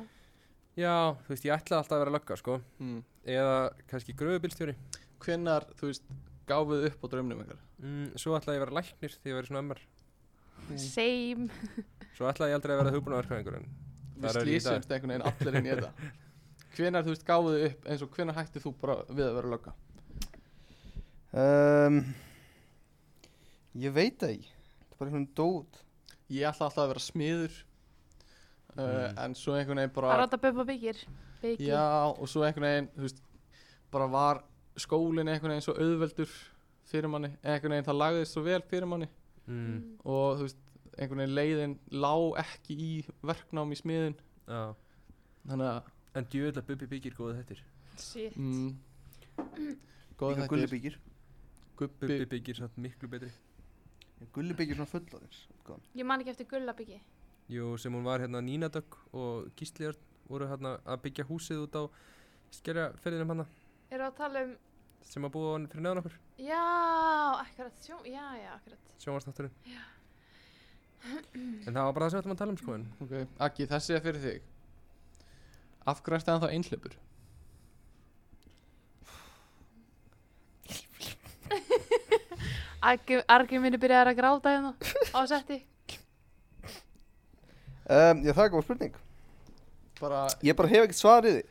[SPEAKER 2] Já, þú veist, ég ætlaði alltaf að vera lögga, sko
[SPEAKER 3] mm.
[SPEAKER 2] Eða kannski gröfubilstjóri
[SPEAKER 3] Hvenar, þú veist, gáfuð upp á draumnum ykkar?
[SPEAKER 2] mm, Svo ætlaði ég að vera læknir því ég verið svona ömmar
[SPEAKER 3] Mm.
[SPEAKER 1] Same
[SPEAKER 2] Svo ætlaði ég aldrei að vera hugbúnaverkvæðingur en
[SPEAKER 3] Við
[SPEAKER 2] Þar er ég í dag.
[SPEAKER 3] slýsumst einhvern veginn allir inn í
[SPEAKER 2] [LAUGHS]
[SPEAKER 3] þetta Hvenar, þú veist, gáfuð upp eins og hvenar hættið þú bara við að vera lögga?
[SPEAKER 5] um, Ég veit það ekki Það er bara einhvern dót
[SPEAKER 3] Ég ætla alltaf að vera smiður uh,
[SPEAKER 2] Mm.
[SPEAKER 3] En svo einhvern veginn
[SPEAKER 1] Það
[SPEAKER 3] bara
[SPEAKER 1] er átt að bubba byggir Byggi
[SPEAKER 3] Já, og svo einhvern veginn, þú veist, bara var skólinn einhvern veginn svo auðveldur fyrir manni, einhvern veginn það lagðist svo vel fyrir manni
[SPEAKER 2] mm,
[SPEAKER 3] og þú veist, einhvern veginn leiðin lá ekki í verknám í smiðin,
[SPEAKER 2] Já
[SPEAKER 3] þannig að,
[SPEAKER 2] En djöðla Bubi byggir góðu þettir
[SPEAKER 1] Shit
[SPEAKER 3] mm, góð
[SPEAKER 5] Líka
[SPEAKER 3] þetta er,
[SPEAKER 5] gullubíkir
[SPEAKER 3] gubbi,
[SPEAKER 2] Bubi byggir samt miklu betri
[SPEAKER 5] Gullubíkir svona fullorðins útgáfan.
[SPEAKER 1] Ég man ekki eftir gulla byggi
[SPEAKER 2] Jú, sem hún var hérna Nína Dögg og Gísliðar voru hérna að byggja húsið út á skerja ferðinum hana
[SPEAKER 1] Eru að tala um
[SPEAKER 2] sem að búa hann fyrir neðan okkur
[SPEAKER 1] Já, akkurat sjó, Já, já, akkurat
[SPEAKER 2] sjónvarsnátturinn En það var bara það sem við ætlum að tala um sko en
[SPEAKER 3] ok, Akki, þessi er fyrir þig, af hverju ertu ennþá einhleipur?
[SPEAKER 1] Argi- Argi minni byrjaði að gráta hérna [LAUGHS] á setti
[SPEAKER 5] um, Já það er góð spurning
[SPEAKER 3] Bara
[SPEAKER 5] Ég bara hef ekkert svarið því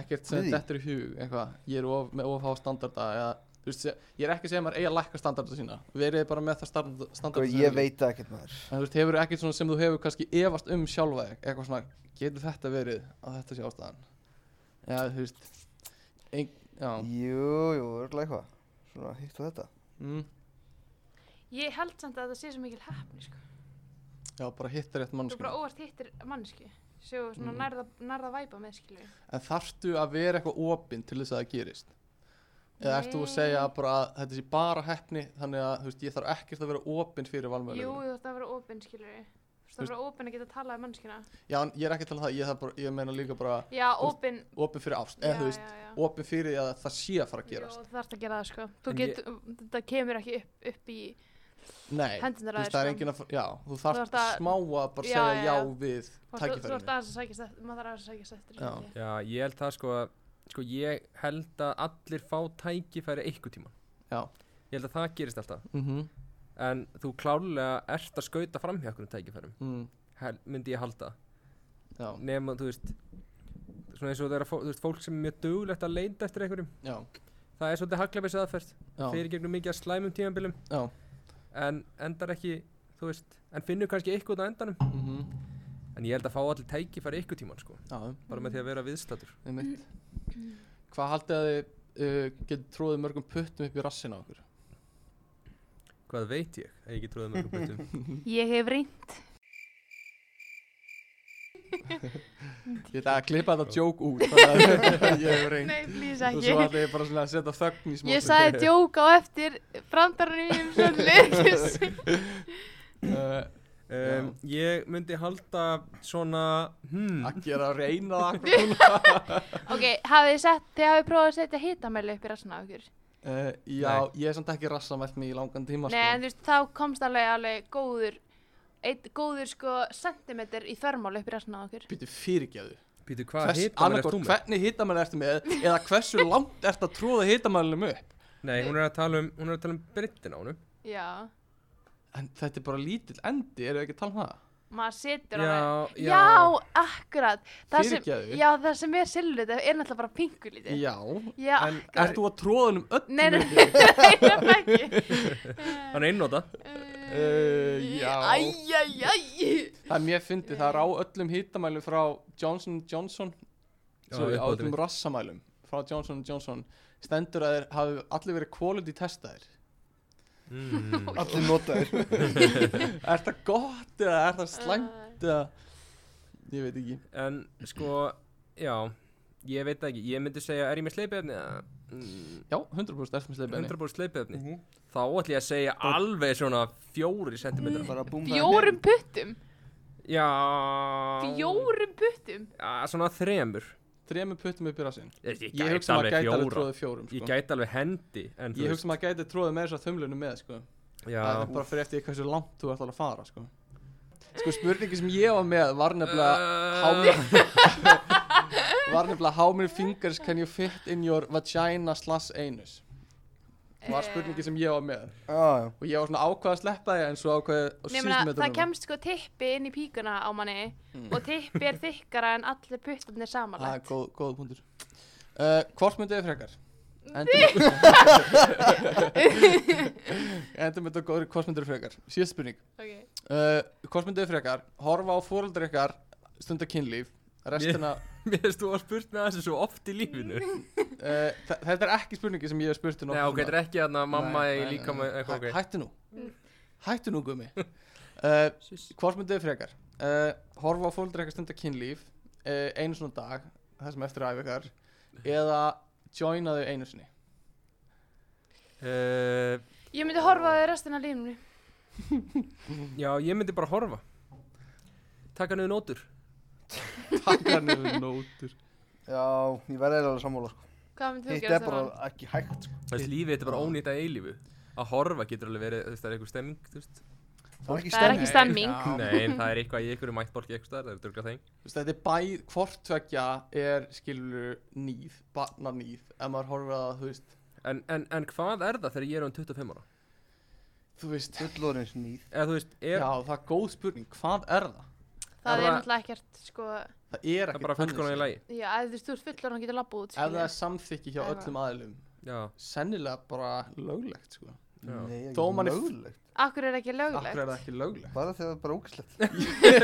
[SPEAKER 3] ekkert sem
[SPEAKER 5] Við því?
[SPEAKER 3] dettur í hug, eitthvað, ég er of, með of há standarda eða, þú veist, ég er ekki að segja að maður eigi að lækka standarda sína, verið bara með það standarda,
[SPEAKER 5] Sko,
[SPEAKER 3] standarda
[SPEAKER 5] Ég veit það ekkert maður
[SPEAKER 3] En þú veist, hefur ekkert svona sem þú hefur kannski efast um sjálfa þig, eitthvað svona, getur þetta verið að þetta sé ástæðan? Já, þú veist, ein, já,
[SPEAKER 5] Jú, jú, örglega eitthvað Svona hitt og þetta
[SPEAKER 3] mm,
[SPEAKER 1] Ég held samt að það sé svo mikil heppni sko.
[SPEAKER 3] já, bara hittar rétt
[SPEAKER 1] Þú
[SPEAKER 3] mannskjöld.
[SPEAKER 1] bara óvart hittir mannsku Svo svona
[SPEAKER 3] Mm.
[SPEAKER 1] nærða, nærða væpa með skilur
[SPEAKER 3] En þarftu að vera eitthvað opinn til þess að það gerist? Eða ert þú að
[SPEAKER 1] Nei.
[SPEAKER 3] segja bara að þetta sé bara hefni, þannig að, þú veist, ég þarf ekkert að vera opinn fyrir
[SPEAKER 1] Jú,
[SPEAKER 3] valmöðulegum.
[SPEAKER 1] þú ætti að vera opinn skilur Þú ætti
[SPEAKER 3] Þú
[SPEAKER 1] að vera opinn að geta talað um mannskina
[SPEAKER 3] Já, en ég er ekki að tala um það, ég, þarf bara, ég meina líka bara
[SPEAKER 1] Já,
[SPEAKER 3] Þú veist,
[SPEAKER 1] opinn
[SPEAKER 3] opinn fyrir ást,
[SPEAKER 1] Já,
[SPEAKER 3] eða þú veist,
[SPEAKER 1] já, já.
[SPEAKER 3] opinn fyrir því að það sé að fara að gerast.
[SPEAKER 1] Jú, þú þarft að gera það sko Þú
[SPEAKER 2] En ég-
[SPEAKER 1] get, þetta kemur ekki upp, upp í
[SPEAKER 3] Nei, þú
[SPEAKER 1] hendunar
[SPEAKER 3] veist, það er enginn að, fara- já, þú þarft
[SPEAKER 1] þarft að-
[SPEAKER 3] smá að bara
[SPEAKER 1] Já,
[SPEAKER 3] segja
[SPEAKER 1] já,
[SPEAKER 3] já,
[SPEAKER 1] já. Þú
[SPEAKER 3] við
[SPEAKER 1] ert
[SPEAKER 3] tækifærinu.
[SPEAKER 1] aðeins að sækjast eftir, maður þarf aðeins að sækjast eftir
[SPEAKER 3] Já.
[SPEAKER 1] held ég.
[SPEAKER 2] Já, ég held það sko að sko ég held að allir fá tækifæri einhver tíma
[SPEAKER 3] Já.
[SPEAKER 2] Ég held að það gerist alltaf
[SPEAKER 3] Mm
[SPEAKER 2] en þú klálega ert að skauta fram hjá okkur um tækifærum
[SPEAKER 3] mm,
[SPEAKER 2] Hel, myndi ég halda
[SPEAKER 3] já,
[SPEAKER 2] nema þú veist svona eins og það er að fó- þú veist, fólk sem er mjög duglegt að leita eftir einhverjum
[SPEAKER 3] já,
[SPEAKER 2] það er svolítið hagleifis aðferð
[SPEAKER 3] já,
[SPEAKER 2] fyrir gegnum mikið að slæmum tímabilum
[SPEAKER 3] já,
[SPEAKER 2] en endar ekki þú veist en finnur kannski eitthvað á endanum
[SPEAKER 3] mm
[SPEAKER 2] en ég held að fá allir tækifæri einhver tíman sko
[SPEAKER 3] já,
[SPEAKER 2] bara með því að vera viðstættur
[SPEAKER 3] einmitt. Hvað haldið að þið uh, getur tróðið mörgum puttum upp í rassin á okkur?
[SPEAKER 2] hvað veit ég að ég ekki tróði mörgum [LAUGHS] betum
[SPEAKER 1] Ég hef
[SPEAKER 3] [LAUGHS]
[SPEAKER 1] reynd
[SPEAKER 3] Ég ætla að klippa þetta djók út, þannig
[SPEAKER 2] [LAUGHS]
[SPEAKER 3] að ég hef reynd.
[SPEAKER 1] Nei, please
[SPEAKER 3] Og svo
[SPEAKER 1] ekki
[SPEAKER 3] ætla ég bara svona að setja þögn í smá.
[SPEAKER 1] Ég
[SPEAKER 3] stund.
[SPEAKER 1] sagði djóka á eftir brandarinn í um sjöndlis
[SPEAKER 3] [LAUGHS] Uh,
[SPEAKER 2] um, ég myndi halda svona hmm,
[SPEAKER 3] Akki er að reyna það akkur núna.
[SPEAKER 1] [LAUGHS] Ok, hafið þið sett, þið hafið prófað að setja hitamæli upp í rassinu á ykkur
[SPEAKER 3] Uh, já, ég er samt ekki rassamælt mig í langan tíma,
[SPEAKER 1] Nei, en
[SPEAKER 3] sko.
[SPEAKER 1] þú veist, þá komst alveg alveg góður eitt góður sko sentimeter í þörmáli upp í rassinu á ykkur
[SPEAKER 3] Býtu fyrirgeðu.
[SPEAKER 2] pýtu hvað
[SPEAKER 3] Hvers,
[SPEAKER 2] hita mér
[SPEAKER 3] annarkort,
[SPEAKER 2] eftir með
[SPEAKER 3] hvernig hitamæli ertu með eða hversu langt ertu að tróða hitamælinum upp?
[SPEAKER 2] nei hún er að tala um hún er að tala um brittin á húnum
[SPEAKER 1] Já,
[SPEAKER 3] En þetta er bara lítill endi, erum við ekki að tala um það?
[SPEAKER 1] maður setur alveg
[SPEAKER 2] já,
[SPEAKER 1] Já, akkurat það sem,
[SPEAKER 3] Fyrirgefðu.
[SPEAKER 1] Já, það sem er silfrið er náttúrulega bara pinkulítið
[SPEAKER 3] Já,
[SPEAKER 1] Já,
[SPEAKER 2] En
[SPEAKER 3] Ert þú að tróða um öllum?
[SPEAKER 1] Nei, nei, [LAUGHS]
[SPEAKER 3] upp?
[SPEAKER 1] nei, það er ekki
[SPEAKER 2] hann er einnóta
[SPEAKER 3] [LAUGHS] Eh, já.
[SPEAKER 1] Æjæjæj
[SPEAKER 3] Það er mér fyndið, það er á öllum hitamælum frá Johnson Johnson
[SPEAKER 2] Já,
[SPEAKER 3] Sorry,
[SPEAKER 2] ég
[SPEAKER 3] á
[SPEAKER 2] bóti
[SPEAKER 3] öllum
[SPEAKER 2] mitt.
[SPEAKER 3] rassamælum frá Johnson Johnson stendur að þeir hafi allir verið quality testaðir
[SPEAKER 2] mm,
[SPEAKER 5] Allir notaðir
[SPEAKER 3] Er það gott eða er það slæmt eða Ég veit ekki
[SPEAKER 2] en sko já ég veit það ekki ég myndi segja er ég með sleipefni eða? Mm,
[SPEAKER 3] Já, 100% erst með sleipinni
[SPEAKER 2] 100% sleipefni
[SPEAKER 1] Mhm.
[SPEAKER 2] þá ætlum ég að segja alveg svona fjóri sentimetra
[SPEAKER 5] Bara búm það er
[SPEAKER 6] hérna.
[SPEAKER 1] Fjórum puttum
[SPEAKER 3] Mm.
[SPEAKER 2] já
[SPEAKER 1] Fjórum puttum
[SPEAKER 2] Já, svona þremur
[SPEAKER 3] Tremur puttum upp í rassin
[SPEAKER 2] ég, ég,
[SPEAKER 3] Ég
[SPEAKER 2] gæti
[SPEAKER 3] hugsa maður
[SPEAKER 2] alveg
[SPEAKER 3] gæti alveg
[SPEAKER 2] fjóra
[SPEAKER 3] tróðið fjórum
[SPEAKER 2] ég
[SPEAKER 3] sko.
[SPEAKER 2] gæti alveg hendi en þú
[SPEAKER 3] Ég
[SPEAKER 2] veist
[SPEAKER 3] hugsa maður gæti tróðið með þess að þumlunum með sko. það er bara fyrir eftir því hversu langt þú ert alveg að fara sko. sko spurningi sem ég var með var
[SPEAKER 1] Uh.
[SPEAKER 3] nefnilega how many [LAUGHS] var nefnilega how many fingers can you fit in your vagina slash anus
[SPEAKER 1] Eh.
[SPEAKER 3] var spurningi sem ég var með
[SPEAKER 6] já,
[SPEAKER 3] og ég var svona ákvað að sleppa því en svo ákvað á
[SPEAKER 1] Nei, meina,
[SPEAKER 3] síðustu
[SPEAKER 1] það
[SPEAKER 3] metrunum
[SPEAKER 1] kemst sko tippi inn í píkuna á manni
[SPEAKER 3] Mm.
[SPEAKER 1] og tippi er þykkara en allir puttarnir
[SPEAKER 3] það er
[SPEAKER 1] samanlagt.
[SPEAKER 3] Ah, góð, góð punktur uh, hvort myndið þið frekar
[SPEAKER 1] [LAUGHS]
[SPEAKER 3] [LAUGHS] endur endur myndið góður hvort myndið þið frekar síðast spurning
[SPEAKER 1] Okay.
[SPEAKER 3] uh, hvort myndið þið frekar horfa á fóröldri ykkar stundar kynlíf restina
[SPEAKER 4] [LAUGHS] Mér finnst þú að spurt með þessu svo oft í
[SPEAKER 3] [LAUGHS]
[SPEAKER 4] lífinu
[SPEAKER 3] uh, þa- þetta er ekki spurningi sem ég hef spurt um
[SPEAKER 4] Nei,
[SPEAKER 3] nokkrum tíma.
[SPEAKER 4] ok, þetta er ekki þarna mamma
[SPEAKER 3] Nei,
[SPEAKER 4] í
[SPEAKER 3] nei,
[SPEAKER 4] líka
[SPEAKER 3] nei,
[SPEAKER 4] með
[SPEAKER 3] nei. Hæ-
[SPEAKER 4] eitthvað ok
[SPEAKER 3] Hættu nú
[SPEAKER 1] Mm.
[SPEAKER 3] Hættu nú
[SPEAKER 4] [LAUGHS]
[SPEAKER 3] gummi uh, Hvort myndið þið frekar uh, Horfa á fólk eitthvað stundar kynlíf uh, Einu svona dag, það sem eftir aðeins ykkar Eða joina þau einu
[SPEAKER 4] [LAUGHS]
[SPEAKER 3] sinni
[SPEAKER 4] Uh,
[SPEAKER 1] Ég myndi horfa á þau restina af lífinu.
[SPEAKER 4] Já, ég myndi bara horfa Takka niður nótur
[SPEAKER 3] Takkar niður nótur
[SPEAKER 6] já, ég verði eiginlega sammála sko.
[SPEAKER 1] Hvað myndi þú
[SPEAKER 6] Hitt
[SPEAKER 1] gera
[SPEAKER 6] er
[SPEAKER 1] þegar
[SPEAKER 6] bara
[SPEAKER 1] hann?
[SPEAKER 6] ekki hægt sko.
[SPEAKER 4] Þessi lífið, þetta er bara ónýtt að eilífu Að horfa getur alveg verið, þú veist, það er eitthvað stemming, þú veist
[SPEAKER 6] Það er ekki
[SPEAKER 1] Það er ekki
[SPEAKER 6] stemming
[SPEAKER 1] stemming.
[SPEAKER 4] Nei, en það er eitthvað í einhverju mættbólki eitthvað staðar, það er drugga þeng
[SPEAKER 3] Þetta er bæ, hvort tvekja er skilur nýð, barna nýð ef maður horfa að þú veist
[SPEAKER 4] en, en, en hvað er það þegar ég er um 25 ára?
[SPEAKER 3] Þú veist,
[SPEAKER 6] Fullorins nýð
[SPEAKER 4] Eða þú veist,
[SPEAKER 3] já
[SPEAKER 4] er
[SPEAKER 3] það er góð spurning, hvað er það?
[SPEAKER 1] Það er
[SPEAKER 4] bara-
[SPEAKER 1] náttúrulega ekkert, sko,
[SPEAKER 3] Það er
[SPEAKER 4] það
[SPEAKER 3] ekki
[SPEAKER 4] bara fullkonan í lagi?
[SPEAKER 1] já, ef þú veist, þú ert fullar og hann getur labbað út,
[SPEAKER 3] Ef það
[SPEAKER 1] skilja.
[SPEAKER 3] er samþykki hjá
[SPEAKER 1] Ef það-
[SPEAKER 3] öllum aðilum
[SPEAKER 4] Já,
[SPEAKER 3] Sennilega bara löglegt sko
[SPEAKER 4] já
[SPEAKER 6] Nei,
[SPEAKER 3] Þó
[SPEAKER 6] ekki
[SPEAKER 3] manni-
[SPEAKER 6] löglegt
[SPEAKER 1] Akkur er ekki
[SPEAKER 3] Akkur er það
[SPEAKER 1] löglegt.
[SPEAKER 3] ekki löglegt
[SPEAKER 6] Bara þegar það er bara ógislegt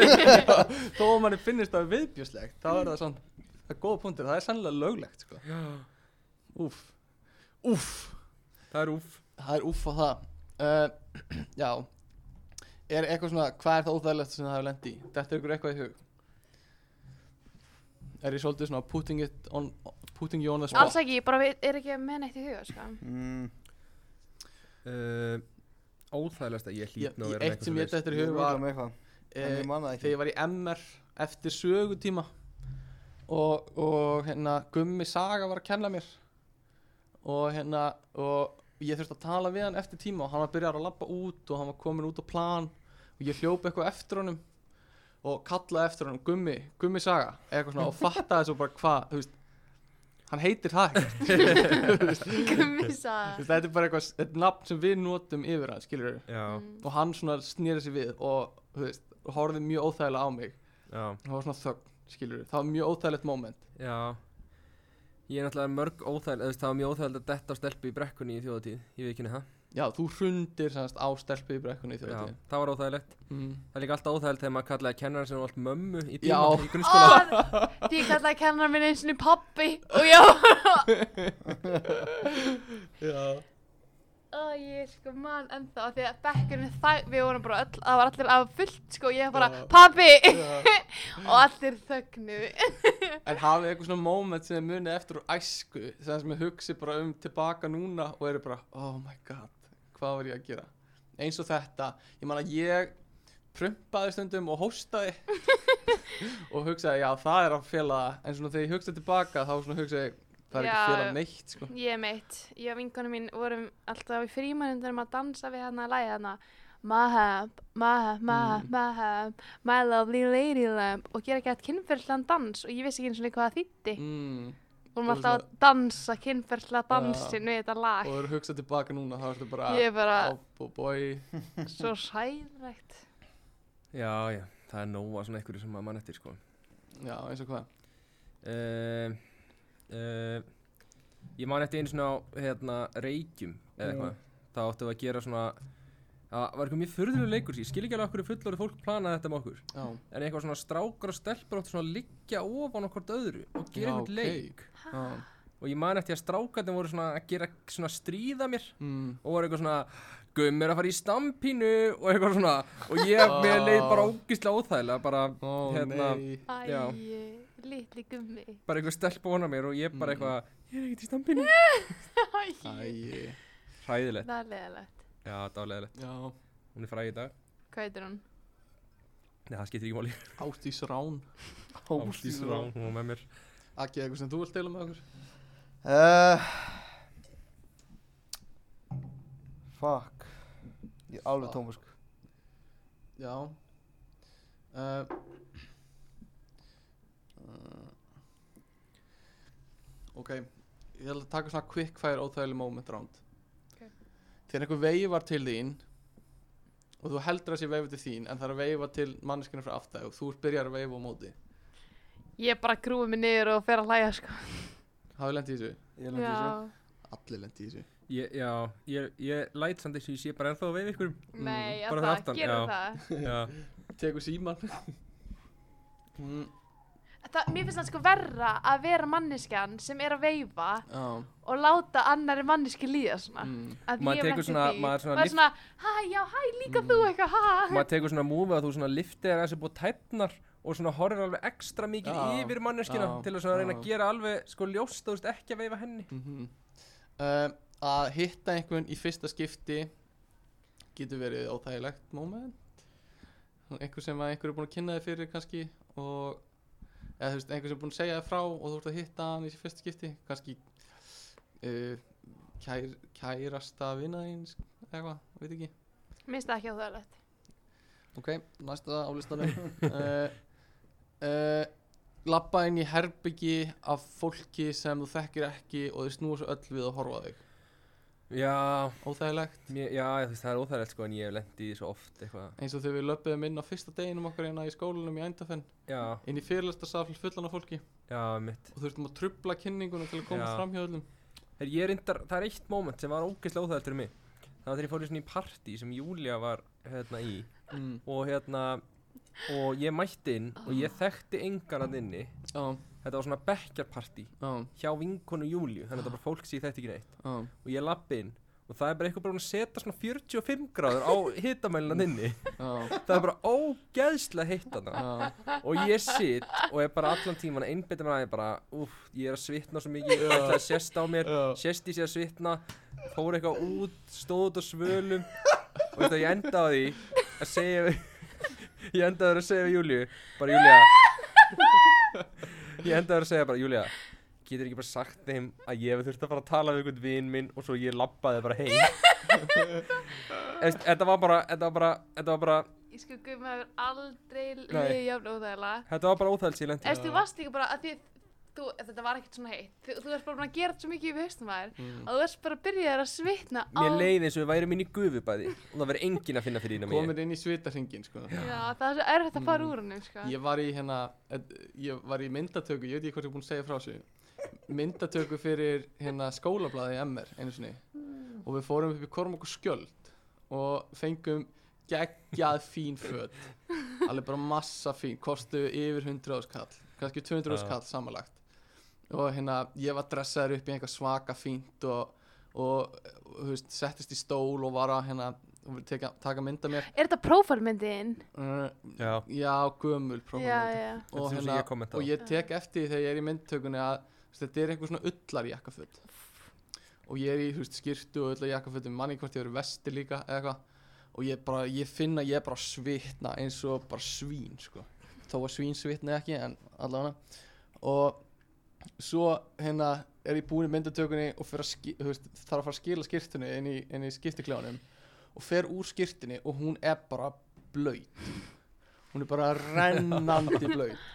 [SPEAKER 3] [LAUGHS] Þó að manni finnist það viðbjöslegt Þá er það sann Það er góða punktur Það er sannlega löglegt sko. Úf Úf
[SPEAKER 4] Það er úf
[SPEAKER 3] Það er úf á það uh, [CLEARS THROAT] Já Er eitthvað svona Hvað er það óþægilegt sem það hefur lent í? Þetta er ykkur eitthvað í hug Er ég svolítið svona Putting, it on, putting you on the spot
[SPEAKER 1] Alls ekki, ég bara veit- er ekki með neitt í huga, sko.
[SPEAKER 6] mm,
[SPEAKER 4] uh, Óþægilegast að ég
[SPEAKER 3] Ég-
[SPEAKER 4] hlýt nú að
[SPEAKER 3] ég-
[SPEAKER 4] vera með
[SPEAKER 3] Eitt sem ég
[SPEAKER 4] svoleiðis.
[SPEAKER 3] þetta er
[SPEAKER 6] Ég
[SPEAKER 3] hug
[SPEAKER 6] veit
[SPEAKER 3] var
[SPEAKER 6] um eitthvað En
[SPEAKER 3] eh,
[SPEAKER 6] ég manna
[SPEAKER 3] þegar
[SPEAKER 6] ekki
[SPEAKER 3] ég var í MR eftir sögutíma og, og hérna Gummi Saga var að kenna mér og hérna og ég þurfti að tala við hann eftir tíma og hann var byrjar að labba út og hann var komin út á plan og ég hljóp eitthvað eftir honum og kallaði eftir honum Gummi, Gummi Saga eitthvað svona og fattaði svo bara hvað þú veist hann heitir það ekkert.
[SPEAKER 1] Gummisa.
[SPEAKER 3] Þú veist, þetta er bara eitthvað þetta er nafn sem við notum yfir hann skilur
[SPEAKER 4] Já,
[SPEAKER 1] Mm.
[SPEAKER 3] og hann svona snýri sér við og þú veist horfið mjög óþægilega á mig
[SPEAKER 4] já,
[SPEAKER 3] það var svona þögn, skilur það var mjög óþægilegt moment
[SPEAKER 4] já Ég er náttúrulega mörg óþægileg, þú veist, það var mjög óþægilegt að detta á stelpu í brekkunni í þjóðatíð Ég veit ekki henni það
[SPEAKER 3] já, þú hrundir semast á stelpu í brekkunni í
[SPEAKER 4] Já,
[SPEAKER 3] þjóðtíð
[SPEAKER 4] það var óþægilegt
[SPEAKER 3] mm.
[SPEAKER 4] Það er líka alltaf óþægilegt þegar maður kallaði kennaran sem var allt mömmu í tíma
[SPEAKER 3] Já.
[SPEAKER 4] í grunnskóla
[SPEAKER 1] Ó, því ég kallaði kennar minn eins og pappi og já.
[SPEAKER 3] já,
[SPEAKER 1] Ó, ég er sko mann ennþá af því að bekkurinn þag, við vorum bara öll, það var allir af fullt sko, ég bara,
[SPEAKER 3] Já.
[SPEAKER 1] pappi,
[SPEAKER 3] já.
[SPEAKER 1] og allir þögnu.
[SPEAKER 3] [LAUGHS] en hafið eitthvað svona moment sem þið munið eftir úr æsku sem sem ég hugsi bara um tilbaka núna og eru bara, oh my god hvað var ég að gera, eins og þetta ég man að ég prumpaði stundum og hóstaði og hugsaði, já, það er að fela það." en svona þegar ég hugsaði tilbaka þá svona hugsaði ég, það er ekki að
[SPEAKER 1] Já.
[SPEAKER 3] fela neitt sko.
[SPEAKER 1] Ég meitt, ég og vinkonu mín vorum alltaf í frímanundunum að dansa við hann að læða hann að Mahab, Mahab, Mahab, Mahab, My Lovely Lady Lamb og gera gett kynferðslan dans og ég vissi ekki eins og hvað það þýtti.
[SPEAKER 3] mm.
[SPEAKER 1] Vorum
[SPEAKER 3] Og
[SPEAKER 1] alltaf að dansa kynferðsla dansin við þetta
[SPEAKER 3] og
[SPEAKER 1] lag.
[SPEAKER 3] þú eru hugsað tilbaka núna þá ertu bara
[SPEAKER 1] Ég er bara
[SPEAKER 3] Ábú bói
[SPEAKER 1] svo sæðrækt.
[SPEAKER 4] Já, já, það er nóga svona einhverju sem maður mann eftir, sko
[SPEAKER 3] Já, eins og hvað
[SPEAKER 4] uh, uh, Ég man eftir einu svona á hérna, reykjum eða
[SPEAKER 1] Mm.
[SPEAKER 4] eitthvað þá áttum við að gera svona það var eitthvað mjög furðulega leikur ég skil ekki alveg okkur fullorðið fólk planaði þetta með okkur
[SPEAKER 3] Já,
[SPEAKER 4] en eitthvað svona strákar og stelpur áttu svona að liggja ofan okkur öðru og gera
[SPEAKER 3] Já,
[SPEAKER 4] eitthvað
[SPEAKER 3] ok.
[SPEAKER 4] leik
[SPEAKER 3] já
[SPEAKER 4] og ég man eftir að strákarnir voru svona að gera svona að stríða mér
[SPEAKER 3] mm.
[SPEAKER 4] og voru eitthvað svona Gumm er að fara í stampínu og eitthvað svona og ég
[SPEAKER 3] Ah.
[SPEAKER 4] mér leið bara ógislega óþægilega bara,
[SPEAKER 3] Ó
[SPEAKER 4] Hérna,
[SPEAKER 3] nei
[SPEAKER 4] Já.
[SPEAKER 1] Æ, litli gummi.
[SPEAKER 4] bara eitthvað stelpa vona mér og ég
[SPEAKER 3] Mm.
[SPEAKER 4] bara eitthvað ég er ekkert í stampínu
[SPEAKER 1] Æ,
[SPEAKER 3] Æi
[SPEAKER 4] hræðilegt
[SPEAKER 1] það er leðalegt.
[SPEAKER 4] já, dálæðilegt
[SPEAKER 3] Já
[SPEAKER 4] Hún er fræg í dag
[SPEAKER 1] Hvað heitir hún?
[SPEAKER 4] Nei, það skiptir ekki máli
[SPEAKER 3] Ástís rán
[SPEAKER 4] Ásdís Rán, Hún var með mér
[SPEAKER 3] Akki, eitthvað sem þú vilt deila með okkur
[SPEAKER 6] Eh, uh, Fuck Ég alveg tómusk
[SPEAKER 3] Já uh, uh, Ok Ég ætla að taka svona quickfire óþægileg moment round
[SPEAKER 1] Ok.
[SPEAKER 3] Þegar einhver veifar til þín og þú heldur að sé veifa til þín en það er að veifa til manneskinu frá aftæg og þú byrjar að veifa á móti
[SPEAKER 1] Ég bara grúi mig niður og fer að hlæja sko.
[SPEAKER 3] Hafið lent í þessu?
[SPEAKER 6] Ég lendi þessu
[SPEAKER 3] Allir lent í þessu
[SPEAKER 4] Ég, já, ég, ég læt samt eins og ég sé bara ennþá að veifa ykkur
[SPEAKER 1] Nei,
[SPEAKER 4] bara
[SPEAKER 1] mm,
[SPEAKER 4] fyrir
[SPEAKER 1] það,
[SPEAKER 4] aftan,
[SPEAKER 1] gerum
[SPEAKER 4] já.
[SPEAKER 1] það
[SPEAKER 4] Já,
[SPEAKER 3] Tekur [LAUGHS] síman mm,
[SPEAKER 1] Það, mér finnst það sko verra að vera manneskjan sem er að veifa
[SPEAKER 3] Já
[SPEAKER 1] og láta annari manneski líða svona. Mm.
[SPEAKER 3] mm,
[SPEAKER 1] Að
[SPEAKER 4] Maður
[SPEAKER 1] ég hef lent
[SPEAKER 4] tekur
[SPEAKER 1] í
[SPEAKER 4] svona-
[SPEAKER 1] því.
[SPEAKER 4] maður svona
[SPEAKER 1] Maður
[SPEAKER 4] lyft-
[SPEAKER 1] svona, hæ, já, hæ, líka
[SPEAKER 3] mm.
[SPEAKER 1] þú eitthvað, hæ.
[SPEAKER 4] maður tekur svona múfið að þú svona liftið þér aðeins upp á tætnar og svona horfir alveg ekstra mikið
[SPEAKER 3] Já,
[SPEAKER 4] yfir manneskina
[SPEAKER 3] já,
[SPEAKER 4] til að svona reyna
[SPEAKER 3] já.
[SPEAKER 4] að gera alveg sko ljóst þú veist ekki að veifa henni
[SPEAKER 3] mm uh, að hitta einhvern í fyrsta skipti getur verið óþægilegt moment Svona einhver sem að einhver er búinn að kynna þig fyrir kannski og eða þú veist einhver sem er búinn að segja þig frá og þú ert að hitta hann í þessi fyrsta skipti kannski uh, kær, kærasta vinna eins eitthvað, veit ekki
[SPEAKER 1] Mér finnst það ekki óþægilegt.
[SPEAKER 3] ok, næsta á [LAUGHS] listanum uh, uh, labba inn í herbyggi af fólki sem þú þekkir ekki og þau snúa svo öll við að horfa á þig
[SPEAKER 4] Já,
[SPEAKER 3] óþægilegt
[SPEAKER 4] mér, já þú veist það er óþægilegt sko en ég hef lendið í því svo oft eitthvað
[SPEAKER 3] eins og þegar við löpum inn á fyrsta deginum okkar hérna í skólanum í ændafenn
[SPEAKER 4] Já,
[SPEAKER 3] inn í fyrirlestarsafl fullan af fólki
[SPEAKER 4] já mitt
[SPEAKER 3] og þurftum að trubla kynninguna til að koma
[SPEAKER 4] Já.
[SPEAKER 3] fram hjá öllum
[SPEAKER 4] Her, ég reyndar, það er eitt moment sem var ógeðslega óþægilegt fyrir mig Það var þegar ég fór í svona í partí sem Júlia var hérna í
[SPEAKER 3] mm.
[SPEAKER 4] og hérna og ég mætti inn og ég þekkti engan að inni
[SPEAKER 3] já,
[SPEAKER 4] Þetta var svona bekkjarpartí
[SPEAKER 3] já,
[SPEAKER 4] hjá vinkonu Júliu þannig að þetta var bara fólk sem ég þekkti ekki neitt
[SPEAKER 3] já
[SPEAKER 4] og ég lappi inn og það er bara eitthvað bara að setja svona 45 gráður á hitamælinan inni
[SPEAKER 3] já,
[SPEAKER 4] það er bara ógeðslega heitt þarna
[SPEAKER 3] já,
[SPEAKER 4] og ég sitt og er bara allan tíman að einbytta mér að ég bara úf, ég er að svitna svo mikið það sést á mér,
[SPEAKER 3] Já.
[SPEAKER 4] sést í sig að svitna fór eitthvað út, stóð út á [LAUGHS] svölum og veist að ég enda á því að segja við [LAUGHS] ég enda á því að segja við Júliu bara Júlia ég enda á því að segja bara Júlia getur ekki bara sagt þeim að ég hef þurft að fara að tala við einhvern vinn minn og svo ég labbaði bara [LAUGHS] heim Eðst, þetta var bara þetta var bara þetta var bara
[SPEAKER 1] Ég sko, guð, maður hefur aldrei liðið jafn óþægilega.
[SPEAKER 4] þetta var bara óþægild sem ég lendi
[SPEAKER 1] Eða, þú varst líka bara að því, þú, þetta var ekkert svona heitt. Þú, þú ert bara búin að gera þetta svo mikið við höstum að þér
[SPEAKER 3] mm.
[SPEAKER 1] að þú ert bara að byrja þér að svitna á...
[SPEAKER 4] Mm. Mér leið eins og við værum inn í gufubæði og það verið enginn að finna fyrir innan mig.
[SPEAKER 3] komin inn í svitaringin sko.
[SPEAKER 1] Já, það er svo erfitt að
[SPEAKER 4] Mm.
[SPEAKER 1] fara úr hennum, sko.
[SPEAKER 3] ég var í hérna eh, ég var í myndatöku, ég veit ekki hvað ég er búin að segja frá þessu myndatöku fyrir hérna skólablaði MR einu sinni og við fórum upp í Kormok og Skjöld og fengum geggjað fín föt alveg bara massa fín, kostu yfir 100 áskall, kannski 200
[SPEAKER 4] Já.
[SPEAKER 3] áskall samanlagt og hérna ég var dressaður upp í einhver svaka fínt og, og þú veist, settist í stól og var að hérna og teka, taka mynda mér
[SPEAKER 1] Er þetta prófálmyndin?
[SPEAKER 3] uh,
[SPEAKER 4] Já.
[SPEAKER 3] já, gömul prófum
[SPEAKER 1] Já, já.
[SPEAKER 3] og,
[SPEAKER 4] Þetta er sem
[SPEAKER 3] hérna,
[SPEAKER 4] ég kommenta á.
[SPEAKER 3] og ég tek eftir því þegar ég er í myndtökunni að þú veist, þetta er einhver svona ullar jakkafutt og ég er í þú veist, skýrtu og ullar jakkafutt um manni hvort ég verið vesti líka eða eitthvað og ég, bara, ég finna ég er bara að svitna eins og bara svín sko. þó að svín svitna ekki en allavega og svo hérna er ég búin í myndatökunni og fer að ski, þú veist, þarf að fara að skila skýrtunni inn í, inn í skiptikljónum og fer úr skýrtunni og hún er bara blöyt hún er bara
[SPEAKER 1] [LAUGHS]
[SPEAKER 3] rennandi blöyt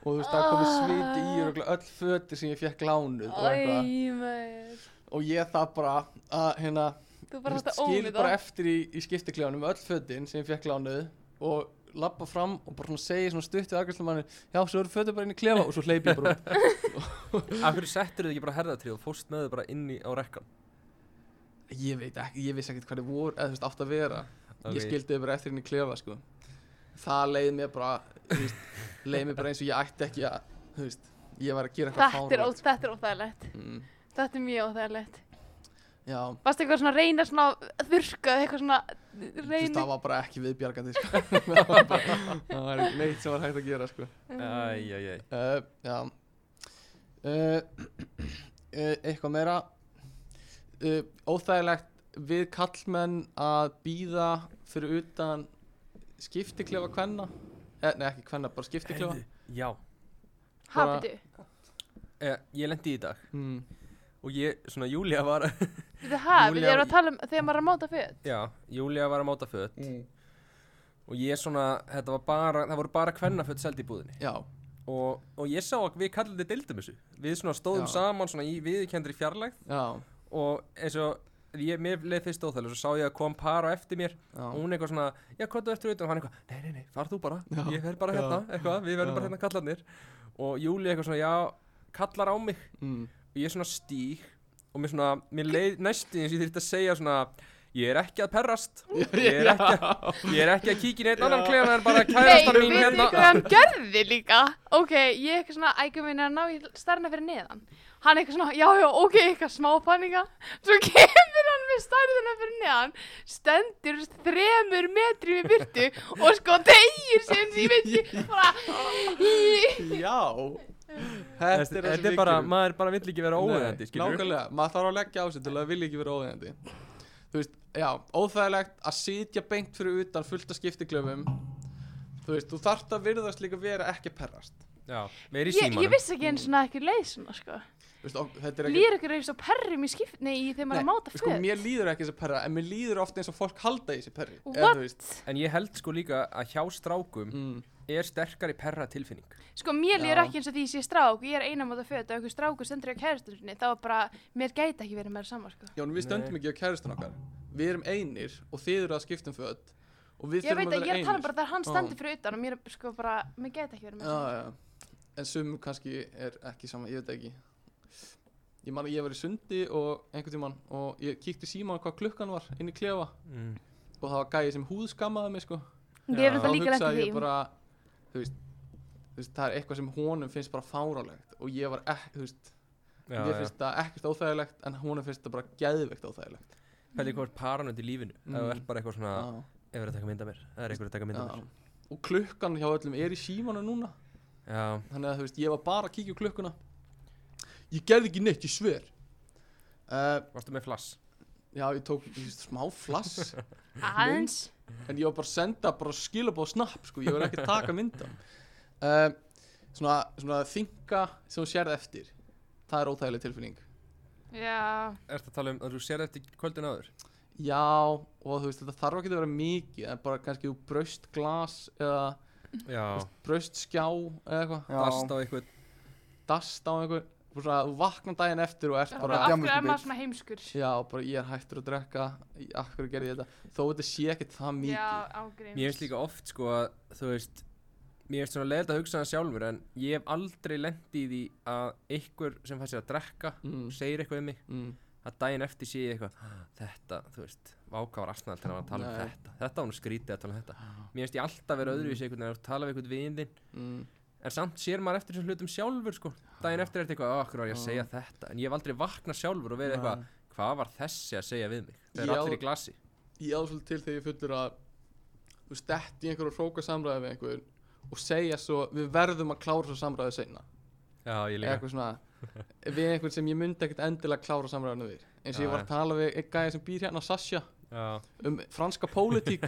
[SPEAKER 3] og þú veist það komið sviti í og öll föti sem ég fekk lánuð og, eitthvað.
[SPEAKER 1] Æ, maður.
[SPEAKER 3] og ég það bara að hérna
[SPEAKER 1] Þú
[SPEAKER 3] þú
[SPEAKER 1] bara
[SPEAKER 3] veist,
[SPEAKER 1] þetta
[SPEAKER 3] skil bara
[SPEAKER 1] ómynda.
[SPEAKER 3] eftir í, í skiptikljónum öll fötin sem ég fekk lánuð og lappa fram og bara svona segja svona stutt við afgjörslumanni já, svo eru fötin bara inn í klefa og svo hleyp ég bara út
[SPEAKER 4] Af hverju settur þið ekki bara herðatrið og fórst með þið bara inn í, á rekkan?
[SPEAKER 3] Ég veit ekki, ég vissi ekkert hvað þið voru, eða þú veist, átt að vera
[SPEAKER 4] Ok.
[SPEAKER 3] Ég skildi þau bara eftir henni klefa, sko Það leiði mér bara, þú veist, leiði mér bara eins og ég ætti ekki að, þú veist, ég var að gera eitthvað
[SPEAKER 1] Þetta er, ó,
[SPEAKER 3] fáránlegt.
[SPEAKER 1] þetta er óþægilegt.
[SPEAKER 3] Mm,
[SPEAKER 1] Þetta er mjög óþægilegt.
[SPEAKER 3] já,
[SPEAKER 1] Varstu eitthvað svona að reyna svona að þurrka eða eitthvað svona
[SPEAKER 3] þú veist,
[SPEAKER 1] reyna
[SPEAKER 3] það var bara ekki viðbjargandi, sko [LAUGHS] Það var bara, það var ekki neitt sem var hægt að gera, sko
[SPEAKER 1] Mm.
[SPEAKER 4] Æjæjæj.
[SPEAKER 3] uh, Já [CLEARS THROAT] uh, uh, Eitthvað meira uh, Óþægilegt við kallmenn að býða fyrir utan skiptiklefa kvenna eh, Nei ekki kvenna, bara skiptiklefa
[SPEAKER 4] Já.
[SPEAKER 3] bara-
[SPEAKER 1] hapitu
[SPEAKER 4] Eh, ég lendi í dag
[SPEAKER 3] mm.
[SPEAKER 2] og ég, svona Júlia var
[SPEAKER 4] [LAUGHS]
[SPEAKER 1] Við þið hæ, við
[SPEAKER 2] Júlía-
[SPEAKER 1] erum að tala um þegar maður er að móta föt.
[SPEAKER 2] já, Júlia var að móta fött
[SPEAKER 3] Mm.
[SPEAKER 2] og ég svona, þetta var bara það voru bara kvennafött seld í búðinni
[SPEAKER 3] Já,
[SPEAKER 2] og, og ég sá að við kallandi deildum þessu við svona stóðum
[SPEAKER 3] Já.
[SPEAKER 2] saman svona í viðkendri fjarlægð
[SPEAKER 3] já,
[SPEAKER 2] og eins og ég, mér leið fyrst óþægilega svo sá ég að kom par á eftir mér og
[SPEAKER 3] já
[SPEAKER 2] hún eitthvað svona, já, hvað þú eftir auðvitað og hann eitthvað, nei, nei, nei, far þú bara,
[SPEAKER 3] Já.
[SPEAKER 2] ég fer bara
[SPEAKER 3] Já.
[SPEAKER 2] hérna eitthvað, við verðum bara
[SPEAKER 3] Já.
[SPEAKER 2] hérna kallarnir og Júli eitthvað svona, já, kallar á mig
[SPEAKER 3] mm.
[SPEAKER 2] og ég svona stíg og mér svona, mér leið næstu eins og ég þurfti að segja svona ég er ekki að
[SPEAKER 3] [LAUGHS]
[SPEAKER 2] perrast ég er ekki að, ég er ekki að kíkja í neitt annan klefa en bara
[SPEAKER 1] Nei,
[SPEAKER 2] kærastan mín
[SPEAKER 1] við þið hvað
[SPEAKER 2] hérna
[SPEAKER 1] hann gerði líka. Ok, ég eitthvað svona, ægum minn er að ná í stærna fyrir neðan. Hann eitthvað svona, já, já, ok, eitthvað smá panika. Svo [LAUGHS] kemur hann með stærðina fyrir neðan, stendur þremur metri við byrtu og sko tegir sér eins og
[SPEAKER 3] [LAUGHS]
[SPEAKER 1] ég veit ekki, bara,
[SPEAKER 3] Já
[SPEAKER 2] Þetta
[SPEAKER 3] Þetta er, það sem
[SPEAKER 2] þetta er
[SPEAKER 3] við
[SPEAKER 2] bara,
[SPEAKER 3] gerum.
[SPEAKER 2] maður bara vill ekki vera óvegandi,
[SPEAKER 3] Nei,
[SPEAKER 2] skilur
[SPEAKER 3] Nákvæmlega, maður þarf að leggja á sig til að vilja ekki vera óðeigandi Þú veist, já, óþægilegt að sitja beint fyrir utan fullt af skiptiklöfum Þú veist, þú þarft að virðast líka vera ekki að perrast
[SPEAKER 2] Já, við erum í
[SPEAKER 1] ég, ég
[SPEAKER 2] símanum
[SPEAKER 1] vissi ekki eins og ekki leið svona, sko.
[SPEAKER 3] Þú veist, og, þetta er ekki
[SPEAKER 1] Lýr ykkur eins og perrum í skipt, nei, í þegar maður er að máta
[SPEAKER 3] sko,
[SPEAKER 1] föt.
[SPEAKER 3] mér líður ekki þessi perra En mér líður oft eins og fólk halda í þessi perri
[SPEAKER 1] What?
[SPEAKER 3] veist,
[SPEAKER 2] En ég held sko líka að hjá strákum
[SPEAKER 3] mm,
[SPEAKER 2] er sterkari perra tilfinning
[SPEAKER 1] Sko, mér líður
[SPEAKER 3] Já.
[SPEAKER 1] ekki eins og því ég sé strák, ég er einamóta föt og einhver strákur stendur ég á kærastunni sinni, þá er bara, mér gæti ekki verið meira saman, sko.
[SPEAKER 3] Jón, við stöndum ekki á kæristun okkar Við erum einir og þið eru að skipta um föt Og við
[SPEAKER 1] Ég veit
[SPEAKER 3] þurfum
[SPEAKER 1] að
[SPEAKER 3] að
[SPEAKER 1] ég er að tala um
[SPEAKER 3] vera einir
[SPEAKER 1] bara þegar hann
[SPEAKER 3] Já.
[SPEAKER 1] stendur fyrir utan og mér er sko bara, mér gæti ekki verið meira saman.
[SPEAKER 3] já, já. En sum kannski er ekki sama, ég veit ekki Ég man að ég var í sundi og einhvern tímann og ég kíkti síman hvað klukkan var inn í klefa
[SPEAKER 2] mm.
[SPEAKER 3] og það var gæði sem húðskammaði mig sko
[SPEAKER 1] Ég er
[SPEAKER 2] Já.
[SPEAKER 1] þetta
[SPEAKER 3] Þá
[SPEAKER 1] líka lengt í
[SPEAKER 3] hugsaði ég
[SPEAKER 1] því.
[SPEAKER 3] bara þú veist, þú veist, það er eitthvað sem honum finnst bara fárálegt og ég var ekki, þú veist
[SPEAKER 2] Já,
[SPEAKER 3] ég
[SPEAKER 2] já.
[SPEAKER 3] finnst það ekkert óþægilegt en honum finnst það bara geðveikt óþægilegt
[SPEAKER 2] Pæli hvað er paranönd í lífinu mm. Það
[SPEAKER 3] Mm.
[SPEAKER 2] er bara eitthvað svona
[SPEAKER 3] Já,
[SPEAKER 2] Ef það er að taka mynda mér Það er einhver að taka mynda
[SPEAKER 3] já. og klukkan hjá öllum er í símanu núna
[SPEAKER 2] mér Já
[SPEAKER 3] þannig að þú veist, ég var bara að kíkja á klukkuna ég gerði ekki neitt, ég sver uh,
[SPEAKER 2] Varstu með flass
[SPEAKER 3] já, ég tók þú veist, smá flass
[SPEAKER 1] Aðeins.
[SPEAKER 3] en ég var bara að senda bara skilabóð snapp, sko, ég var ekki að taka mynda uh, svona, svona þinga sem þú sérð eftir það er óþægileg tilfinning
[SPEAKER 1] Já.
[SPEAKER 2] Ertu að tala um að þú sér eftir kvöldin áður
[SPEAKER 3] já, og þú veist, þetta þarf ekki að vera mikið en bara kannski þú braust glas eða
[SPEAKER 2] Já
[SPEAKER 3] braust skjá eða eitthvað,
[SPEAKER 2] Dast á einhvern
[SPEAKER 3] dast á einhver og svona, þú vaknar daginn
[SPEAKER 1] [LAUGHS]
[SPEAKER 3] eftir og ert
[SPEAKER 1] Bara,
[SPEAKER 3] bara
[SPEAKER 1] af
[SPEAKER 5] djammandi
[SPEAKER 1] hverju er
[SPEAKER 5] bitch.
[SPEAKER 1] maður svona heimskur?
[SPEAKER 3] Já, bara ég er hættur að drekka í- Af hverju gerði ég þetta Þó þetta sé ekkert það mikið
[SPEAKER 1] Já, ágríns.
[SPEAKER 2] Mér finnst líka oft sko að Þú veist Mér finnst svona leiðilegt að hugsa það sjálfur En ég hef aldrei lent í því að einhver sem fær sér að drekka
[SPEAKER 3] Mm.
[SPEAKER 2] Segir eitthvað um mig
[SPEAKER 3] mm.
[SPEAKER 2] Að daginn eftir sé ég eitthvað "Ah, Þetta, þú veist Váka var asnald þegar hann var að tala um
[SPEAKER 3] Nei.
[SPEAKER 2] þetta Þetta var nú skrítið að tala um þetta Mér finnst ég alltaf vera öðruvísi einhvern veginn að tala við einhvern vin þinn
[SPEAKER 3] Mm.
[SPEAKER 2] En samt sér maður eftir þessum hlutum sjálfur sko Daginn eftir er þetta eitthvað, okkur var ég að segja
[SPEAKER 3] Mm.
[SPEAKER 2] þetta En ég hef aldrei vaknað sjálfur og verið eitthvað Hvað var þessi að segja við mig? Það er
[SPEAKER 3] Já.
[SPEAKER 2] allir í glasi
[SPEAKER 3] Ég á svolítið til þegar ég er fullur að Þú veist, detti í einhverju hróka samræði við einhver Og segja svo, við verðum að klára svo samræði seinna
[SPEAKER 2] Já, ég líka
[SPEAKER 3] Eitthvað svona Við einhvern sem ég myndi ekkert endilega klára samræðinu við Eins og
[SPEAKER 2] Já,
[SPEAKER 3] ég
[SPEAKER 2] já.
[SPEAKER 3] var að tala við einn gæja sem býr hérna Sasha
[SPEAKER 2] Já,
[SPEAKER 3] Um
[SPEAKER 2] [LAUGHS]
[SPEAKER 3] franska pólitík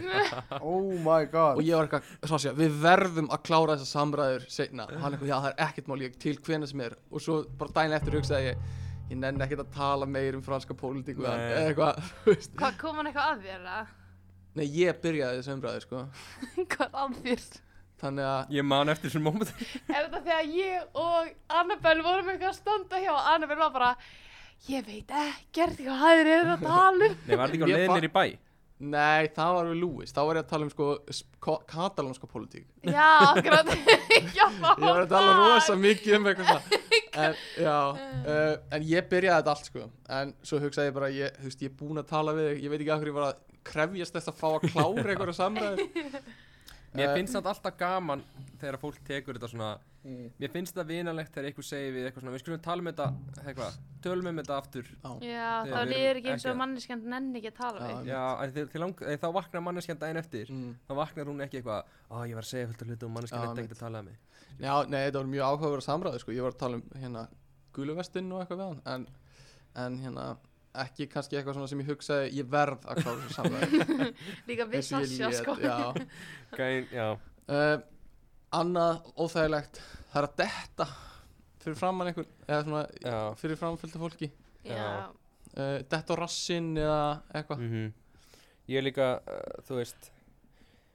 [SPEAKER 5] Oh my god
[SPEAKER 3] Og ég var eitthvað, Sasha, við verðum að klára þessa samræður seinna Og hann eitthvað, já, það er ekkert mál, ég til hvena sem er Og svo bara dæn eftir hugsaði ég Ég nenni ekkert að tala meir um franska pólitík við hann,
[SPEAKER 2] Nei.
[SPEAKER 3] eða eitthvað, þú veist
[SPEAKER 1] Hvað, kom hann eitthvað að þér, að?
[SPEAKER 3] Nei, ég byrjaði þessu umræðu, sko
[SPEAKER 1] [LAUGHS] Hvað að þér?
[SPEAKER 3] Þannig að,
[SPEAKER 2] ég man eftir þessum moment
[SPEAKER 1] Er þetta þegar ég og Annabelle vorum eitthvað að standa hjá og Annabelle var bara, ég veit ekkert hvað þér eru að tala um.
[SPEAKER 2] Nei, var þetta ekki á
[SPEAKER 3] Ég fa-
[SPEAKER 2] leiðinir í bæ?
[SPEAKER 3] nei, það var við Lewis Þá var ég að tala um, sko, sp- ko- katalónska pólitík
[SPEAKER 1] Já, akkurat. [LAUGHS] Já,
[SPEAKER 3] Ég
[SPEAKER 1] Oh,
[SPEAKER 3] var að tala rosa mikið um eitthvað svona En, já, uh, en ég byrjaði þetta allt, sko En svo hugsaði ég bara, ég, þú veist, ég er búinn að tala við þig Ég veit ekki af hverju ég var að krefjast þess að fá að klára einhverja samræður
[SPEAKER 2] Mér
[SPEAKER 3] Eh.
[SPEAKER 2] finnst þetta alltaf gaman þegar fólk tekur þetta svona Mér finnst þetta vinalegt þegar einhver segir við eitthvað svona Við skulum tala um þetta, eitthvað Tölum um þetta aftur
[SPEAKER 1] Já,
[SPEAKER 2] Þegar
[SPEAKER 1] þá
[SPEAKER 2] við
[SPEAKER 1] líður
[SPEAKER 2] erum
[SPEAKER 1] ekki eins
[SPEAKER 2] ekki
[SPEAKER 1] og
[SPEAKER 2] að-
[SPEAKER 1] manneskjönd nenni ekki að tala
[SPEAKER 3] Já,
[SPEAKER 1] við.
[SPEAKER 2] Já, en þið, þið lang, eh, þá vaknar manneskjan daginn eftir
[SPEAKER 3] mm,
[SPEAKER 2] Þá vaknar hún ekki eitthvað Ó, ég var að segja fullt af hlutum og manneskjan
[SPEAKER 3] Já,
[SPEAKER 2] þetta
[SPEAKER 3] einmitt.
[SPEAKER 2] ekkert að tala um mig
[SPEAKER 3] Já, nei, þetta var mjög áhugaverð samræður sko. Ég var að tala um hérna guluvestinn og eitthvað við hann en, en hérna, ekki kannski eitthvað svona sem ég hugsaði Ég verð að klára þessu samræður
[SPEAKER 1] Líka við
[SPEAKER 3] eins og ég
[SPEAKER 1] Sasha,
[SPEAKER 3] lét,
[SPEAKER 1] sko. [LAUGHS]
[SPEAKER 3] já.
[SPEAKER 2] Gæn, já
[SPEAKER 3] Uh, Annað óþægilegt Það er að detta Fyrir framann einhvern Eða svona
[SPEAKER 2] Já.
[SPEAKER 3] fyrir framfylgta fólki
[SPEAKER 1] já,
[SPEAKER 3] uh, Dett á rassinn eða eitthvað
[SPEAKER 2] -hmm.
[SPEAKER 3] [LAUGHS]
[SPEAKER 2] Ég er líka, uh, þú veist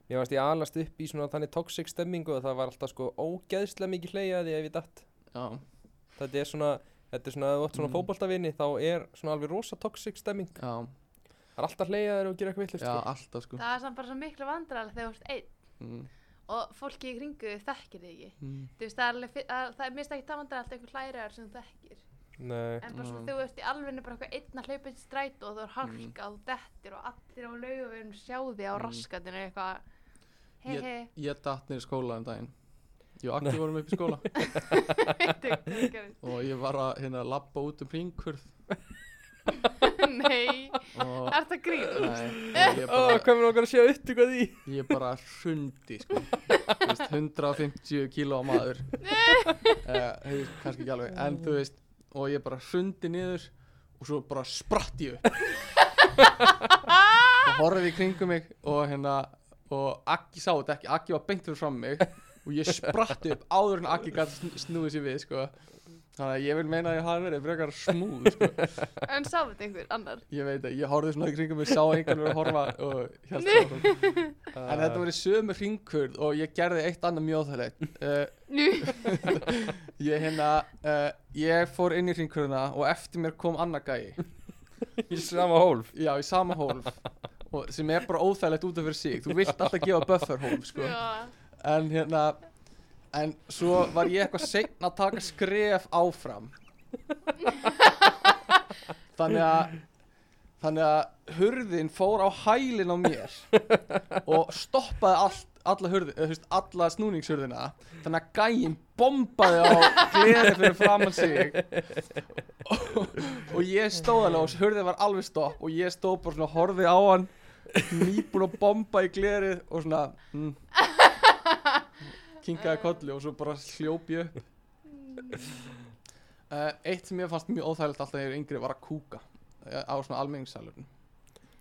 [SPEAKER 2] Mér varst ég alast upp í svona þannig toxic stemmingu og það var alltaf sko ógeðslega mikið hleyjaði ef ég datt
[SPEAKER 3] Já,
[SPEAKER 2] Þetta er svona, þetta er svona, ef þú átt svona
[SPEAKER 3] Mm.
[SPEAKER 2] mm. fótboltavini þá er svona alveg rosa toxic stemming
[SPEAKER 3] já,
[SPEAKER 2] Það er alltaf hleyjaðir og gera eitthvað villust
[SPEAKER 3] já, alltaf sko
[SPEAKER 1] það er samt bara svo miklu vandræðilega þegar þú ert einn
[SPEAKER 3] mm.
[SPEAKER 1] og fólki í kringu þig þekkir þig ekki
[SPEAKER 3] Mm.
[SPEAKER 1] þú veist, það er alveg, fi- það, það er mist ekki það vandræðilegt einhver hlæriðar sem þú þekkir
[SPEAKER 2] Nei,
[SPEAKER 1] en bara svona
[SPEAKER 3] Mm.
[SPEAKER 1] þegar þú ert í alvegni bara eitthvað einn að hlaupa eitt stræt og þú er hálka og þú dettir og allir á laugum sjá þig á
[SPEAKER 3] Mm.
[SPEAKER 1] raskatinu eitthvað hei
[SPEAKER 3] Ég-
[SPEAKER 1] hei,
[SPEAKER 3] Ég datt niður í skóla um daginn Ég og Akki vorum upp í skóla
[SPEAKER 1] veitu hvað það gerist
[SPEAKER 3] og ég var að hérna labba út um hringkurð
[SPEAKER 1] [LAUGHS] nei, [LAUGHS]
[SPEAKER 3] og
[SPEAKER 1] er það grín?
[SPEAKER 3] Nei, og
[SPEAKER 2] Ó,
[SPEAKER 3] ég bara,
[SPEAKER 2] hvað mér okkar að séu upptökuð í
[SPEAKER 3] ég bara hrundi sko. Þú veist, 150 kíló á maður uh, hefur kannski ekki alveg en þú veist, og ég bara hrundi niður og svo bara spratt ég upp og horfði í kringum mig og hérna og Akki sá þetta ekki, Akki var beint fyrir fram mig og ég spratt upp áður en Akki gæti sn snúið sér við sko. þannig að ég vil meina að ég hafi verið frekar smúð sko.
[SPEAKER 1] en sá þetta einhver annar
[SPEAKER 3] Ég veit að ég horfði svona í kringum mig, sá einhvern veginn að horfa og held það áfram. En þetta voru sömu hringkurð og ég gerði eitt annað mjög óþægilegt. Uh, [LAUGHS] ég hérna, uh, ég fór inn í hringkurðuna og eftir mér kom annað gæi.
[SPEAKER 2] Í sama hólf
[SPEAKER 3] Já, í sama hólf. Og sem er bara óþægilegt út af fyrir sig. Þú vilt alltaf gefa buffer hólf, sko.
[SPEAKER 1] Já.
[SPEAKER 3] En hérna, en svo var ég eitthvað seinn að taka skref áfram. Þannig að, þannig að hurðin fór á hælinn á mér og stoppaði allt, alla, hurði, eða, þú veist, alla snúningshurðina. Þannig að gæinn bombaði á gleði fyrir framann sig og, og ég stóð alveg og hurðin var alveg stopp og ég stóð bara svona og horfið á hann nýbúin að bomba í glerið og svona mm, kinkaði kolli og svo bara hljóp ég upp uh, eitt sem ég fannst mjög óþægilegt alltaf þegar ég var yngri var að kúka eh, á svona almenningssalurinn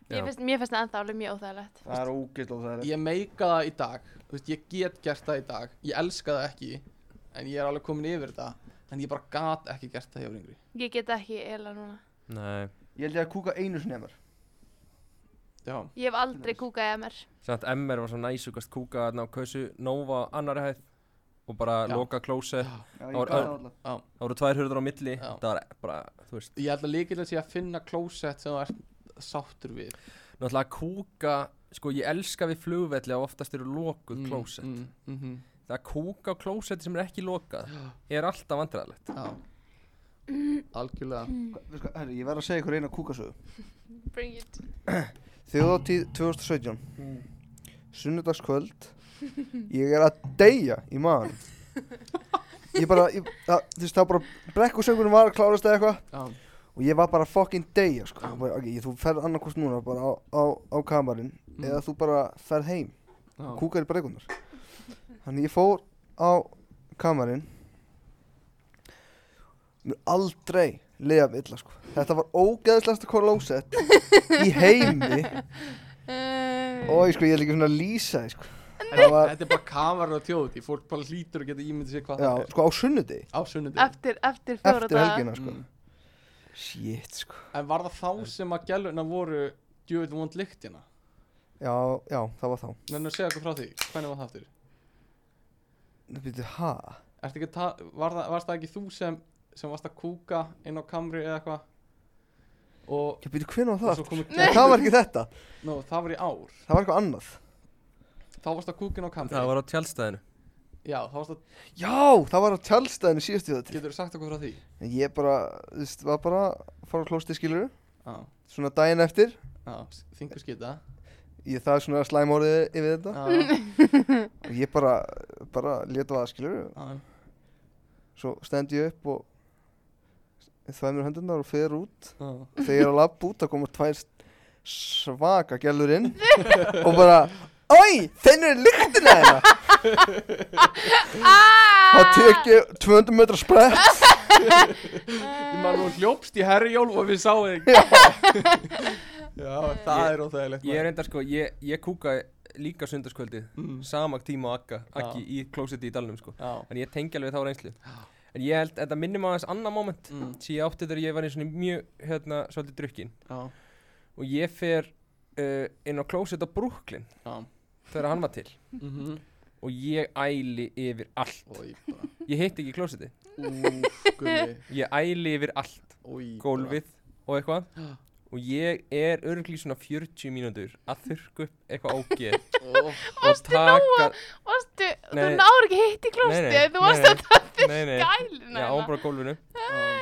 [SPEAKER 1] Mér finnst- mér finnst það ennþá alveg mjög óþægilegt
[SPEAKER 5] Það er ógeðslega það
[SPEAKER 3] ég meika það í dag þú veist, ég get gert það í dag, ég elska það ekki en ég er alveg komin yfir þetta en ég bara gat ekki gert það hjá yngri
[SPEAKER 1] ég get ekki eiginlega núna
[SPEAKER 2] Nei,
[SPEAKER 5] Ég held ég að kúka einu sinni emar
[SPEAKER 3] já,
[SPEAKER 1] ég hef aldrei kúkað eða mér
[SPEAKER 2] samt MR var svo næsugast kúka þarna á kausu Nova annari hæð og bara
[SPEAKER 3] Já.
[SPEAKER 2] loka klóset
[SPEAKER 5] Já,
[SPEAKER 2] Ár-
[SPEAKER 5] ég gæti
[SPEAKER 2] ár-
[SPEAKER 5] það alltaf
[SPEAKER 2] Það voru tvær hurður á milli,
[SPEAKER 3] Já.
[SPEAKER 2] það var bara, þú veist
[SPEAKER 3] ég held að líkilega sé að finna klósett sem þú ert sáttur við
[SPEAKER 2] Náttúrulega að kúka, sko ég elska við flugvelli að oftast eru lokuð
[SPEAKER 3] Mm,
[SPEAKER 2] klósett
[SPEAKER 3] mm, mhm,
[SPEAKER 2] Það að kúka á klósetti sem er ekki lokað er alltaf vandræðalegt
[SPEAKER 3] já algjörlega
[SPEAKER 5] Veistu hvað, herri, Ég verð að segja ykkur eina kúkasögu
[SPEAKER 1] bring it
[SPEAKER 5] Þjóðatíð 2017 Sunnudagskvöld Ég er að deyja í maðan Ég bara ég, það, Þú veist það bara Brekkusöngunum var að klárast eða eitthvað
[SPEAKER 3] já,
[SPEAKER 5] Og ég var bara að fucking deyja sko Ég bara, okay, Þú ferð annarkost núna bara á, á, á kamarinn
[SPEAKER 3] Mm.
[SPEAKER 5] Eða þú bara ferð heim
[SPEAKER 3] já,
[SPEAKER 5] Kúkar í breikunar Þannig ég fór á kamarinn Mér aldrei leiða við illa sko Þetta var ógeðslegasta korlósett Í
[SPEAKER 3] [LAUGHS]
[SPEAKER 5] heimi
[SPEAKER 1] uh,
[SPEAKER 5] Ói, sko, ég ætla ekki svona að lýsa því, sko. Það var,
[SPEAKER 3] Þetta er bara kamerar og þjóðutí, fólk bara hlýtur að geta ímyndið sér hvað
[SPEAKER 5] já,
[SPEAKER 3] það er
[SPEAKER 5] sko, á sunnundi,
[SPEAKER 3] á sunnundi.
[SPEAKER 1] eftir, eftir fjóra
[SPEAKER 5] eftir
[SPEAKER 1] daga.
[SPEAKER 5] helgina, sko.
[SPEAKER 3] Mm.
[SPEAKER 5] Shit, sko.
[SPEAKER 3] En var það þá sem að gæluna voru djöfitt vond lykt hérna?
[SPEAKER 5] Já, já, það var þá.
[SPEAKER 3] Nennu að segja eitthvað frá því, hvernig var það aftur?
[SPEAKER 5] Nei, býttu, ha?
[SPEAKER 3] Ertu ekki að ta- var það, varst það ekki þú sem, sem varst að kúka inn á kamri eða eitthvað? Og,
[SPEAKER 5] Já, býttu, hvernig var
[SPEAKER 3] og
[SPEAKER 5] það?
[SPEAKER 3] svo
[SPEAKER 5] aftur?
[SPEAKER 3] komu
[SPEAKER 5] Nei, það var ekki þetta.
[SPEAKER 3] Nó, það var í ár.
[SPEAKER 5] Það var eitthvað annað.
[SPEAKER 3] Þá varst að kúka inn á kamri.
[SPEAKER 2] Það var á tjálstæðinu
[SPEAKER 3] Já, þá varst að,
[SPEAKER 5] Já, það var á tjálstæðinu síðast í þetta.
[SPEAKER 3] getur þú sagt eitthvað frá því?
[SPEAKER 5] En ég bara, þú veist, var bara að fara á klósti, skilur,
[SPEAKER 3] Já,
[SPEAKER 5] svona daginn eftir.
[SPEAKER 3] já, þingur skita.
[SPEAKER 5] Ég það er svona slæm orðið yfir þetta.
[SPEAKER 3] Já,
[SPEAKER 5] Og ég bara, bara leta það, skilur.
[SPEAKER 3] já,
[SPEAKER 5] Svo stend ég upp og þvæði mér hendunar og fer út.
[SPEAKER 3] já.
[SPEAKER 5] þegar ég er að labba út þá koma tvær svaka gælur inn og bara Æ, þenni er lyktina hérna." þeirra
[SPEAKER 1] Ah!
[SPEAKER 5] Það tek ég 200 metra sprett
[SPEAKER 3] Ég maður nú hljópst í herjólf og við sáum þig.
[SPEAKER 5] Já.
[SPEAKER 3] [LAUGHS] Já, það er óþægilegt.
[SPEAKER 2] Ég
[SPEAKER 3] maður.
[SPEAKER 2] er enda sko, ég, ég kúka líka sundarskvöldið
[SPEAKER 3] Mm.
[SPEAKER 2] sama tíma og akka,
[SPEAKER 3] Já.
[SPEAKER 2] akki í klósetti í dalnum sko
[SPEAKER 3] Já.
[SPEAKER 2] En ég tengi alveg þá reynslu En En ég held, þetta minnir maður aðeins annað moment
[SPEAKER 3] Mm.
[SPEAKER 2] sem ég átti þegar ég var í svona mjög, hérna, svolítið drukkin
[SPEAKER 3] Já,
[SPEAKER 2] og ég fer uh, inn á klósett á Brooklyn
[SPEAKER 3] já
[SPEAKER 2] þegar hann var til
[SPEAKER 3] Mhm
[SPEAKER 2] og ég æli yfir allt
[SPEAKER 3] Ói, bara
[SPEAKER 2] ég hitt ekki klósetti,
[SPEAKER 3] Úf, gummi
[SPEAKER 2] ég æli yfir allt
[SPEAKER 3] Ói,
[SPEAKER 2] gólfið og eitthvað
[SPEAKER 3] Já.
[SPEAKER 2] og ég er örgli svona 40 mínútur að þurrku upp eitthvað ógeð
[SPEAKER 3] Ó,
[SPEAKER 2] og taka
[SPEAKER 1] Vastu, þú
[SPEAKER 2] Nei.
[SPEAKER 1] náður ekki hitt í
[SPEAKER 2] Nei,
[SPEAKER 1] klósti
[SPEAKER 2] nei,
[SPEAKER 1] Þú
[SPEAKER 2] nei,
[SPEAKER 1] varst að hérna. það
[SPEAKER 2] nei, nei.
[SPEAKER 1] gælina
[SPEAKER 2] Já, hún bara á gólfinu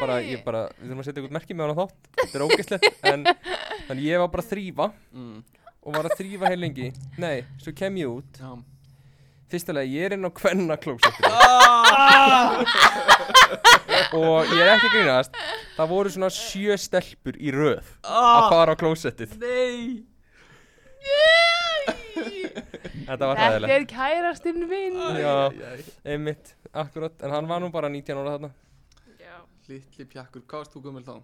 [SPEAKER 2] bara,
[SPEAKER 1] Nei.
[SPEAKER 2] ég bara, við þurfum að setja eitthvað merki með hana þátt þetta er ógeðslegt en, en ég var bara að þrýfa
[SPEAKER 3] mm,
[SPEAKER 2] og var að þrýfa heil lengi nei, svo kem ég út
[SPEAKER 3] já
[SPEAKER 2] fyrstulega ég er inn á kvenna klósettinu og ég er ekki að grínast það voru svona sjö stelpur í röð að fara á klósettið
[SPEAKER 3] Ah, Nei
[SPEAKER 2] þetta var
[SPEAKER 1] Þetta
[SPEAKER 2] hæðilegt
[SPEAKER 1] er kærastinn minn
[SPEAKER 2] Já, einmitt, akkurat, en hann var nú bara 19 ára þarna
[SPEAKER 1] Já.
[SPEAKER 3] Littli pjakkur, hvað varst þú gummul þá?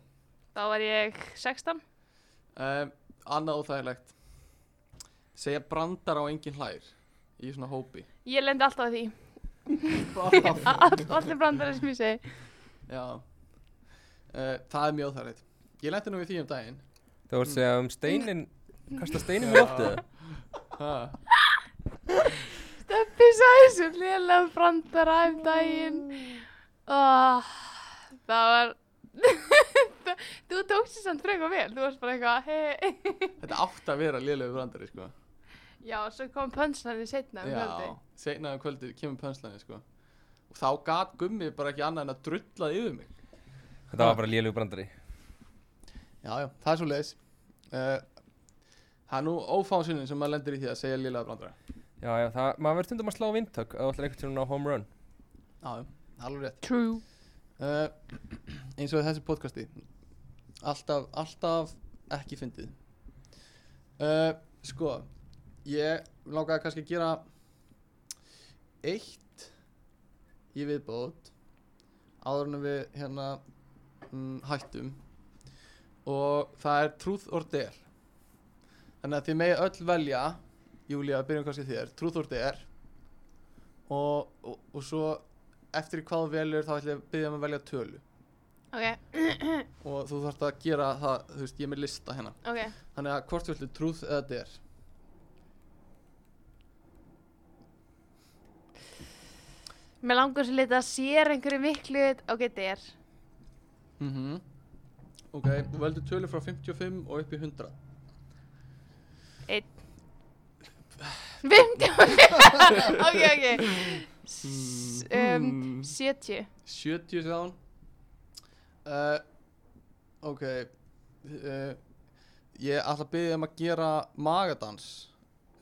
[SPEAKER 1] Þá var ég 16
[SPEAKER 3] Um, annað óþægilegt Segja brandar á engin hlær Í svona hópi
[SPEAKER 1] Ég lendi alltaf að því
[SPEAKER 7] Alltaf.
[SPEAKER 1] A- all- Allir brandarinn sem ég segi
[SPEAKER 3] Já uh, Það er mjög óþægilegt Ég lenti nú við því um daginn
[SPEAKER 2] það voru að segja um steinin kasta steinin með loftið
[SPEAKER 3] ha,
[SPEAKER 1] Steppi sagði svo lélega brandara um daginn og það var [LAUGHS] Þú tókst þess að freka vel Þú varst bara eitthvað hei
[SPEAKER 3] Þetta átti að vera lélegu brandari sko
[SPEAKER 1] Já, svo kom pönslanir setna um kvöldi
[SPEAKER 3] Já, seinna um kvöldið kemur pönslæðin sko Og þá gat gummi bara ekki annað en að drullað yfir mig
[SPEAKER 2] þetta var bara lélug brandari
[SPEAKER 3] Já, já, það er svo leiðis uh, Það er nú ófánsunin sem maður lendir í því að segja lélega brandara
[SPEAKER 2] já, já, það, maður verður stundum að slá vindtök að þú ætlar einhvern tíma að ná home run
[SPEAKER 3] Já, já, það er alveg rétt
[SPEAKER 1] True
[SPEAKER 3] uh, Eins og í þessu podcasti Alltaf, alltaf ekki fyndið uh, Sko, ég langaði kannski að gera Eitt Í viðbót Áður en við hérna mm, Hættum Og það er truth or dare Þannig að þið megi öll velja Júlía, byrjum kannski á þér Truth or dare Og, og, og svo eftir í hvað þú velur þá ætlum ég að byggja um að velja tölu
[SPEAKER 1] Ok,
[SPEAKER 3] og þú þarfst að gera það, þú veist, ég er með lista hérna
[SPEAKER 1] ok
[SPEAKER 3] þannig að hvort þú ætlum trúð eða der
[SPEAKER 1] Mér langar svo litið að sér einhverju miklu Ok, þetta er
[SPEAKER 3] mhm ok, þú veldur tölu frá 55 og upp í 100
[SPEAKER 1] Einn 50 Ok, ok S um, 70
[SPEAKER 3] 70 sagðan uh, ok uh, ég ætla að byggja um að gera magadans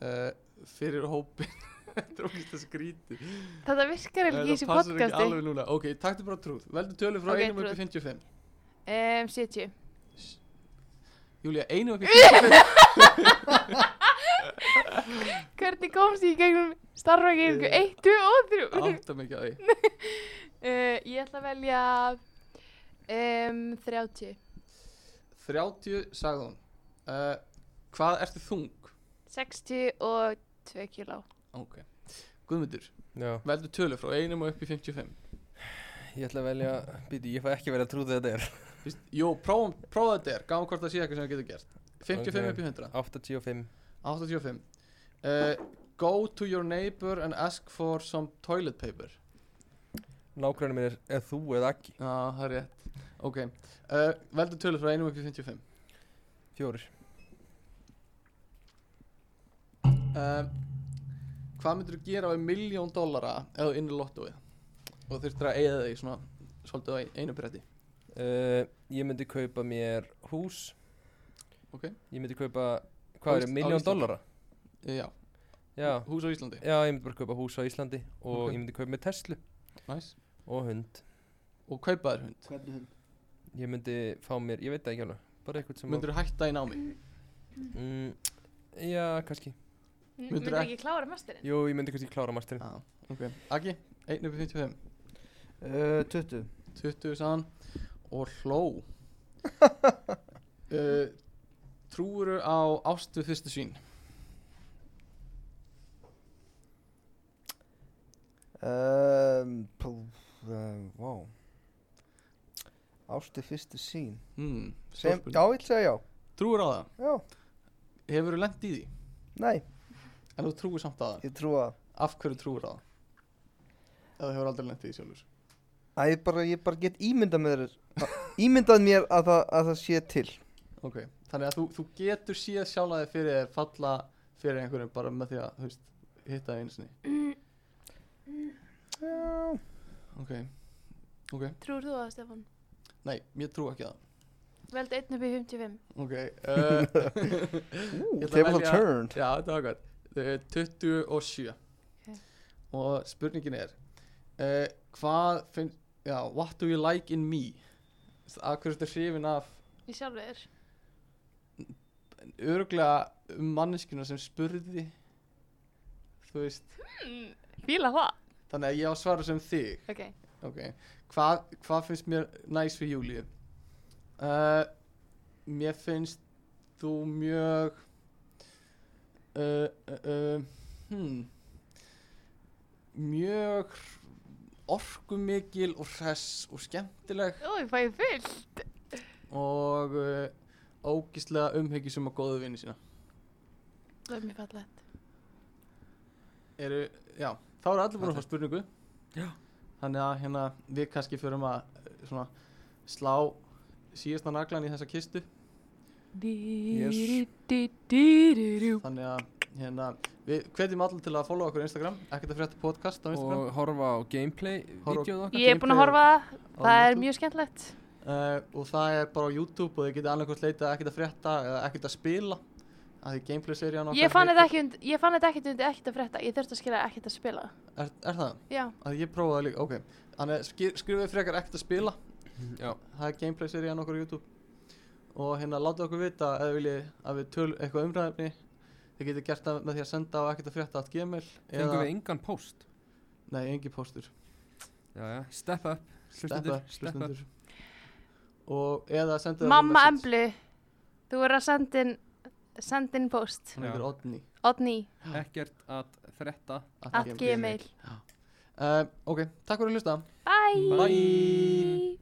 [SPEAKER 3] uh, fyrir hópin [LAUGHS] þetta er okkur skrítið
[SPEAKER 1] Þetta virkar
[SPEAKER 3] Nei,
[SPEAKER 1] ekki í þessu
[SPEAKER 3] það passar ekki
[SPEAKER 1] podcasti
[SPEAKER 3] alveg núna ok, taktu bara trúð, veldur tölu frá
[SPEAKER 1] Ok,
[SPEAKER 3] 1 upp
[SPEAKER 1] trúð.
[SPEAKER 3] í 55
[SPEAKER 1] um, 70
[SPEAKER 3] Júlía, einu upp í 55
[SPEAKER 1] Hvernig komst ég í gegnum starfvækir 1, 2 og 3
[SPEAKER 3] átta mikið á því
[SPEAKER 1] uh, Ég ætla að velja um, 30
[SPEAKER 3] 30 sagði hún uh, hvað ertu þung?
[SPEAKER 1] 60 og 2 kíló
[SPEAKER 3] ok, Guðmundur,
[SPEAKER 2] já,
[SPEAKER 3] veldu tölu frá einum og upp í 55
[SPEAKER 2] ég ætla að velja býti, ég fæ ekki verið að trú þegar þetta er
[SPEAKER 3] Vist, jú, prófum, prófa þetta er, gáum hvort það sé eitthvað sem það getur gert
[SPEAKER 2] Ok.
[SPEAKER 3] 55 upp í 100
[SPEAKER 2] 85
[SPEAKER 3] 85 uh, go to your neighbor and ask for some toilet paper
[SPEAKER 2] nákvæmlega mér er, er þú eða ekki
[SPEAKER 3] já, það er rétt ok, uh, veldu tölu frá einum upp í 55
[SPEAKER 2] fjórir
[SPEAKER 3] uh, hvað myndir þú gera á ein miljón dollara ef þú innir lottóið og þurftir að eiga þig svona svolítið á ein- einu bretti
[SPEAKER 2] uh, ég myndi kaupa mér hús
[SPEAKER 3] ok,
[SPEAKER 2] ég myndi kaupa,
[SPEAKER 3] Á
[SPEAKER 2] hvað
[SPEAKER 3] Ís-
[SPEAKER 2] er,
[SPEAKER 3] á
[SPEAKER 2] miljón
[SPEAKER 3] Íslandi?
[SPEAKER 2] dollara
[SPEAKER 3] Eh, já,
[SPEAKER 2] já,
[SPEAKER 3] hús á Íslandi
[SPEAKER 2] já, ég myndi bara kaupa hús á Íslandi og
[SPEAKER 3] Ok.
[SPEAKER 2] ég myndi kaupa mér Tesla
[SPEAKER 3] nice.
[SPEAKER 2] og hund
[SPEAKER 3] og kaupa þér hund
[SPEAKER 7] Hvernig hund?
[SPEAKER 2] ég myndi fá mér, ég veit það ekki alveg bara eitthvað sem
[SPEAKER 3] myndir þú hætta í námi
[SPEAKER 2] að, mm, já, kannski
[SPEAKER 1] Myndur
[SPEAKER 3] Myndirðu
[SPEAKER 1] ekki klára mesturinn?
[SPEAKER 2] jú, ég myndi kannski klára masterinn
[SPEAKER 3] ah, ok, Aki, 1 upp í 55
[SPEAKER 7] Uh, 20.
[SPEAKER 3] 20 sann og [LAUGHS] hló uh, trúuru á ást við fyrstu sín
[SPEAKER 5] Ehm, Um, pú, um, wow.
[SPEAKER 6] Ástu fyrstu sín
[SPEAKER 3] Hmm,
[SPEAKER 6] Sem,
[SPEAKER 3] stórspurning.
[SPEAKER 6] Já, ég vil segja já
[SPEAKER 3] Trúir á það?
[SPEAKER 6] Já,
[SPEAKER 3] Hefur þú lent í því?
[SPEAKER 6] nei,
[SPEAKER 3] En þú trúir samt á það?
[SPEAKER 6] ég trú að
[SPEAKER 3] Af hverju trúir á það? Eða hefur aldrei lent í því sjálfur?
[SPEAKER 6] Æ, ég bara, ég bara get ímyndað mér Ímyndað mér að það, að það sé til
[SPEAKER 3] Ok, þannig að þú, þú getur síðan sjálfaði fyrir þér falla fyrir einhverjum bara með því að þú veist, hitta það einu sinni
[SPEAKER 6] Já,
[SPEAKER 3] Ok, ok,
[SPEAKER 1] Trúir þú það, Stefán?
[SPEAKER 3] nei, ég trú ekki á það
[SPEAKER 1] Veld 1 upp í 55.
[SPEAKER 3] Ok, uh, Ég ætla að
[SPEAKER 6] Tables are
[SPEAKER 3] velja-
[SPEAKER 6] turned
[SPEAKER 3] já, þetta var gott uh, 27
[SPEAKER 1] Ok.
[SPEAKER 3] Og spurningin er uh, Hvað finn, já, what do you like in me? Að hverju þetta hrifin af
[SPEAKER 1] Í sjálfur þér.
[SPEAKER 3] öruglega um manneskuna sem spurði Þú veist,
[SPEAKER 1] Fíla það.
[SPEAKER 3] þannig að ég á að svara sem þig
[SPEAKER 1] Ok.
[SPEAKER 3] Ok, hvað hva finnst mér næs við Júlíu? Uh, mér finnst þú mjög uh, uh, uh, hmm, mjög orkumikil og hress og skemmtileg
[SPEAKER 1] Ó, ég fæði fullt.
[SPEAKER 3] og uh, ógislega umhyggjusum og góðu vini sína
[SPEAKER 1] Það er mjög fallegt.
[SPEAKER 3] eru, já, þá eru allir búin að
[SPEAKER 4] Fallegt.
[SPEAKER 3] fá spurningu
[SPEAKER 4] Já.
[SPEAKER 3] þannig að hérna við kannski förum að eh, svona, slá síðasta naglan í þessa kistu
[SPEAKER 6] Yes.
[SPEAKER 1] Dýrú.
[SPEAKER 3] þannig að hérna, við hvetjum allir til að followa okkur á Instagram, ekkert að frétta podcast á Instagram
[SPEAKER 4] og horfa á gameplay
[SPEAKER 3] Horfa á-
[SPEAKER 4] vídeoð okkar
[SPEAKER 1] Ég er búin að horfa á það.
[SPEAKER 3] Á
[SPEAKER 1] Það er
[SPEAKER 3] YouTube.
[SPEAKER 1] mjög skemmtlegt.
[SPEAKER 3] uh, og það er bara á YouTube og þið getið annarkvæmt leitað ekkert að frétta eða ekkert að spila að því gameplay serían
[SPEAKER 1] Ég fann þetta ekkert undir, ég fann þetta ekkert undir ekkert að frétta. Ég þurfti að skilja ekkert að spila.
[SPEAKER 3] er, er það?
[SPEAKER 1] Já.
[SPEAKER 3] að ég prófaði líka, ok þannig skri- skrifið frekar ekkert að spila
[SPEAKER 4] Mhm, Já.
[SPEAKER 3] það er gameplay serían okkur á YouTube og hérna láta okkur vita eða viljið að við tölum eitthvað umræðefni þið getið gert það með því að senda á ekkert að frétta at gmail
[SPEAKER 4] fengum við engan post
[SPEAKER 3] nei, engi póstur
[SPEAKER 4] já, já. step up
[SPEAKER 3] Steppa,
[SPEAKER 4] Hlustendur, steppa.
[SPEAKER 3] hlustendur Og eða senda
[SPEAKER 1] Mamma Emblu, þú er að senda inn, senda inn post.
[SPEAKER 3] Hún hefur Odni
[SPEAKER 1] Odni,
[SPEAKER 4] ekkert að þretta
[SPEAKER 1] at gmail.
[SPEAKER 3] Eh, uh, Ok, takk fyrir að hlusta
[SPEAKER 1] Bye.
[SPEAKER 3] Bye.